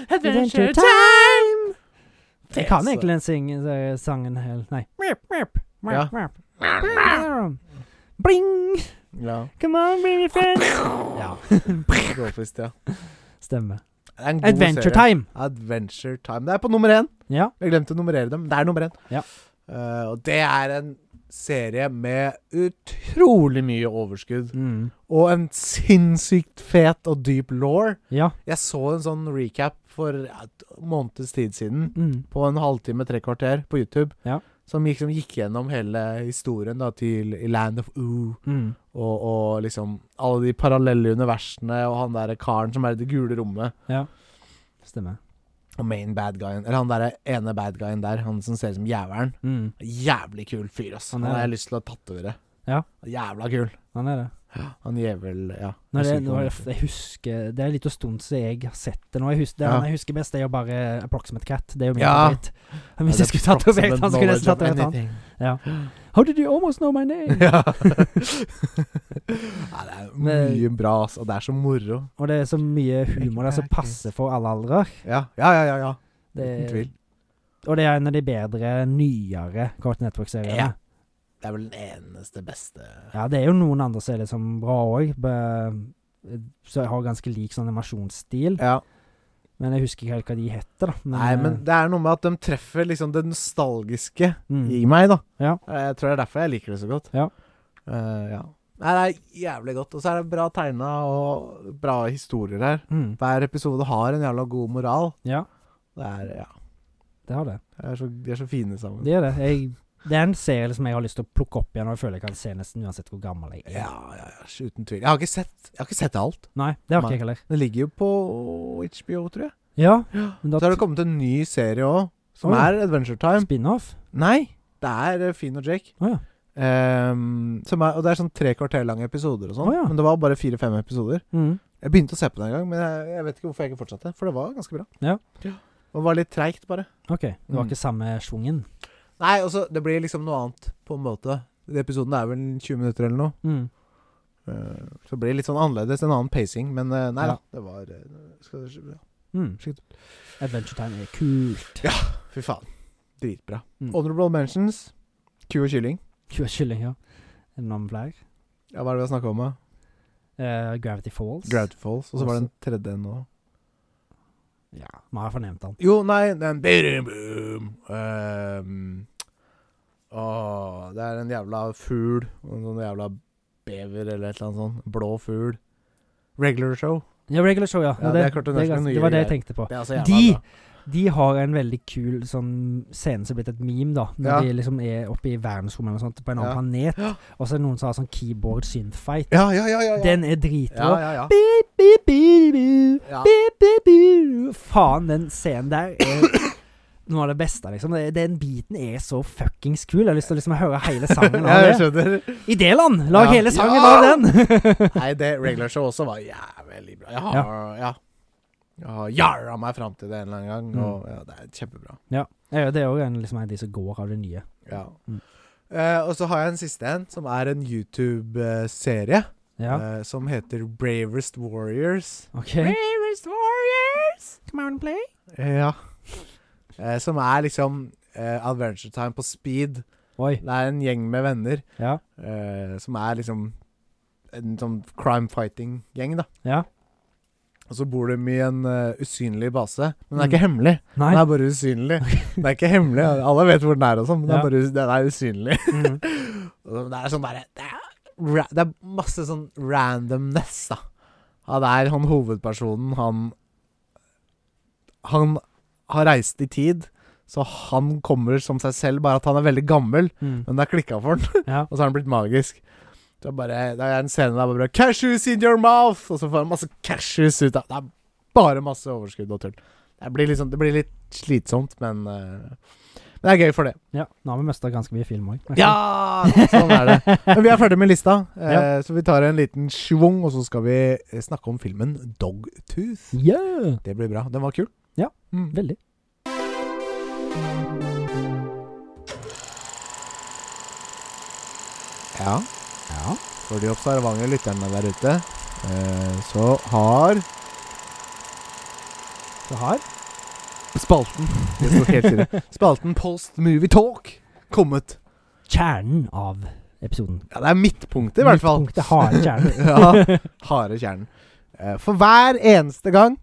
Adventure time! Jeg altså. kan egentlig den singen, eh, sangen helt Nei. Ja. Bling! Ja. Come on, bring your [LAUGHS] friends! Ja, Råfist, ja. stemmer. Det er en god Adventure serie. Time! Adventure Time. Det er på nummer én. Ja. Jeg glemte å nummerere dem. men Det er nummer én. Ja. Eh, og det er en serie med utrolig mye overskudd. Mm. Og en sinnssykt fet og dyp law. Ja. Jeg så en sånn recap for et måneds tid siden. Mm. På en halvtime, tre kvarter på YouTube. Ja. Som liksom gikk gjennom hele historien da til i Land of Ooh. Mm. Og, og liksom alle de parallelle universene og han derre karen som er i det gule rommet. Stemmer. Og main bad guyen. Eller han derre ene bad guyen der. Han som ser ut som jævelen. Mm. Jævlig kul fyr, ass. Han Han er har det. jeg lyst til å tatovere. Ja. Jævla kul. Han er det. Han jævel Ja. Når det, Jeg husker ikke når hva han jeg, heter. jeg husker Det er litt stund siden jeg har sett det nå. Jeg husker, det Ja. han jeg husker best, det er jo bare Approximate Cat. Det er jo min Ja. favoritt. [LAUGHS] Hvis jeg skulle tatovert han, skulle jeg nesten tatovert han. How did you almost know my name? [LAUGHS] Ja. Nei, det er Men- mye bra, ass. Og det er så moro. Og det er så mye humor der som passer for alle aldre. Ja, ja, ja. ja, ja. Det, Uten tvil. og det er en av de bedre, nyere Cartoon Ja. Network-seriene. Ja. Det er vel den eneste beste det er jo noen andre serier som er bra òg, som har ganske lik sånn animasjonsstil. Ja. Men jeg husker ikke helt hva de heter, da. Nei, men det er noe med at de treffer liksom det nostalgiske mm. i meg, da. Eh, Ja. Jeg tror det er derfor jeg liker det så godt. Ja. Eh, ja. Nei, det er jævlig godt. Og så er det bra tegna og bra historier her. Mm. Hver episode har en jævla god moral. Ja, Det er, ja. det har det. De er, så- de er så fine sammen. Det er det. Jeg, det er en serie som jeg har lyst til å plukke opp igjen, og jeg føler jeg kan se nesten uansett hvor gammel jeg er. Ja, ja, ja, uten tvil. Jeg har ikke sett, jeg har ikke sett alt. Nei, det har Nei. ikke jeg heller. Det ligger jo på HBO, tror jeg. Ja, men Så da har det kommet en ny serie òg, som Å, ja. er Adventure Time. spin-off. Nei, det er eh, Finn og Jake. Å ja. Ehm, som er, og det er sånn tre kvarter lange episoder og sånn. Å, ja. Men det var bare fire-fem episoder. Mm. Jeg begynte å se på det en gang, men jeg, jeg vet ikke hvorfor jeg ikke fortsatte. For det var ganske bra. Ja. Det var litt treigt, bare. OK. Det Mm. var ikke samme schwungen. Nei, altså, det blir liksom noe annet, på en måte. Den episoden er vel 20 minutter eller noe. Mm. Eh, Så det blir litt sånn annerledes, en annen pacing. Men eh, nei Ja. da, det var eh, skal det, skje- Mm. Shit. Adventure Time er kult. Ja. Fy faen. Dritbra. Mm. Honorable mentions. Ku og kylling. Kua kylling, ja. Er det noen flere? Ja, Hva er det vi har snakka om? da? Eh, Gravity Falls. Gravity Falls. Og så var det en tredje en nå. ja, vi har fornemt den. Jo, nei den Boom. Ehm, åh, Det er en jævla fugl. og En sånn jævla bever eller et eller annet sånt. Blå fugl. Regular show. Ja, Regular Show, ja. Ja, ja det det, er klart det er det, ganske det, nye var det jeg greier. tenkte på. Det er altså jævla De, bra. de har en veldig kul sånn scene som er blitt et meme, da. Når Ja. de liksom er oppe i verdensrommet eller noe sånt, på en Ja. annen planet, Ja. og så er det noen som har sånn keyboard synthfight. Ja, ja, ja. ja, ja. Den er ja, dritrå. ja, ja. Beep, beep, beep, beep, Ja. beep, beep, beep. Faen, den scenen der er noe av det beste, liksom. Det- Den biten er så fuckings kul. Jeg har lyst til å liksom høre hele [LAUGHS] sangen ja, jeg av det. skjønner. Idéland! Lag Ja. hele sangen Ja! av den! [LAUGHS] Nei, det regular show også var jævlig bra. Jeg har ja. Jeg har jarra meg fram til det en eller annen gang, Mm. og ja, det er kjempebra. ja, det er jo en, liksom en av de som går av det nye. Ja. Mm. Eh, og så har jeg en siste en, som er en YouTube-serie Ja, eh, som heter Bravest Warriors. OK. Bravest Warriors! Come out and play. Ja. Eh, som er liksom eh, Adventure Time på speed. Oi. Det er en gjeng med venner Ja. eh, som er liksom en sånn crime fighting-gjeng, da. Ja. Og så bor de i en eh, usynlig base. Men den er Mm. ikke hemmelig. Nei. Den er bare usynlig. Den er ikke hemmelig. Alle vet hvor den er, og sånn, men den, Ja. er bare, us- den er usynlig. [LAUGHS] Mm. Og Det er sånn bare det er, ra det er masse sånn randomness, da. Ja, det er han hovedpersonen, han Han har reist i tid, så han kommer som seg selv, bare at han er veldig gammel. Mm. Men det er klikka for han, [LAUGHS] Ja. og så har han blitt magisk. Det er bare Det er en scene der bare 'Cashews in your mouth!' Og så får han masse cashews ut av Det er bare masse overskudd og tull. Det blir, liksom, det blir litt slitsomt, men eh, Men det er gøy for det. ja. Nå har vi mista ganske mye film òg. [LAUGHS] Ja! [LAUGHS] Sånn er det. Men vi er ferdig med lista, eh, Ja. så vi tar en liten schwung, og så skal vi eh, snakke om filmen Dogtooth. Yeah. Det blir bra. Den var kul. Ja. Mm. Veldig. Ja. Ja. For de observante lytterne der ute, eh, så har Du har? spalten Det står helt stille. Spalten Post Movie Talk kommet. [LAUGHS] Kjernen av episoden. Ja, det er midtpunktet, i hvert fall. Midtpunktet, harde kjernen. [LAUGHS] ja, harde kjernen. Eh, For hver eneste gang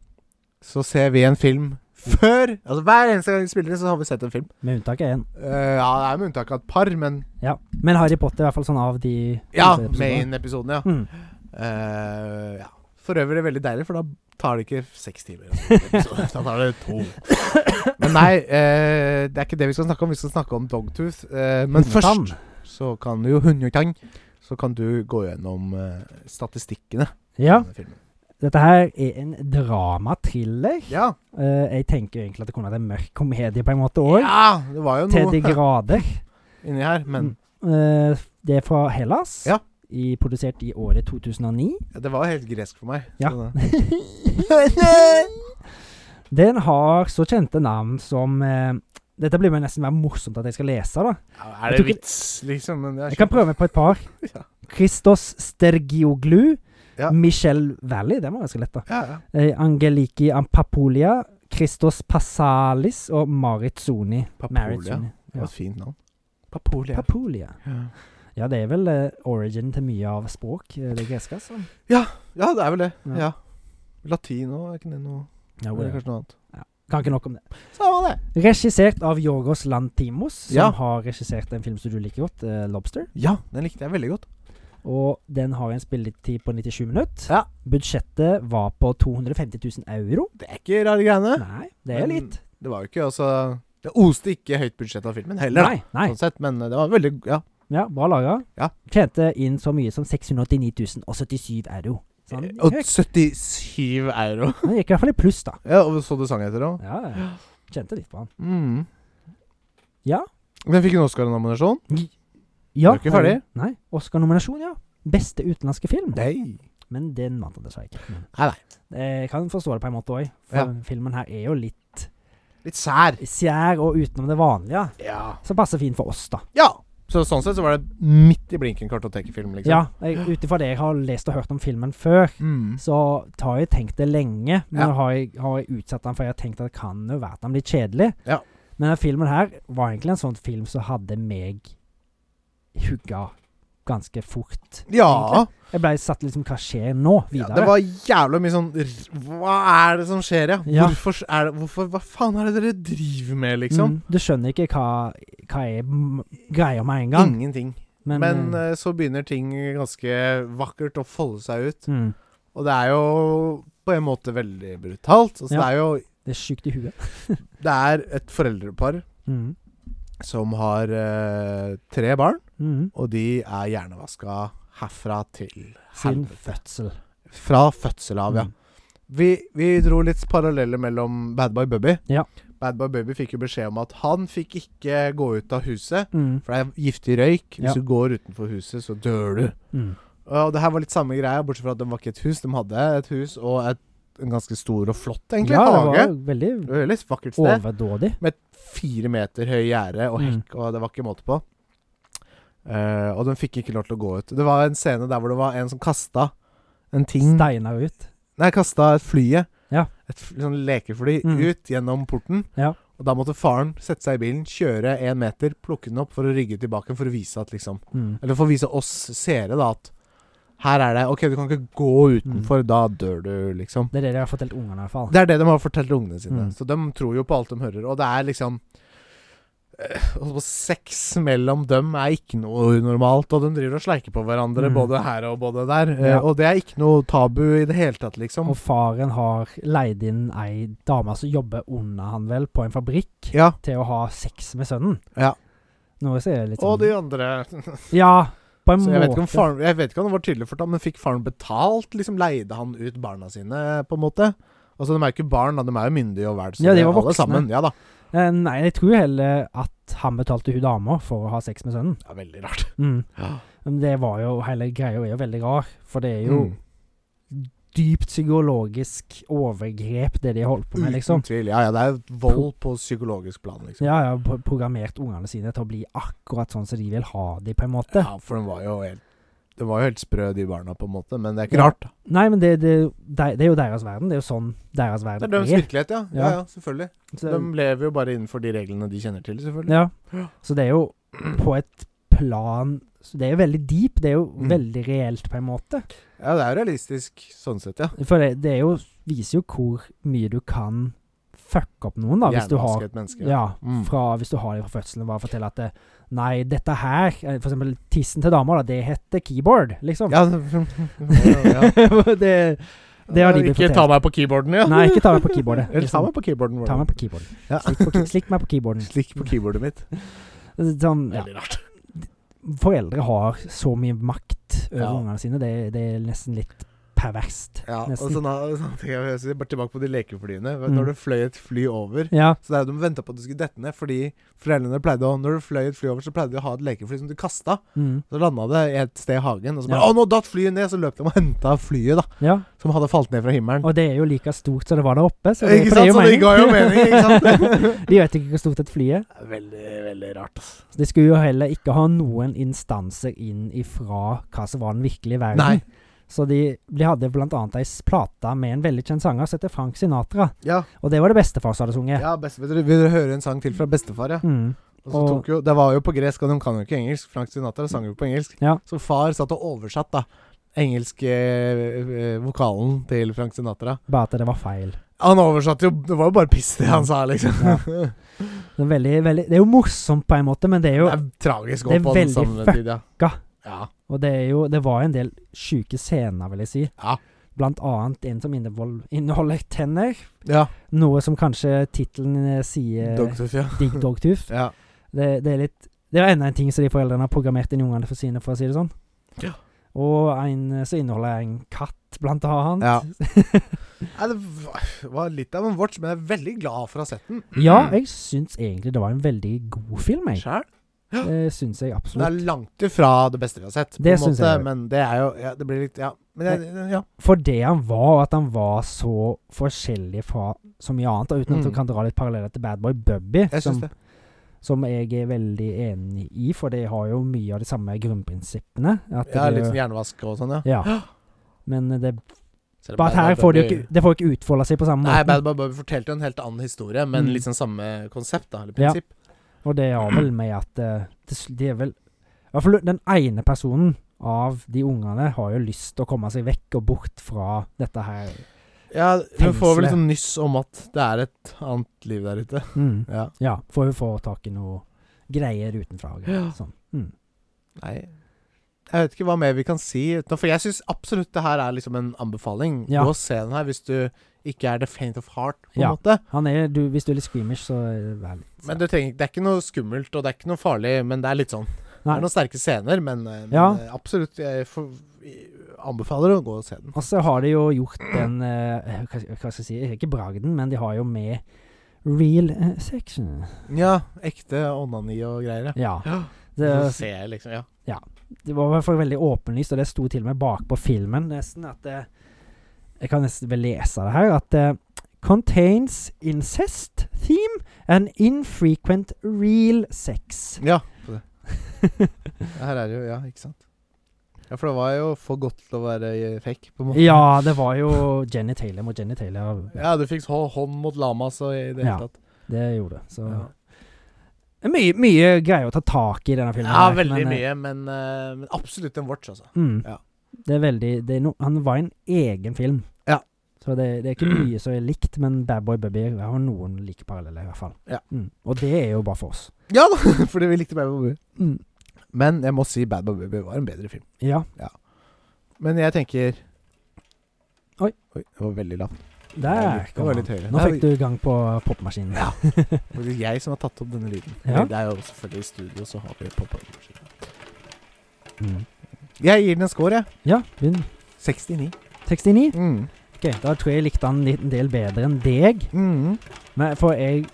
så ser vi en film før Altså hver eneste gang vi spiller det, så har vi sett en film. Med unntak av én. Eh, ja, det er med unntak av et par, men Ja. Men Harry Potter er i hvert fall sånn av de Ja, første episodene. main-episoden, ja. Mm. Eh, ja. For øvrig er det veldig deilig, for da tar det ikke seks timer. [LAUGHS] Så da tar det to. Men nei, eh, det er ikke det vi skal snakke om. Vi skal snakke om Dogtooth. Eh, men Hundetann. først så kan du jo Hundetann. Så kan du gå gjennom eh, statistikkene. i Ja. denne filmen. Dette her er en dramatriller. ja. Eh, jeg tenker jo egentlig at det kunne vært en mørk komedie på en måte òg. Ja, det var jo Til de noe grader. inni her, men Eh, det er fra Hellas. Ja. I, produsert i året 2009. det var jo helt gresk for meg. Ja. Så det- [LAUGHS] Den har så kjente navn som eh, Dette blir jo nesten mer morsomt at jeg skal lese, da. Ja, er Jeg det tror ikke- vits, liksom? Men det er Jeg kan prøve meg på et par. [LAUGHS] Ja. Christos Stergioglu. Ja. Michelle Valley, det var ganske lett, da. Ja, ja. Eh, Angeliki Ampapolia. Christos Passalis og Marit Zoni. Marit Papolia. Zoni. Det var et fint navn. Papolia. Papolia. Ja. Ja, det er vel eh, origin til mye av språk, eh, det greske, altså. Ja, det er vel det. Ja. Ja. Latin òg, er ikke det noe Ja, Eller whatever. kanskje noe annet. Eh, kan ikke nok om det. Samme det. Regissert av Jorgos Lantimos, som Ja. har regissert en film som du liker godt, eh, 'Lobster'. Ja, den likte jeg veldig godt. Og den har en spilletid på 97 minutter. Ja. Budsjettet var på 250 000 euro. Det er ikke rare greiene. Nei, det er Men litt. Det var jo ikke altså Det oste ikke høyt budsjett av filmen heller, Nei, da, nei. sånn sett, men eh, det var veldig Ja. Ja, bra laga. Ja. Tjente inn så mye som 689 077 euro. Så han Eh, Og gikk, 77 euro. han gikk i hvert fall i pluss, da. Ja, og Så du sang etter òg? Ja, ja. Kjente litt på han. Mm. Ja. Den fikk en Oscar-nominasjon. Ja, Du er ikke ferdig? Nei. Oscar-nominasjon, ja. Beste utenlandske film. Nei. Men den vant han dessverre ikke. Nei, nei. Eh, Jeg kan forstå det på en måte òg, for Ja. filmen her er jo litt Litt sær. Sær og utenom det vanlige. Ja. Så passer fint for oss, da. ja. Så sånn sett så var det midt i blinken kartotekfilm, liksom. Ja, Ut ifra det jeg har lest og hørt om filmen før, Mm. så har jeg tenkt det lenge. Men Ja. har, jeg, har jeg utsatt den, for jeg har tenkt at det kan jo være at den blir kjedelig. Ja. Men denne filmen her var egentlig en sånn film som hadde meg hugga ganske fort. ja. Jeg ble satt liksom Hva skjer nå? Ja, Videre. det var jævla mye sånn r- Hva er det som skjer, ja? Ja. Hvorfor, s- er det, hvorfor Hva faen er det dere driver med, liksom? Mm, du skjønner ikke hva, hva er m- greia med en gang. Ingenting. Men, Men eh, eh, så begynner ting ganske vakkert å folde seg ut. mm, Og det er jo på en måte veldig brutalt. Altså, Ja. Det er jo det er sjukt i huet. Det er et foreldrepar Mm, som har eh, tre barn, mm, og de er hjernevaska herfra til sin helvete. fødsel. Fra fødsel av, ja. Mm. Vi, vi dro litt paralleller mellom Bad Boy Bubby. Ja. Bad Boy Bubby fikk jo beskjed om at han fikk ikke gå ut av huset, Mm, for det er giftig røyk. Hvis Ja. du går utenfor huset, så dør du. mm, Og det her var litt samme greia, bortsett fra at det var ikke et hus. De hadde et hus og et, en ganske stor og flott egentlig, ja, det hage. var veldig Det var et veldig vakkert sted. overdådig. Med et fire meter høy gjerde Mm. og hekk, og det var ikke måte på. Eh, og de fikk ikke lov til å gå ut. Det var en scene der hvor det var en som kasta en ting Steina ut. Nei, kasta et flyet. Ja. Et f- sånn lekefly Mm. ut gjennom porten. Ja. Og da måtte faren sette seg i bilen, kjøre én meter, plukke den opp for å rygge tilbake for å vise at liksom Mm. Eller for å vise oss seere, da, at her er det OK, du kan ikke Mm. gå utenfor. Da dør du, liksom. Det er det de har fortalt ungene, i hvert fall. Det er det de har fortalt ungene sine. Mm. Så de tror jo på alt de hører. Og det er liksom eh, holdt på å si, Sex mellom dem er ikke noe unormalt, og de driver og sleiker på hverandre Mm. både her og både der. Eh, Ja. Og det er ikke noe tabu i det hele tatt, liksom. Og faren har leid inn ei dame som jobber under han vel, på en fabrikk, Ja. til å ha sex med sønnen. Ja. Noe som er litt sånn Og de andre Ja, på en Så måte. jeg vet, ikke om faren, jeg vet ikke om det var tydelig fortalt, men fikk faren betalt? Liksom Leide han ut barna sine, på en måte? Altså, De er jo ikke barn, da. de er jo myndige og verdt. Ja, de var voksne. Sammen. Ja da. Eh, Nei, jeg tror heller at han betalte hun dama for å ha sex med sønnen. Det er veldig rart. Mm. Ja. Men det var jo Hele greia er jo veldig rar, for det er jo Mm. dypt psykologisk overgrep, det de holdt på med, liksom. Uten tvil. Ja, ja, det er jo vold på psykologisk plan, liksom. Ja, ja, pro- programmert ungene sine til å bli akkurat sånn som de vil ha de, på en måte. Ja, for den var jo helt De var jo helt sprø, de barna, på en måte, men det er ikke Ja. rart. Nei, men det, det, det, det er jo deres verden. Det er jo sånn deres Det er verden deres er. virkelighet, ja. Ja, Ja. ja, selvfølgelig. Så, De lever jo bare innenfor de reglene de kjenner til, selvfølgelig. ja. Ja. så det er jo på et plan så Det er jo veldig deep. Det er jo Mm. veldig reelt, på en måte. Ja, det er jo realistisk sånn sett, ja. For det, det er jo, viser jo hvor mye du kan fucke opp noen, da, hvis du har Hjernevaske et menneske. ja, Mm. fra, Hvis du har det fra fødselen, bare fortelle at det, Nei, dette her, eh, for eksempel tissen til dama, da, det heter keyboard, [LAUGHS] liksom. Ja, ja. [LAUGHS] det, det har de blitt Ikke ta fortalt. meg på keyboarden, ja. Nei, ikke ta meg på keyboardet. [LAUGHS] Eller ta meg liksom. på keyboarden vår. Ta meg på keyboarden. Ja. [LAUGHS] Slikk, på, key- slikk meg på keyboarden. Slikk på keyboardet mitt. Sånn, ja. Veldig rart. Foreldre har så mye makt over Ja. ungene sine, det, det er nesten litt perverst. Ja, og Nesten. sånn, sånn, jeg vil si, bare tilbake på de lekeflyene. Mm. Når det fløy et fly over Ja, Så der de venta på at du skulle dette ned, fordi foreldrene pleide å Når du fløy et fly over, så pleide de å ha et lekefly som du kasta. mm, Så landa det et sted i hagen, og så bare Ja. Å, nå datt flyet ned! Så løp de og henta flyet, da. ja. Som hadde falt ned fra himmelen. Og det er jo like stort som det var der oppe, så det, Ikke for sant? det er jo Så det mening. ga jo mening, ikke sant? [LAUGHS] De vet ikke hvor stort et fly er. [LAUGHS] veldig, veldig rart, ass. Så De skulle jo heller ikke ha noen instanser inn ifra hva som var den virkelige verden. Nei. Så de, de hadde blant annet ei plate med en veldig kjent sanger som heter Frank Sinatra. Ja, Og det var det bestefar som hadde sunget. ja best, vil, dere, vil dere høre en sang til fra bestefar, ja? Mm. Og så Og- tok jo, Det var jo på gresk, og de kan jo ikke engelsk. Frank Sinatra sang jo på engelsk. Ja. Så far satt og oversatt, da. Engelske eh, vokalen til Frank Sinatra. Bare at det var feil. Han oversatte jo Det var jo bare piss, det han sa, liksom. [LAUGHS] Det er, veldig, veldig, det er jo morsomt på en måte, men det er jo Det er tragisk òg Det er på den veldig samme tid, ja. fucka. Ja. Og det er jo Det var en del sjuke scener, vil jeg si. Ja. Blant annet en som innevol- inneholder tenner. ja. Noe som kanskje tittelen eh, sier [LAUGHS] Dogtooth, ja. Digg dogtooth. ja. Det, det er litt Det er enda en ting som de foreldrene har programmert inn i ungene for sine, for å si det sånn. Ja. Og en eh, som inneholder en katt, blant annet. Ja. [LAUGHS] Nei, det var- var litt av en watch, men jeg er veldig glad for å ha sett den. Ja, jeg syns egentlig det var en veldig god film, jeg. Sjæl. Det syns jeg Det er absolutt. langt ifra det beste vi har sett, på Det en syns måte, jeg. men det er jo ja, Det blir litt Ja. Men jeg, ja. For det han var, og at han var så forskjellig fra så mye annet, og uten at du Mm. kan dra litt paralleller til Bad Boy Bubby, Jeg syns som, det. som jeg er veldig enig i, for de har jo mye av de samme grunnprinsippene. At Ja, det- litt sånn hjernevask og sånn, ja. [GASPS] ja. Men det, Så det er bare Bad at her Bad får de jo Bunny- ikke, det får ikke utfolde seg på samme Nei, måte. Bad Boy Bubby fortalte jo en helt annen historie, men Mm. liksom samme konsept, da, eller Ja. prinsipp. Og det har vel med at eh, det, sl- det er vel I hvert fall den ene personen av de ungene har jo lyst til å komme seg vekk og bort fra dette her. Ja, hun får vel Fengselet. litt sånn nyss om at det er et annet liv der ute. Mm. Ja. Ja, for hun får tak i noe greier utenfra. og greier, Ja. Sånn. Mm. Nei Jeg vet ikke hva mer vi kan si. utenom- For jeg syns absolutt det her er liksom en anbefaling. Ja. Gå og se den her hvis du ikke er the faint of heart, på en Ja. måte. Han er, du, hvis du er litt squeamish, så er det vær litt Men du trenger, ikke- det er ikke noe skummelt, og det er ikke noe farlig, men det er litt sånn Det Nei. er noen sterke scener, men, eh, men Ja. eh, absolutt. Jeg for, anbefaler å gå og se den. Og så har de jo gjort den eh, hva, hva skal jeg si Ikke bragden, men de har jo med real eh, section. Ja. Ekte onani og greier, ja. Ja. ja. Så Det, ser jeg liksom, ja. det var i hvert fall veldig åpenlyst, og det sto til og med bakpå filmen nesten at det, Jeg kan nesten vel lese det her, at det contains incest theme and infrequent real sex. Ja, på det. [LAUGHS] Her er det jo Ja, ikke sant. Ja, for det var jo for godt til å være eh, fake, på en måte. Ja, det var jo Jenny Taylor mot Jenny Taylor. Ja, du fikk hå- hånd mot lamas og i det hele Ja. tatt. Det gjorde det. Så Ja. mye, mye greier å ta tak i i denne filmen. Ja, her, veldig men, eh, mye, men, eh, men absolutt en watch, altså. Mm, Ja. Det er veldig det er no, Han var en egen film. Ja. Så det, det er ikke mye som er likt, men Bad Boy Bubby har noen like paralleller, i hvert fall. Ja. Mm, og det er jo bare for oss. Ja [LAUGHS] da, fordi vi likte Bad Boy Bubby. Mm. Men jeg må si Bad Boy Bubby var en bedre film. Ja. Men jeg tenker Oi. det var veldig lavt. Der Det kom var han. litt høyere. Nå Nei, fikk du gang på popmaskinen. Ja. Det er jeg som har tatt opp denne lyden. Ja. Det er jo selvfølgelig i studio, så har vi pop-up-maskinen. Mm. Jeg gir den en score, jeg. Ja, begynn. 69. 69. Mm. Ok, Da tror jeg jeg likte han litt- en del bedre enn deg. Mm. Men for jeg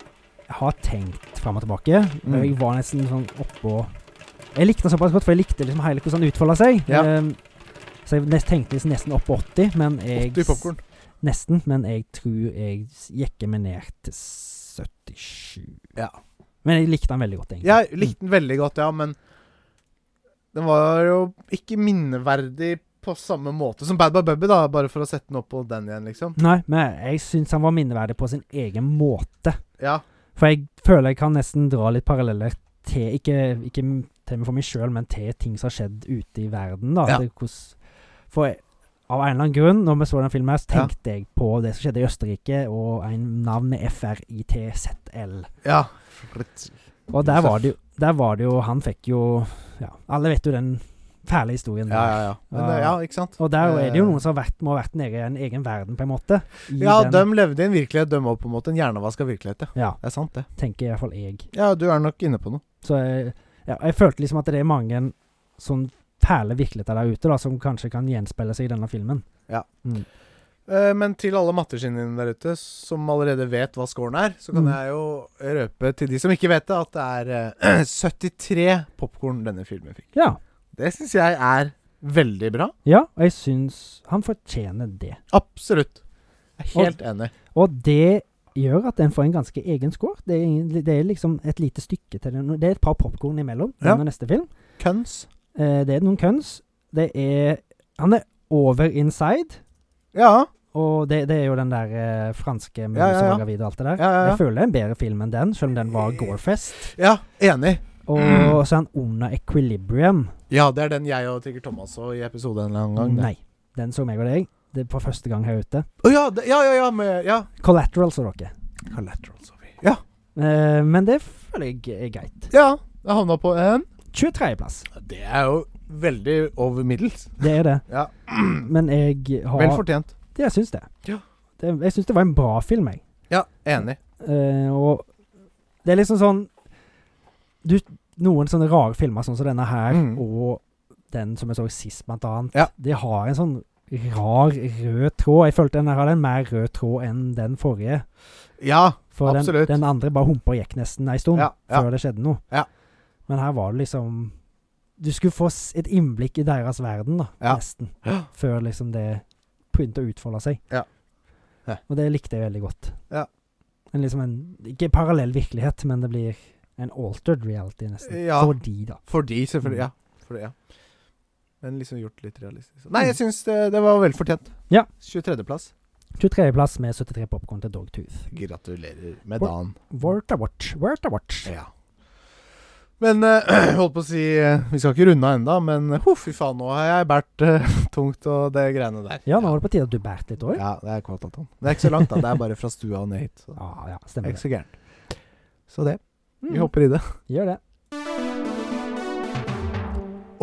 har tenkt fram og tilbake. Mm. Jeg var nesten sånn oppå Jeg likte den såpass godt, for jeg likte liksom hele hvordan han utfolda seg. Ja. Ehm, så jeg nest, tenkte liksom nesten opp på 80, men jeg 80 popkorn. Nesten, men jeg tror jeg s- jekker meg ned til 77. Ja. Men jeg likte han veldig godt, egentlig. Jeg likte den veldig godt, ja, men den var jo ikke minneverdig på samme måte som Bad Boy Bubby, da, bare for å sette den opp på den igjen, liksom. Mm. Nei, men jeg syns han var minneverdig på sin egen måte. Ja. For jeg føler jeg kan nesten dra litt paralleller til Ikke, ikke m- til meg for meg sjøl, men til ting som har skjedd ute i verden. da Ja. Til hvordan- For jeg- av en eller annen grunn, når vi så den filmen her, så Ja. tenkte jeg på det som skjedde i Østerrike, og en navn med FRITZL. Ja. Og der Josef. var, det jo, der var det jo Han fikk jo ja, Alle vet jo den fæle historien. Ja, der. ja, ja. Men, Ja. eh, ja, ikke sant? Og der er det jo Eh, noen som har vært, må ha vært nede i en egen verden, på en måte. i Ja, den- de levde i en virkelighet, de òg, på en måte. En hjernevaska virkelighet, ja. ja, Det er sant, det. tenker i hvert fall jeg. Ja, du er nok inne på noe. Så jeg, ja, jeg følte liksom at det er mange sånn fæle virkeligheter der ute, da, som kanskje kan gjenspeile seg i denne filmen. Eh, Men til alle matteskinnene der ute som allerede vet hva scoren er, så kan Mm. jeg jo røpe til de som ikke vet det, at det er eh, [CLEARS THROAT] 73 popkorn denne filmen fikk. Ja. Det syns jeg er veldig bra. ja, og jeg syns han fortjener det. Absolutt. Jeg er helt enig. Og det gjør at den får en ganske egen score. Det er, ingen, det er liksom et lite stykke til den. Det er et par popkorn imellom Ja. denne neste film. Køns. Eh, det er noen køns. Det er Han er over inside. Ja. Og det, det er jo den der eh, franske med Ja, ja, ja. som lager video og alt det der. Ja, Eh. ja, ja. Jeg føler det er en bedre film enn den, selv om den var Gorefest. ja, enig. Og så er han under Equilibrium. Ja, det er den jeg og Trigger Thomas så i episode en eller annen gang. det. Nei. Den så meg og deg. Det er for første gang her ute. Å ja, det, ja, ja, ja, med Ja. Collateral så dere. Collaterals of Ja. Eh, men det føler jeg er greit. ja. Det havna på en 23.-plass. Det er jo veldig over middels. Det er det. [CLEARS THROAT] Ja. Men jeg har Vel fortjent. det, Jeg syns det. Ja. det. Jeg syns det var en bra film, jeg. Ja, enig. Eh, og det er liksom sånn du, Noen sånne rare filmer, sånn som denne her, Mm. og den som jeg så sist, blant annet, Ja. de har en sånn rar rød tråd. Jeg følte den her hadde en mer rød tråd enn den forrige. Ja. For den, Absolutt. den andre bare humpa og gikk nesten ei stund Ja, ja. før det skjedde noe. Ja. Men her var det liksom Du skulle få s- et innblikk i deres verden, da, Ja. nesten. Før liksom det begynte å utfolde seg. Ja. Ja. Og det likte jeg veldig godt. Ja. En liksom en Ikke parallell virkelighet, men det blir en altered reality, nesten. Ja. For de, da. Fordi, selvfølgelig. Mm. Ja. Fordi, ja. Men liksom gjort litt realistisk. Nei, jeg syns det, det var vel fortjent. Ja. 23.-plass. 23.-plass med 73 popkorn til Dogtooth. Gratulerer med Hvor- dagen. Worth a watch. Worth a watch. Ja. Men eh, [CLEARS THROAT] holdt på å si eh, Vi skal ikke runde av ennå, men eh, huff, fy faen, nå har jeg båret [LAUGHS] tungt og det greiene der. Ja, nå var det på tide at du bærte litt òg. Ja, det er kvartalton. Det er ikke så langt, da. Det er bare fra stua og ned hit. Så. Ja. ja, Det stemmer er ikke det. så gærent. Så det. Mm. Vi hopper i det. Gjør det.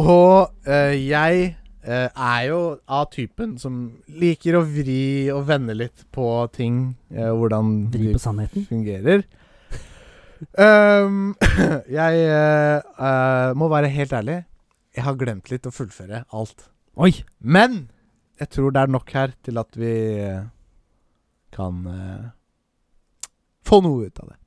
Og eh, jeg eh, er jo av typen som liker å vri og vende litt på ting. eh, hvordan Dri på sannheten. fungerer. Ehm, [LAUGHS] jeg eh, eh, må være helt ærlig. Jeg har glemt litt å fullføre alt. Oi! Men jeg tror det er nok her til at vi eh, kan eh, få noe ut av det.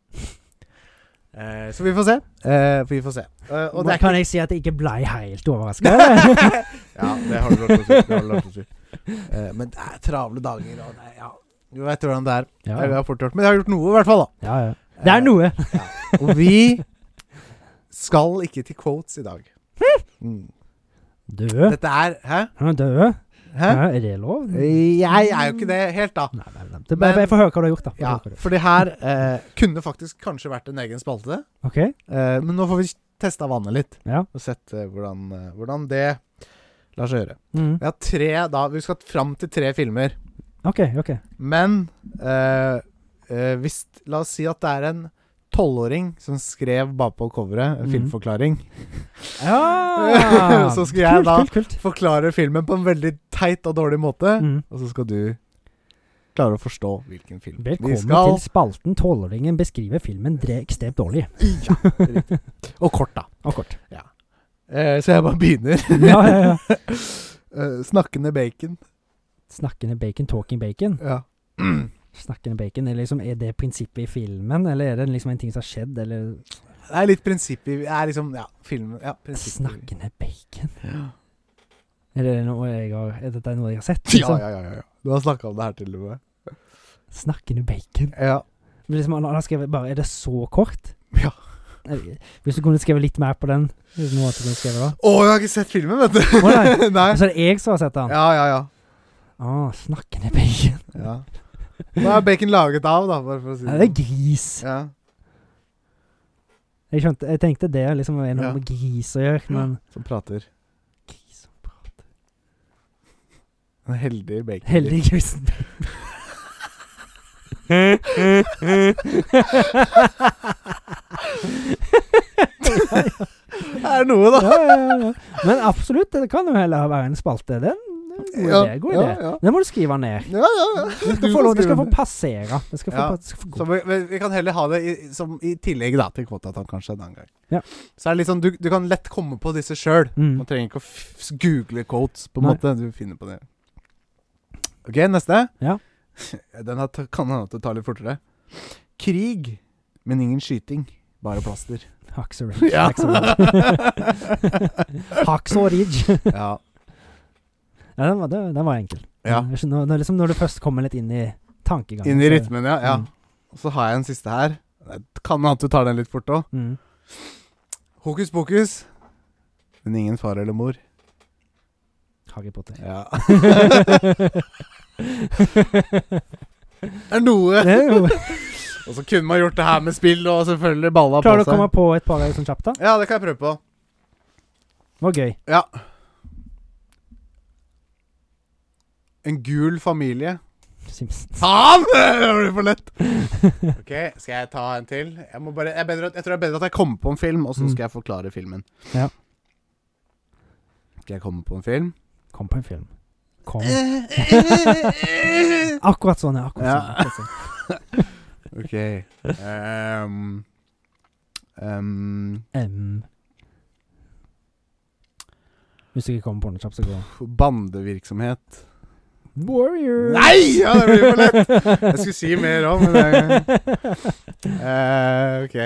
Eh, så vi får se. Eh, vi får se. Eh, og det er Nå ikke kan jeg si at jeg ikke blei helt [LAUGHS] overraska. ja, [LAUGHS] Ja, det har du lov til å si. Det har du lov til å si. Eh, men det er travle dager, og det er, ja, du veit hvordan det er. Jeg ja, har fort gjort, men jeg har gjort noe, i hvert fall. da ja. Det Eh, er noe. Og vi skal ikke til quotes i dag. Mm. Død. Dette er Hæ? Han er død. Hæ? Ja, er det lov? Nei, Jeg er jo ikke det helt, da. nei, nei. Det er bare, Men- jeg får høre hva du har gjort, da. Få Ja, høre hva du- for det her eh, kunne faktisk kanskje vært en egen spalte. OK? Eh, men nå får vi testa vannet litt, Ja. og sett eh, hvordan, eh, hvordan det lar seg gjøre. Mm. Vi har tre da Vi skal fram til tre filmer. OK. ok Men eh, eh, hvis La oss si at det er en tolvåring som skrev bakpå coveret, en Mhm. filmforklaring. Ja! [LAUGHS] Så skal jeg kult, da- Kult, kult. Forklarer filmen på en veldig teit og dårlig måte. Mm. Og så skal du klare å forstå hvilken film Velkommen vi skal til spalten 'Tolvåringen beskriver filmen dre ekstremt dårlig'. Og kort, da. Og kort. Eh, så jeg bare begynner. [LAUGHS] Ja, ja, ja. [LAUGHS] Eh, snakkende bacon. Snakkende bacon, talking bacon. Ja. Snakkende bacon, er, liksom, er det prinsippet i filmen, eller er det liksom en ting som har skjedd, eller Det er litt prinsipp i Det er liksom Ja, filmen ja, prinsipp i- Snakkende bacon? Ja. Er det noe jeg har, er dette noe jeg har sett? Ja, Liksom? ja, ja, ja. Du har snakka om det her til og med. Snakkende bacon. Ja. Men liksom, han han har skrevet bare Er det så kort? Ja. Eh, Hvis du kunne skrevet litt mer på den hvis noe annet du kunne skrevet [LAUGHS] da. Altså, Å, jeg har ikke sett filmen, vet du! [LAUGHS] Å, nei. nei. Så er det jeg som har sett den? Ja, ja, ja. Å, snakkende bacon. ja. Hva er bacon laget av, da? Bare for å si Ja, det er gris. Ja. Jeg, skjønte, jeg tenkte det liksom er noe Ja. med gris å gjøre, men Som prater. Gris som prater En heldig bacon. Heldig [LAUGHS] grisen. Det er noe, da. ja, ja, ja, ja. Men absolutt, det kan jo heller være en spalte. Det er en god idé. God idé. Ja, ja. Den må du skrive ned. Ja, ja, ja. Du skal få lov, det skal få passere. Det skal få, Ja. pa- det skal få gå. Så vi, men vi kan heller ha det i, som i tillegg da til Kvotatann, kanskje, en annen gang. Ja. Så er det litt sånn, du, du kan lett komme på disse sjøl. Mm. Man trenger ikke å f google quotes, på en Nei. måte. Du finner på det. OK, neste. Ja. [LAUGHS] Den her ta- kan hende at det tar litt fortere. Krig, men ingen skyting. Bare [LAUGHS] plaster. Hacksaw Ridge. Hacksaw [LAUGHS] Ridge. Hacksaw Ridge. ja. Ja, den var, den den var enkel. ja. Jeg skjønner- Når, liksom, når du først kommer litt inn i tankegangen. Inn i så- rytmen, ja. ja. Mm. Og så har jeg en siste her. Det kan hende at du tar den litt fort òg. Mm. Hokus pokus, men ingen far eller mor. Harry Potter. Ja. [LAUGHS] det er noe. [LAUGHS] Det er jo- Og så kunne man gjort det her med spill og selvfølgelig balla Klarer på du å seg. komme på et par ganger sånn kjapt, da? Ja, det kan jeg prøve på. Det var gøy. Ja. En gul familie. Simpsons. Faen! [LAUGHS] Det blir for [LAUGHS] lett. Ok, skal jeg ta en til? Jeg, må bare, jeg, er bedre, at- jeg tror det er bedre at jeg kommer på en film, og så Mm. skal jeg forklare filmen. Ja. Skal jeg komme på en [LAUGHS] film? Kom på en film. Kom. ok. Akkurat sånn, ja. Akkurat Eh. Ja. sånn. Akkurat sånn. ehm, ehm, Em. Hvis du ikke kommer på noe kjapt, så går bandevirksomhet. Warrior. Nei! Ja, [LAUGHS] det [LAUGHS] blir for lett. Jeg skulle si mer òg, men det Eh, OK.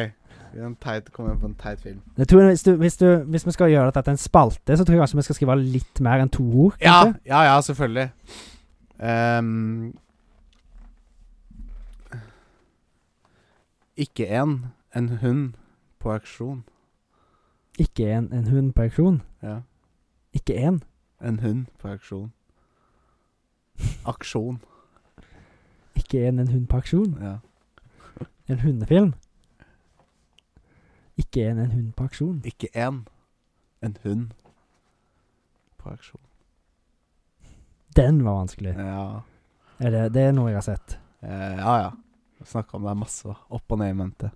En teit, kom igjen på en teit film. Jeg tror hvis, du, hvis, du, hvis vi skal gjøre dette til en spalte, så tror jeg kanskje vi skal skrive litt mer enn to ord. Ja, kanskje? ja, ja, selvfølgelig. Ehm, ikke en, en hund på auksjon. Ikke en, en hund på auksjon. Ja, Ikke én. en hund på auksjon. Aksjon. Ikke en, en hund på auksjon. Ja. En hundefilm. Ikke en, en hund på auksjon. Ikke en, en hund på auksjon. Den var vanskelig. Ja, Er det, det er noe jeg har sett. eh, ja. ja. Snakka om det masse. da. Opp og ned i mente.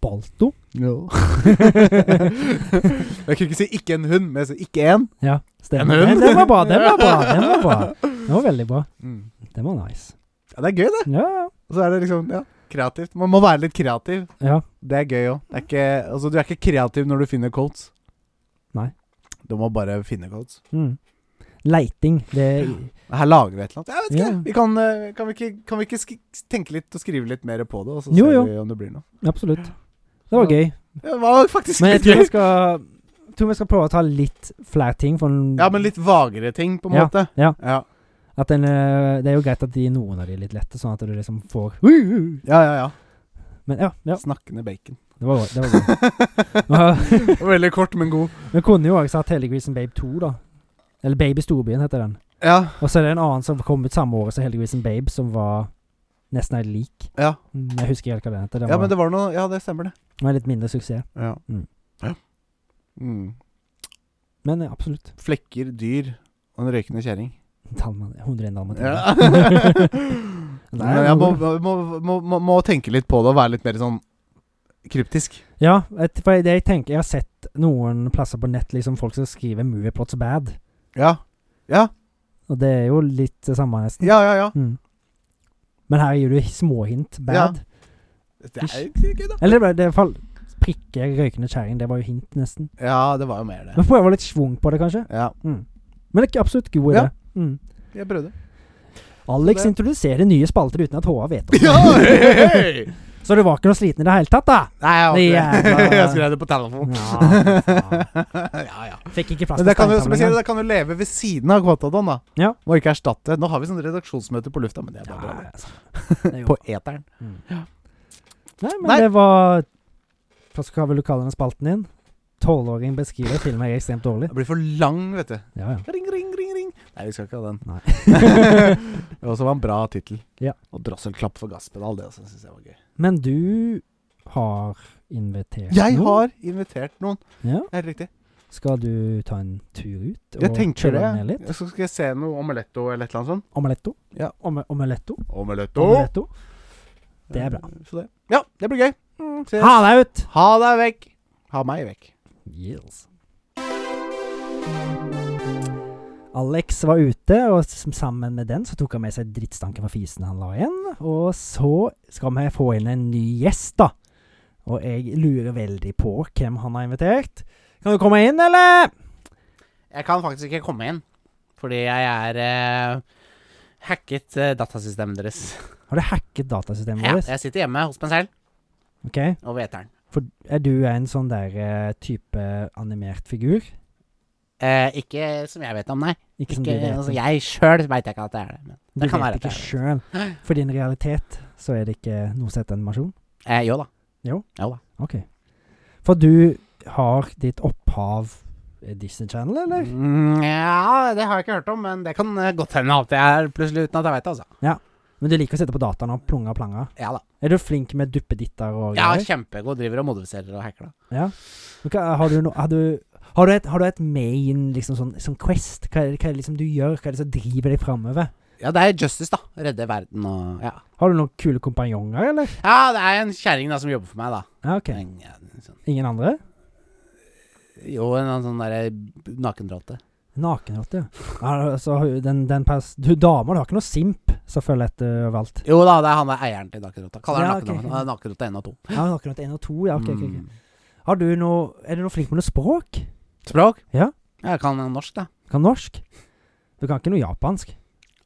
Balto? [LAUGHS] Jo. jeg kunne ikke si 'ikke en hund', men jeg sier 'ikke en'. Ja, stemmer. En hund? Den, den var bra, den var bra. Den var bra. Den var veldig bra. Mm. Den var nice. Ja, det er gøy, det. Ja, ja. Og så er det liksom ja, kreativt. Man må være litt kreativ. ja. Det er gøy òg. Altså, du er ikke kreativ når du finner codes. Nei. Du må bare finne codes. Mm. Leiting. Det Her lager vi et eller annet. Jeg vet ikke. Ja. Vi kan, eh, kan vi ikke, kan vi ikke sk tenke litt og skrive litt mer på det, og så Jo, ser jo. vi om det blir noe? Absolutt. Det var gøy. Ja, Det var faktisk Men jeg litt tror vi gøy. skal tror vi skal prøve å ta litt flere ting. For en, Ja, men litt vagere ting, på en Ja, måte. ja. Ja. at en, eh, det er jo greit at de, noen av de er litt lette, sånn at du liksom får Men ja, ja, ja. ja, ja Snakkende bacon. det var, det [LAUGHS] var bra. [LAUGHS] Veldig kort, men god. Vi kunne jo også hatt Hele Grisen Babe 2, da. Eller Babe i storbyen, heter den. Ja, Og så er det en annen som kom ut samme året som Hele Grisen Babe, som var nesten helt lik. ja. Mm, Jeg husker ikke helt hva den heter. Den ja var, men det var noe Ja, det stemmer, det. var en litt mindre suksess. Ja. Mm. ja. Mm. Men ja, absolutt. Flekker, dyr og en røykende kjerring. Dalman, 101 dalmatiner. Ja. [LAUGHS] [LAUGHS] Nei, Men jeg må, noe. må, må, må, må tenke litt på det og være litt mer sånn kryptisk. Ja, et, for det jeg tenker Jeg har sett noen plasser på nett liksom folk som skriver 'Movieplots bad', Ja. Ja, og det er jo litt det samme, nesten. ja, ja. ja. Mm. Men her gir du småhint bad. Det er jo gøy, da. Eller det ble- det er i hvert fall prikke røykende kjerring, det var jo hint, nesten. Ja, det var jo mer det. Men prøve litt schwung på det, kanskje. Ja, Mm. Men det er ikke absolutt god idé. Ja. Mm. jeg prøvde. Alex Det- introduserer nye spalter uten at [LAUGHS] HA vet om [LAUGHS] det. Ja, hei, hei, hei. Så du var ikke noe sliten i det hele tatt, da? Nei, jeg var ikke Jævla- det. [LAUGHS] Jeg skrev det på telefon. [LAUGHS] Ja, Ja, ja. Fikk ikke plass Men til det kan, jo, som jeg steintavla sier, engang. det kan jo leve ved siden av Kvatadon, da. Ja. Må ikke erstatte Nå har vi sånn redaksjonsmøte på lufta, men det er bare Ja, bra. altså. På eteren. Mm. Nei, men Nei. det var Hva skal vel du kalle den spalten din? Tolvåring beskriver filmer jeg er ekstremt dårlig. Det blir for lang, vet du. Ja, ja. Ring, ring, ring, ring. Nei, vi skal ikke ha den. Nei. [LAUGHS] det også var en bra tittel. Ja. Og drosselklapp for gasspedal, det syns jeg var gøy. Men du har invitert Jeg noen. har invitert noen, Ja. helt riktig. Skal du ta en tur ut Jeg tenker det. kjøle ned litt? Så skal jeg se noe omeletto eller et eller annet sånt. Omeletto? Ja. Ome omeletto? Omeletto! Omeletto? Det er bra. Eh, Så det. Ja, det blir gøy. Mm, ses. Ha deg ut! ha deg vekk! Ha meg vekk. Yes. Alex var ute, og s- sammen med den så tok han med seg drittstanken fra fisen han la igjen. Og så skal vi få inn en ny gjest, da. Og jeg lurer veldig på hvem han har invitert. Kan du komme inn, eller? Jeg kan faktisk ikke komme inn, fordi jeg er eh, hacket eh, datasystemet deres. Har du hacket datasystemet Ja, vårt? jeg sitter hjemme hos meg selv Ok, og veteren. For er du en sånn der eh, type animert figur? Uh, ikke som jeg vet om, nei. Ikke, som Ikke, du vet. altså, om. jeg sjøl veit ikke at det er det. Men du det kan vet være at ikke det er det. sjøl. For din realitet så er det ikke noe sett animasjon. Eh, jo da. Jo. da. Ok. For du har ditt opphav i Disney Channel, eller? Mm, ja, det har jeg ikke hørt om, men det kan eh, godt hende at jeg er plutselig uten at jeg veit det, altså. Men du liker å sitte på dataen og plunge og plange. Ja da. Er du flink med duppeditter og Ja, greier? kjempegod. Driver og modifiserer og hacker, da. Ja. Ok, har du no, har du, har du, et, har du et main liksom sånn, sånn quest? Hva er, det- hva er det liksom du gjør? Hva er det som driver deg framover? Ja, det er Justice, da. Redde verden og Ja, Har du noen kule kompanjonger, eller? ja det er en kjerring da som jobber for meg, da. Ja, ok. En, ja, en sånn. Ingen andre? Jo, en sånn derre nakenrotte. Nakenrotte, ja. ja. Altså, har jo den, den pers du dama, du har ikke noe simp som følger etter overalt? Jo da, det er han der eieren til Nakenrotta. Kaller Ja, han ok. Nakenrotta. Han er Nakenrotta 1 og 2. Ja, nakenrotte én og to, ja. Ok, ok. ok. Mm. Har du noe Er du noe flink med noe språk? Språk? Ja. Jeg kan norsk, da. Kan norsk? Du kan ikke noe japansk?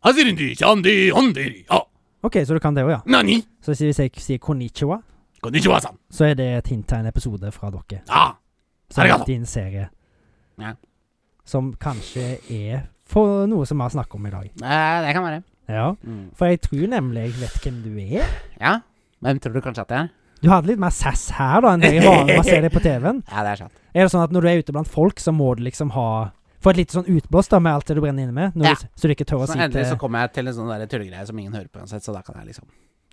Asirindi, sandi, andiri, ja. Ok, så du kan det òg, ja. Ah, Nani? Så hvis jeg sier konnichiwa, Konnichiwa-san! så er det et hint til en episode fra dere. Ah, Som er Arigato. din serie. Ja. Som kanskje er for noe som vi har snakket om i dag. eh, det kan være. Ja. Mm. For jeg tror nemlig jeg vet hvem du er. Ja. Hvem tror du kanskje at det er? Du hadde litt mer sass her da enn det jeg vanlig man ser det på TV-en. Ja, det er sant. Er det sånn at når du er ute blant folk, så må du liksom ha Få et lite sånn utblåst da med alt det du brenner inne med, når Ja. du, så du ikke tør å Så si endelig til så kommer jeg til en sånn der tullegreie som ingen hører på uansett, så da kan jeg liksom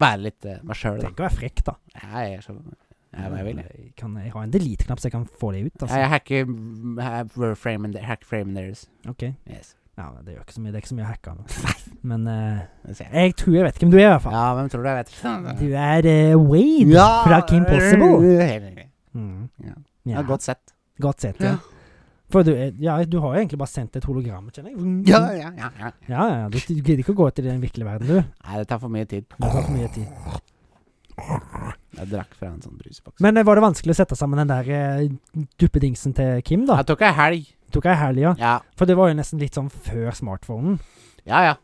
være litt eh, meg sjøl, da. Tenk å være frekk, da. eh, Jeg er så Jeg er hva jeg vil, jeg. Kan jeg ha en delete-knapp så jeg kan få det ut? Altså. Jeg hacker mm, hack frame and hack frame and theirs. Ok. Yes. Ja, men det gjør ikke så mye. Det er ikke så mye å hacke nå. Men eh, Det ser jeg. jeg tror jeg vet hvem du er, i hvert fall. Ja, hvem tror du jeg vet? Du er eh, Wade fra Kim Possible. Mm. Ja, Ja. Ja, godt sett. Godt sett, ja. Ja. For du, er- ja, du har jo egentlig bare sendt et hologram, kjenner jeg. Ja, ja, ja, ja. ja, ja, Du, du gidder ikke å gå ut i den virkelige verden, du. Nei, det tar for mye tid. Det tar for mye tid. Jeg drakk fra en sånn bruseboks. Men eh, var det vanskelig å sette sammen den der eh, duppedingsen til Kim, da? Jeg tok ei helg. Tok ei helg, ja. Ja, For det var jo nesten litt sånn før smartphonen. ja. ja.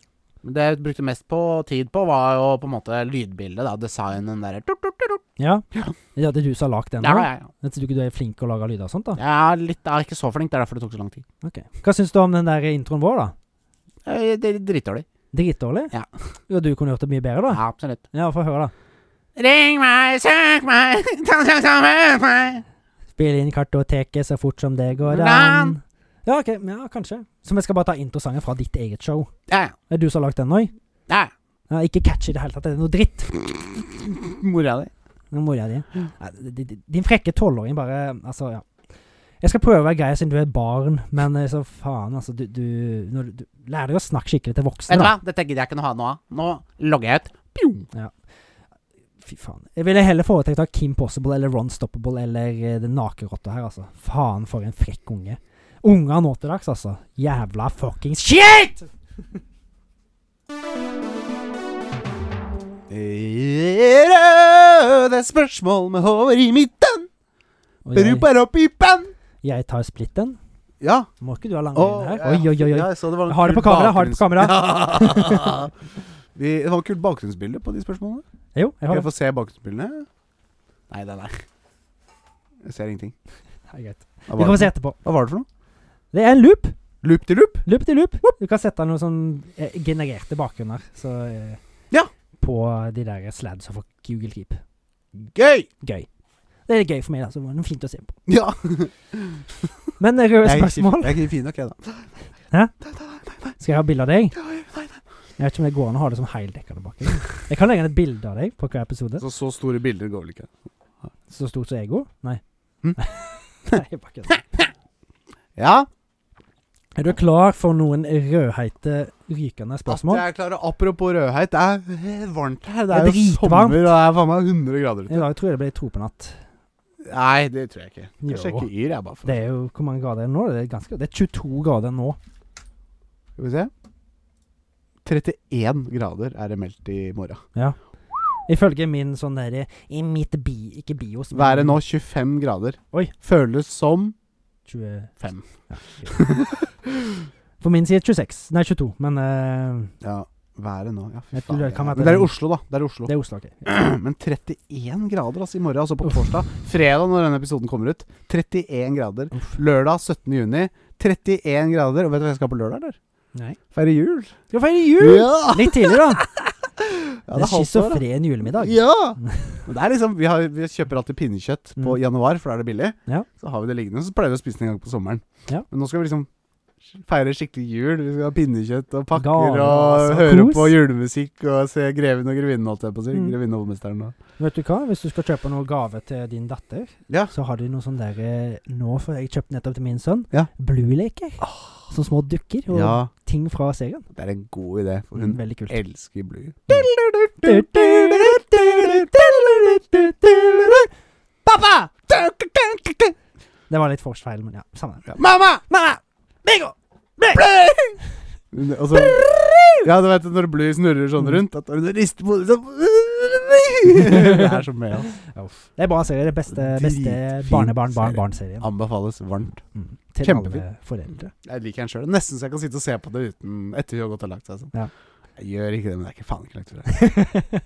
Men det jeg brukte mest på tid på, var jo på en måte lydbildet, da. Designen der. Tut, tut, tut, tut. Ja. Ja. Det er det du som har lagd den? Ja, da? ja, ja. Jeg tror ikke du er flink til å lage lyder og sånt, da? Jeg er litt, jeg er ikke så flink, det er derfor det tok så lang tid. Ok. Hva syns du om den der introen vår, da? Eh, Det er Dritdårlig. Dritdårlig? Ja. Jo, du kunne gjort det mye bedre, da. Ja, absolutt. Ja, få høre, da. Ring meg, søk meg, ta seg sammen meg. Spille inn kartoteket så fort som det går an. Lan. Ja, ok. Ja, kanskje. Så vi skal bare ta introsangen fra ditt eget show. Ja, ja. Er det du som har lagd den òg? ja. Ja, ikke catchy i det hele tatt. Det er noe dritt. Mora di. Det er Mora di. Mm. Ja, di- di- Din frekke tolvåring bare Altså, ja. Jeg skal prøve å være grei siden du er barn, men eh, så faen, altså. Du, du, når du, du lærer deg å snakke skikkelig til voksne, Vet du da. hva, dette gidder jeg ikke noe ha nå av. Nå logger jeg ut. Pjo. Fy faen. Jeg ville heller foretrekt å ha Kim Possible eller Ron Stoppable eller eh, den nakenrotta her, altså. Faen, for en frekk unge. Unger nå til dags, altså. Jævla fuckings [LAUGHS] shit! Det er spørsmål med hår i midten. Og jeg, opp i penn. jeg tar splitten. Ja. Må ikke du ha Å, langbein her? ja, Oi, oi, oi. Ja, oi. jeg så det var en Jeg har det kul på kamera, jeg har det på bakgrunns- [LAUGHS] Ja. Vi, det var et kult bakgrunnsbilde på de spørsmålene. Jo, jeg Kan har jeg det. få se bakgrunnsbildene? Nei, den er Jeg ser ingenting. Det er greit. Hva Vi var, kan få se det, etterpå. hva var det for noe? Det er en loop. Loop til loop? Loop til loop. Du kan sette noen sånn eh, genererte bakgrunner. Så eh, Ja. På de der sladsa for Google Keep. [LAUGHS] Gøy! Gøy. Det er litt gøy for meg, da. Så det var noe fint å se på. [LAUGHS] Ja. Men eh, røde Jeg er ikke, spørsmål. jeg er ikke fin nok, jeg, da. Skal jeg ha bilde av deg? Jeg vet ikke om det går an å ha det som heldekkende bakgrunn. Jeg kan legge inn et bilde av deg på hver episode. Så, så store bilder går vel ikke. Så stort som ego? Nei. Hm? [LAUGHS] Nei, jeg bare kødder. Ja. Er du klar for noen rødheite, rykende At spørsmål? jeg klarer, apropos rødheit, det er eh, varmt her. Det Det er er, jo dritvarmt. sommer, og det er faen meg 100 grader ute. I dag tror jeg det ble to på natt. Nei, det tror jeg ikke. Jo. Jeg sjekker Yr, jeg, bare. For. Det er jo Hvor mange grader er det nå? Det er, ganske, det er 22 grader nå. Skal vi se. 31 grader er det meldt i morgen. Ifølge min sånn derre I mitt bi... Ikke bios. men- Været nå 25 grader. Oi. Føles som 20 Fem. Ja, På min side 26. Nei, 22. Men eh, Ja, været nå. Ja, fy Jeg tror faen. det kan være Men det er i den- Oslo, da. Det er i Oslo. det er Oslo, OK. Men 31 grader altså i morgen, altså på Uff. torsdag. Fredag når denne episoden kommer ut. 31 grader. Uff. Lørdag 17. juni. 31 grader. Og vet du hva jeg skal på lørdag, eller? Nei. Feire jul. Skal vi feire jul! [LAUGHS] Ja! Litt tidlig, da. ja det halvt er år, da. schizofren julemiddag. Ja! [LAUGHS] Men det er liksom, vi, har, vi kjøper alltid pinnekjøtt på Mm. januar, for da er det billig. Ja. Så har vi det liggende, så pleier vi å spise det en gang på sommeren. Ja. Men nå skal vi liksom feire skikkelig jul. Vi skal ha pinnekjøtt og pakker Gaver, og altså, høre kos. på julemusikk og se Greven og grevinnen, holdt jeg på å si. Mm. Grevinnen og hovmesteren og Vet du hva, hvis du skal kjøpe noe gave til din datter, Ja. så har de noe sånn der eh, Nå, for jeg kjøpte nettopp til min sønn, Ja. Blue-leker. Sånne små dukker og Ja, ting fra serien. det er en god idé, for hun Mm, Veldig kult. elsker Blue. Pappa! Det var litt forced feil, men ja, samme det. Mamma! Mamma! Bingo! Og så Ja, du vet når Blue snurrer sånn rundt, at hun rister på det [LAUGHS] sånn Det er så med, altså. Det er bra serie. Det beste, beste Dritfin serie. barnebarn-barn-barn-serien. Anbefales varmt. Mm. Til Kjempefin. alle foreldre. Jeg liker den sjøl. Nesten så jeg kan sitte og se på det uten etter hun har gått og lagt seg. sånn Ja. Jeg gjør ikke det, men det er ikke faen ikke langt unna.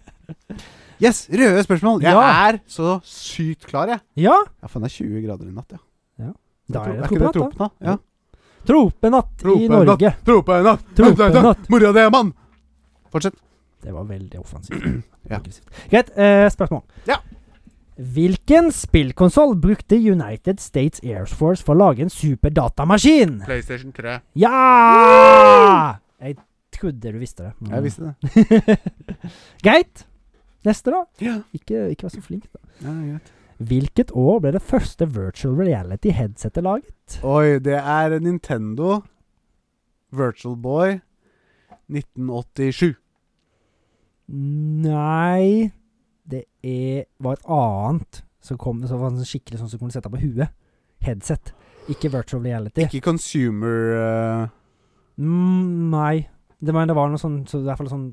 [LAUGHS] Yes! Røde spørsmål! Jeg Ja. er så sykt klar, jeg. Ja, Ja, faen, det er 20 grader i natt, ja. da er det ikke det tropenatt, da. tropenatt? Ja. Tropenatt i Tropenatt. Norge. Tropenatt! Tropenatt. [LAUGHS] Mora di er mann! Fortsett. Det var veldig offensivt. Ja. Aggressivt. Greit, eh, spørsmål. Ja. Hvilken spillkonsoll brukte United States Air Force for å lage en superdatamaskin? PlayStation 3. Ja! Jeg trodde du visste det. men- Jeg visste Mm. det. [LAUGHS] Greit. Neste, da. Ja, Ikke, ikke vær så flink, da. ja det er greit. Hvilket år ble det første virtual reality-headsetet laget? Oi, det er Nintendo Virtual Boy 1987. Nei Det er, var et annet som kom som var sånn skikkelig sånn som kunne sette på huet. Headset. Ikke virtual reality. Ikke consumer eh, Mm, nei. Det, men det var noe sånn så I hvert fall sånn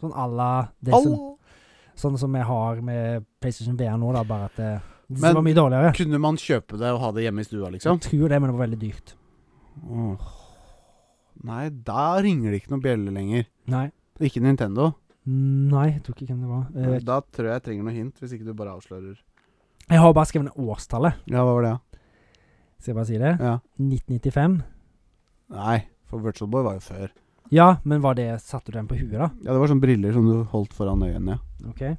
Sånn à la det som, Au! Sånn som jeg har med PlayStation VR nå, da, bare at det, det Men- var mye dårligere. Kunne man kjøpe det og ha det hjemme i stua, liksom? Jeg tror det, men det var veldig dyrt. Åh. Nei, da ringer det ikke noen bjelle lenger. Nei. Ikke Nintendo. Nei, jeg tror ikke hvem det var. Eh, Da tror jeg jeg trenger noe hint, hvis ikke du bare avslører. jeg har bare skrevet ned årstallet. Ja, hva var det? Skal jeg bare si det? Ja. 1995. Nei, for Virtual Boy var jo før. Ja, men var det Satte du den på huet, da? Ja, det var sånne briller som du holdt foran øynene. Ja. Ok.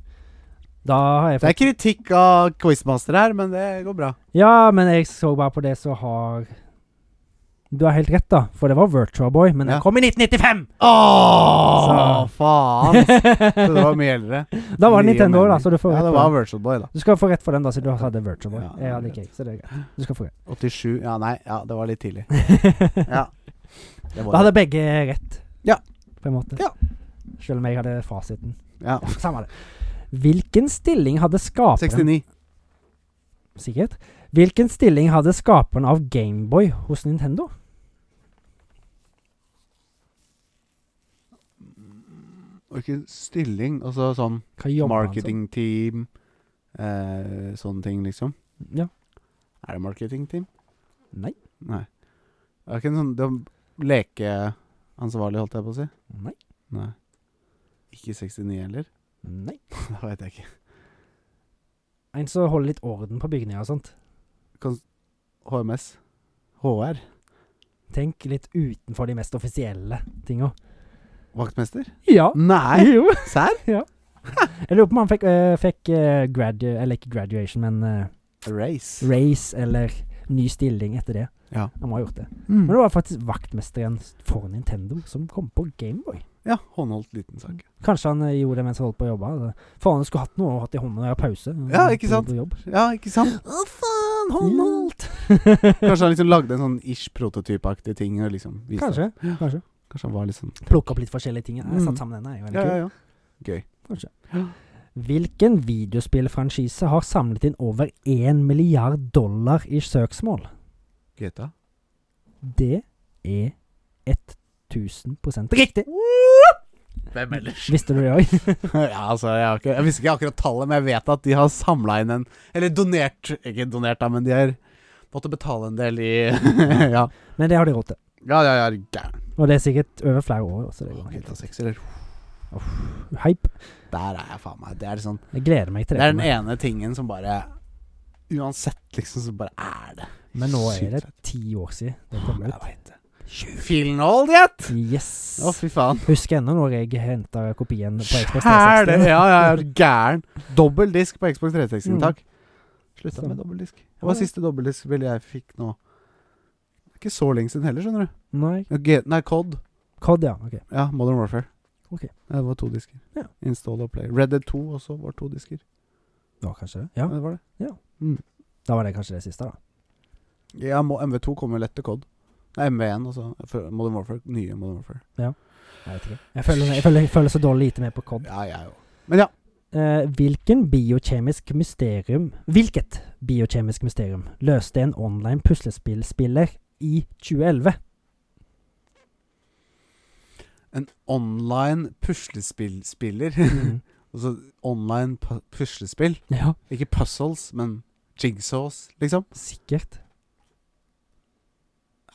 Da har Det jeg fått er kritikk av Quizmaster her, men det går bra. Ja, men jeg så bare på det som har Du har helt rett, da. For det var Virtua Boy, men Ja. den kom i 1995! Åh, Så- faen! [LAUGHS] Så det var mye eldre. da var det Mye Nintendo, da, mening. så du [LAUGHS] får Ja, rett det på var den. Virtual Boy, da. Du skal få rett for den, da, siden du hadde Virtua Boy. Ja, det jeg er hadde greit. ikke jeg, så det er greit. Du skal få rett. 87 Ja, nei, ja, det var litt tidlig. Ja. [LAUGHS] Det da hadde begge rett, Ja. på en måte. Ja. Selv om jeg hadde fasiten. Ja. Samme det. Hvilken stilling hadde skaperen 69. Sikkert. Hvilken stilling hadde skaperen av Gameboy hos Nintendo? Og ikke stilling, altså sånn Hva jobba han sånn? som? marketing team, eh, sånne ting, liksom. Ja. Er det marketing team? Nei. Nei. Det er ikke en sånn det er lekeansvarlig, holdt jeg på å si. Nei. Nei. Ikke 69 heller? [LAUGHS] Nei. Da vet jeg ikke. En som holder litt orden på bygninger og sånt. HMS? HR? Tenk litt utenfor de mest offisielle tinga. Vaktmester? Ja. Nei! [LAUGHS] Jo. Serr? Jeg lurer på om han fikk, eh, fikk eh, gradu... Eller ikke graduation, men eh, Race. race eller ny stilling etter det. Ja. Han må ha gjort det. Mm. Men det var faktisk vaktmesteren for Nintendo som kom på Gameboy. Ja, håndholdt liten sak. Kanskje han eh, gjorde det mens han holdt på å jobbe. altså. Faen, jeg skulle hatt noe og hatt i hånda når jeg har pause. Ja, ikke På- sant? på jobb. Ja, ikke sant? Å, faen! håndholdt! [LAUGHS] Kanskje han liksom lagde en sånn ish prototypeaktig ting og liksom viste kanskje. kanskje. Kanskje han var litt sånn Plukke opp litt forskjellige ting. Jeg Mm. satt sammen denne. Jeg, Ja, ja, ja. Gøy. Hvilken videospillfranchise har samlet inn over 1 milliard dollar i søksmål? GTA? Det er 1000 riktig! Hvem ellers? Visste du det òg? [LAUGHS] ja, altså, jeg, har ikke, jeg visste ikke akkurat tallet, men jeg vet at de har samla inn en Eller donert Ikke donert, da, men de har måttet betale en del i [LAUGHS] Ja, [LAUGHS] Men det har de råd til. ja, ja, ja gæren. Og det er sikkert over flere år. Så det går helt GTA 6, eller Hype. Der er jeg faen meg. Det er sånn Jeg gleder meg til Det det. er den ene tingen som bare Uansett, liksom, så bare er det Men nå e- Sykt er det fett. ti år siden det kom Jeg ut. vet det. Feeling old yet? Yes! Å, fy faen. Husker ennå når jeg henta kopien på Xbox Skjæl det! 360. Ja, ja, ja, gæren. Dobbel disk på Xbox 360, Mm. takk. Slutta Så. med dobbel disk. Det var siste dobbel disk-spillet jeg fikk nå. Det er ikke så lenge siden heller, skjønner du. Nei. Ja, G nei, COD. Cod, ja. Ok. Ja, Modern Warfare. Ok. Ja, det var to disker. Ja. Install og Play. Red Dead 2 også var to disker. Det var kanskje det? Ja. Ja, det var det. Da var det kanskje det siste, da. Ja, må- MV2 kommer lett til COD. Nei, MV1, altså. for Modern Warfare. Nye Modern Warfare. Jeg vet ikke. Jeg føler, jeg føler, jeg føler så dårlig lite med på Cod. Ja, jeg òg. Men ja. Eh, hvilken biokjemisk mysterium Hvilket biokjemisk mysterium løste en online puslespillspiller i [LAUGHS] 2011? En online puslespillspiller. Mm. [LAUGHS] altså online pu- puslespill. Ja, Ikke puzzles, men jigsaws, liksom. sikkert.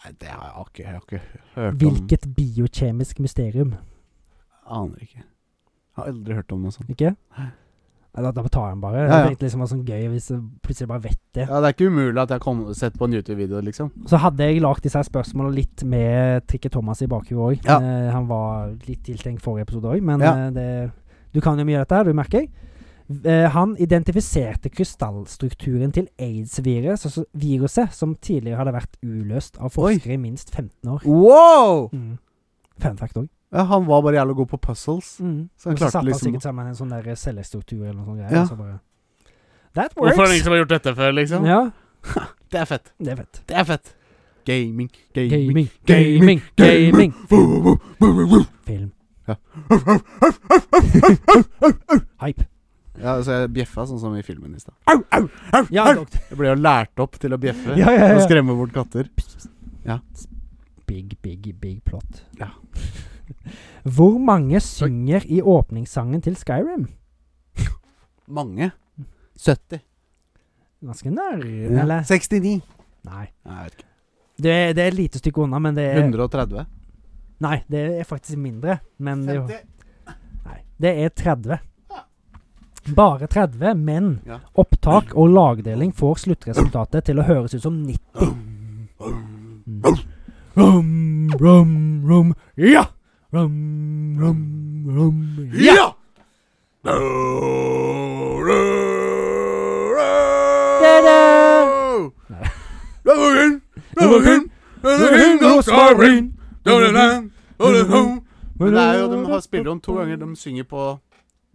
Nei, det har jeg ikke, jeg har ikke hørt om. Hvilket biokjemisk mysterium? Aner ikke. Har aldri hørt om noe sånt. Ikke? Nei, Da, da tar jeg den bare. Ja, ja. Jeg tenkte liksom det var sånn gøy hvis jeg plutselig bare vet det. Ja, Det er ikke umulig at jeg har kommet- sett på en YouTube-video, liksom. Så hadde jeg lagd disse her spørsmålene litt med Trikke Thomas i bakhuet òg. Ja. Eh, han var litt tiltenkt forrige episode òg, men Ja. eh, det, du kan jo mye av dette, her, du merker jeg. Eh, han identifiserte krystallstrukturen til aids-viruset altså viruset som tidligere hadde vært uløst av Oi. forskere i minst 15 år. Wow! Mm. Fun fact òg. Ja, han var bare jævla god på puzzles. Mm. Så han Og så klarte satte han liksom sikkert sammen en sånn der cellestruktur eller noe sånt. greier, Ja. og så bare, That works! som har gjort dette før, liksom? Ja, Det er fett. det er fett. Det er fett. Gaming, gaming, Gaming, gaming, gaming. Film. Ja. [LAUGHS] Hype. Ja, så jeg bjeffa sånn som i filmen i stad. Ja, doktor. Jeg ble jo lært opp til å bjeffe Ja, ja, ja. og skremme bort katter. Big, big, big plot. Ja. [LAUGHS] Hvor mange synger i åpningssangen til Skyrim? Mange. 70. Ganske nær, Ja. eller? 69. Nei. Nei, jeg vet ikke. Det, er- det er et lite stykke unna, men det er 130. Nei, det er faktisk mindre. Men det, er jo- nei, det er 30. Bare 30, men Ja. opptak og lagdeling får sluttresultatet til å høres ut som Mm. 90. Rom, rom, rom, ja! Rom, rom, rom, ja! Nei. Men det er jo, de har spiller om to ganger. De synger på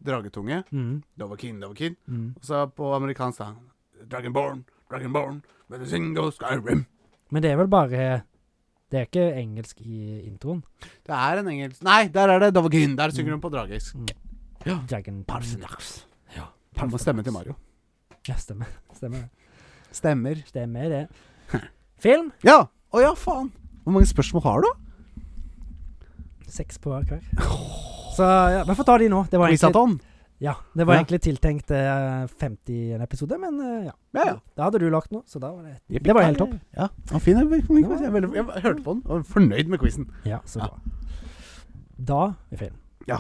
dragetunge. Mm, Dovahkiin, Dovahkiin. mm. Og så på amerikansk, da. Dragonborn, Dragonborn, with a single Skyrim. Men det er vel bare Det er ikke engelsk i introen. Det er en engelsk Nei, der er det Dovahkiin. Der synger de på dragisk. Dragon Parsenax. Han må stemme til Mario. Ja, stemmer. Stemmer det. Stemmer. Stemmer det. Film. Ja! Å ja, faen. Hvor mange spørsmål har du? Seks på hver. Så ja, vi får ta de nå. Det var egentlig, Quizaton? ja, det var Ja. egentlig tiltenkt eh, 50 en episode, men eh, ja. Ja, ja. Da hadde du lagt noe, så da var det Det var helt topp. Ja, han fin jeg, jeg, jeg, jeg, jeg, jeg hørte på den og var fornøyd med quizen. Ja, så Ja. bra. Da er film. Ja.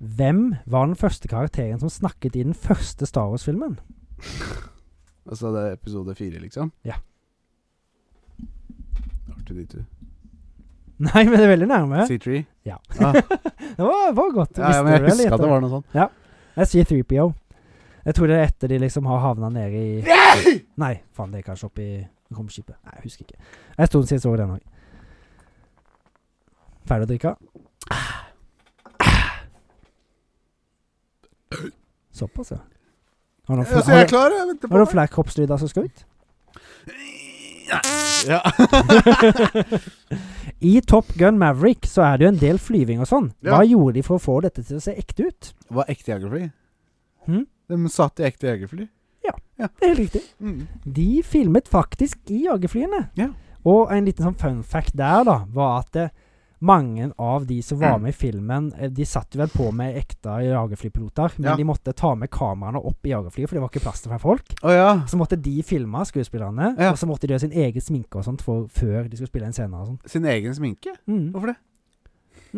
Hvem var den første karakteren som snakket i den første Star Wars-filmen? Altså det er episode fire, liksom? Ja. Artig, de to. [LAUGHS] Nei, men det er veldig nærme. C3? Ja. Ah, [LAUGHS] Det var, var godt. ja, ja, men jeg husker at det var noe sånt. Jeg sier 3PO. Jeg tror det er etter de liksom har havna nede i Nei, faen, det er kanskje oppi romskipet. Nei, jeg husker ikke. Jeg sto den sist over den òg. Ferdig å drikke? Såpass, ja. Har du noen fla- Altså, jeg er klar, jeg venter har du på noen flere kroppslyder som skal [LAUGHS] ut? [LAUGHS] Ja. I Top Gun Maverick så er det jo en del flyving og sånn. Ja. Hva gjorde de for å få dette til å se ekte ut? Var ekte jegerfly? Hm? De satt i ekte jegerfly? Det er helt riktig. Mm. De filmet faktisk i jagerflyene. Ja. Og en liten sånn fun fact der, da, var at eh, mange av de som var med i filmen, eh, de satt jo vel på med ekte jagerflypiloter, men Ja. de måtte ta med kameraene opp i jagerflyet, for det var ikke plass til flere folk. Å ja. Så måtte de filme skuespillerne, Ja. og så måtte de ha sin egen sminke og sånt for, før de skulle spille en scene og sånn. Sin egen sminke? Mm. Hvorfor det?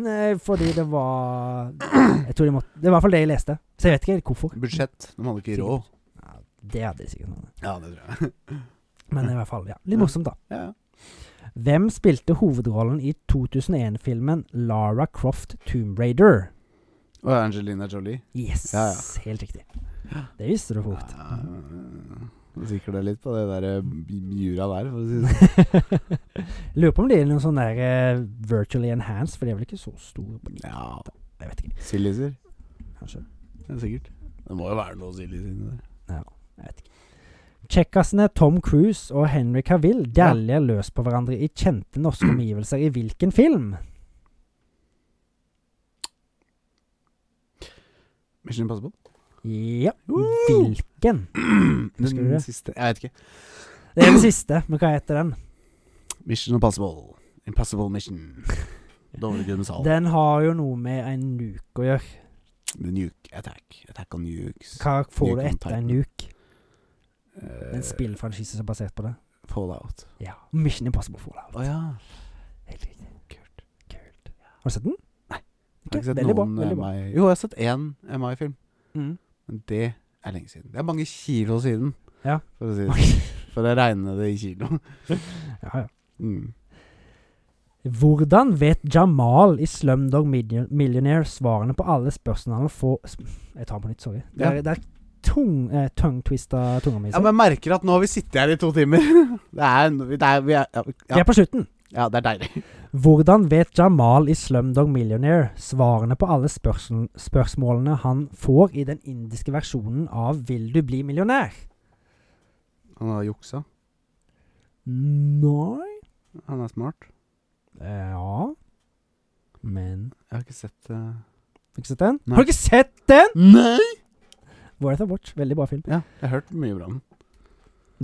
Nei, fordi det var Jeg tror de måtte Det var i hvert fall det jeg leste. Så jeg vet ikke helt hvorfor. Budsjett. De hadde ikke råd. Ja, det hadde de sikkert noe. Ja, det tror jeg. [LAUGHS] Men i hvert fall, ja. Litt morsomt, da. Ja. Hvem spilte hovedrollen i 2001-filmen Lara Croft Tomb Raider? Og Angelina Jolie. Yes, Ja, ja. helt riktig. Det visste du fort. Ja, du sikler deg litt på det der eh, b- jura der, for å si det sånn. [LAUGHS] Lurer på om det er noen sånn der eh, virtually enhanced, for de er vel ikke så store på de. Ja, Jeg vet ikke, silliser. kanskje. Ja, sikkert. Det må jo være noe sillis inni der. Jeg vet ikke. Kjekkasene Tom Cruise og Henry Cavill dæljer løs på hverandre i kjente norske omgivelser i hvilken film? Mission Impossible? Ja, Woo! hvilken? Husker du Den det? siste Jeg vet ikke. Det er den siste, men hva heter den? Mission Impossible. Impossible [LAUGHS] Mission. Dovre Gudmundsdal. Den har jo noe med en nuke å gjøre. The Nuke Attack. Attack on Nukes. Hva får du Nuke on etter en Titan. nuke? Det er Eh, En spillfranchise som er basert på det. Fallout. Ja. Mission Impossible Fallout. Å ja. Helt riktig. Kult. Kult. Har du sett den? Nei. Ikke? Jeg har ikke sett Veldig bra, noen eh, veldig bra. MI Jo, jeg har sett én MI-film, Mm. [LAUGHS] men det er lenge siden. Det er mange kilo siden, Ja. for å si det sånn, For å regne det i kilo. Ja, ja. Mm. Hvordan vet Jamal i Slumdog Million- Millionaire svarene på alle spørsmålene han får sp- Jeg tar den på nytt, sorry. Det er, Ja. det er tung, eh, tongue-twista tunga mi. Ja, men jeg merker at nå har vi sittet her i to timer. [LAUGHS] Det er, det er, vi er ja, Vi ja, er på slutten. ja, det er deilig. Hvordan vet Jamal i Slumdog Millionaire svarene på alle spørsmål, spørsmålene han får i den indiske versjonen av 'Vil du bli millionær'? Han har juksa. Nei Han er smart. Eh, Ja Men Jeg har ikke sett eh, det. Har Nei. du ikke sett den? Har du ikke sett den?! Nei! Worth a watch. Veldig bra film. Ja, jeg har hørt mye bra om den.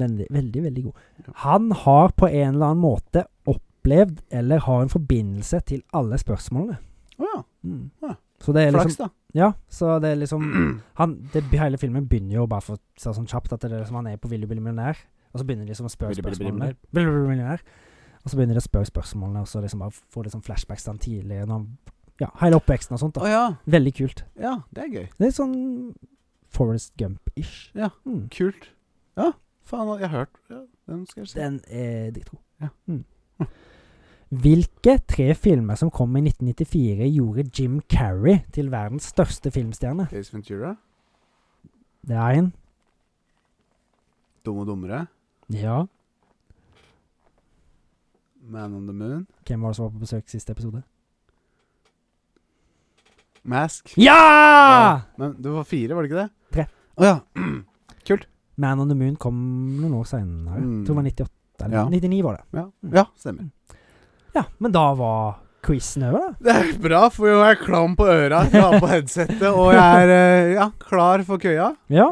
Veldig, veldig, veldig god. Ja. Han har på en eller annen måte opplevd eller har en forbindelse til alle spørsmålene. Å ja. Mm. Ja. Så det er liksom Flaks, da. Ja, så det er [CLEARS THROAT] liksom han, det, Hele filmen begynner jo bare for å si det sånn kjapt at det er liksom han er på Vil du bli millionær? Og så begynner de liksom å spørre Vil du bli spørsmålene. millionær? Vil du bli millionær? Og så begynner de å spørre spørsmålene, og så liksom bare får liksom flashbacks til han tidligere. Når han, ja, hele oppveksten og sånt. Å da ja. Veldig kult. Ja, det er gøy. Det er sånn Forest Gump-ish. Ja. Mm. Kult. Ja, faen, jeg har hørt ja, Den skal jeg se. Den er dritgod. Ja. Mm. Hvilke tre filmer som kom i 1994, gjorde Jim Carrey til verdens største filmstjerne? Ace Ventura. Det er en Dum og dummere. Ja. Man on the Moon. Hvem var det som var på besøk i siste episode? Mask. Ja! Ja, Men det var fire, var det ikke det? Tre. Å ja. Man on the Moon kom noen år senere. Mm. Jeg tror det var 98. Eller Ja. 99 var det. ja. Mm. Ja, stemmer. Ja, men da var quizen over, da. Det er bra, for jeg er klam på øra, jeg har på headsetet, og jeg er eh, ja, klar for køya. Ja.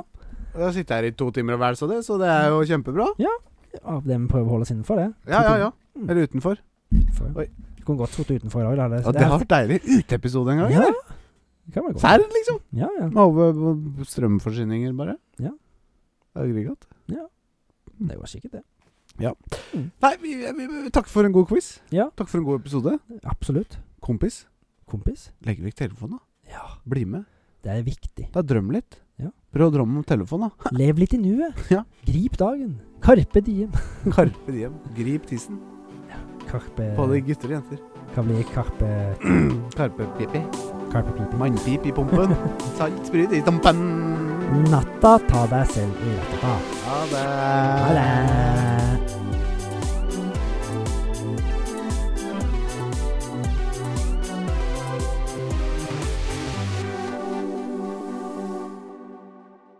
Og Jeg sitter her i to timer og vel så det, så det er jo kjempebra. ja det vi prøver å holde oss innenfor, det. Ja, ja, ja. Mm. Eller utenfor. Utenfor. Oi. Du kunne godt sittet utenfor i dag. Da. Det, Ja, det har vært deilig. Uteepisode en gang. Ja, eller? det kan være godt. Serr, liksom. Ja, ja. Med over eh, strømforsyninger, bare. Ja. Det er aggregat. Det var sikkert det. Nei, vi, vi, vi, takk for en god quiz. Ja. Takk for en god episode. Absolutt. Kompis, Kompis. legg vekk telefonen, da. Ja. Bli med. Det er viktig. Da drøm litt. Ja. Prøv å drømme om telefonen, da. [LAUGHS] Lev litt i [LAUGHS] nuet. Ja. Grip dagen. Karpe diem. Karpe diem. Grip tissen. [LAUGHS] Karpe Både gutter og jenter. Kan bli karpe Karpe pipi. Karpe pipi. Mannpip i [LAUGHS] pumpen. Salt sprut i tampen. Natta, ta deg selv i natta. Ha det. Ha det.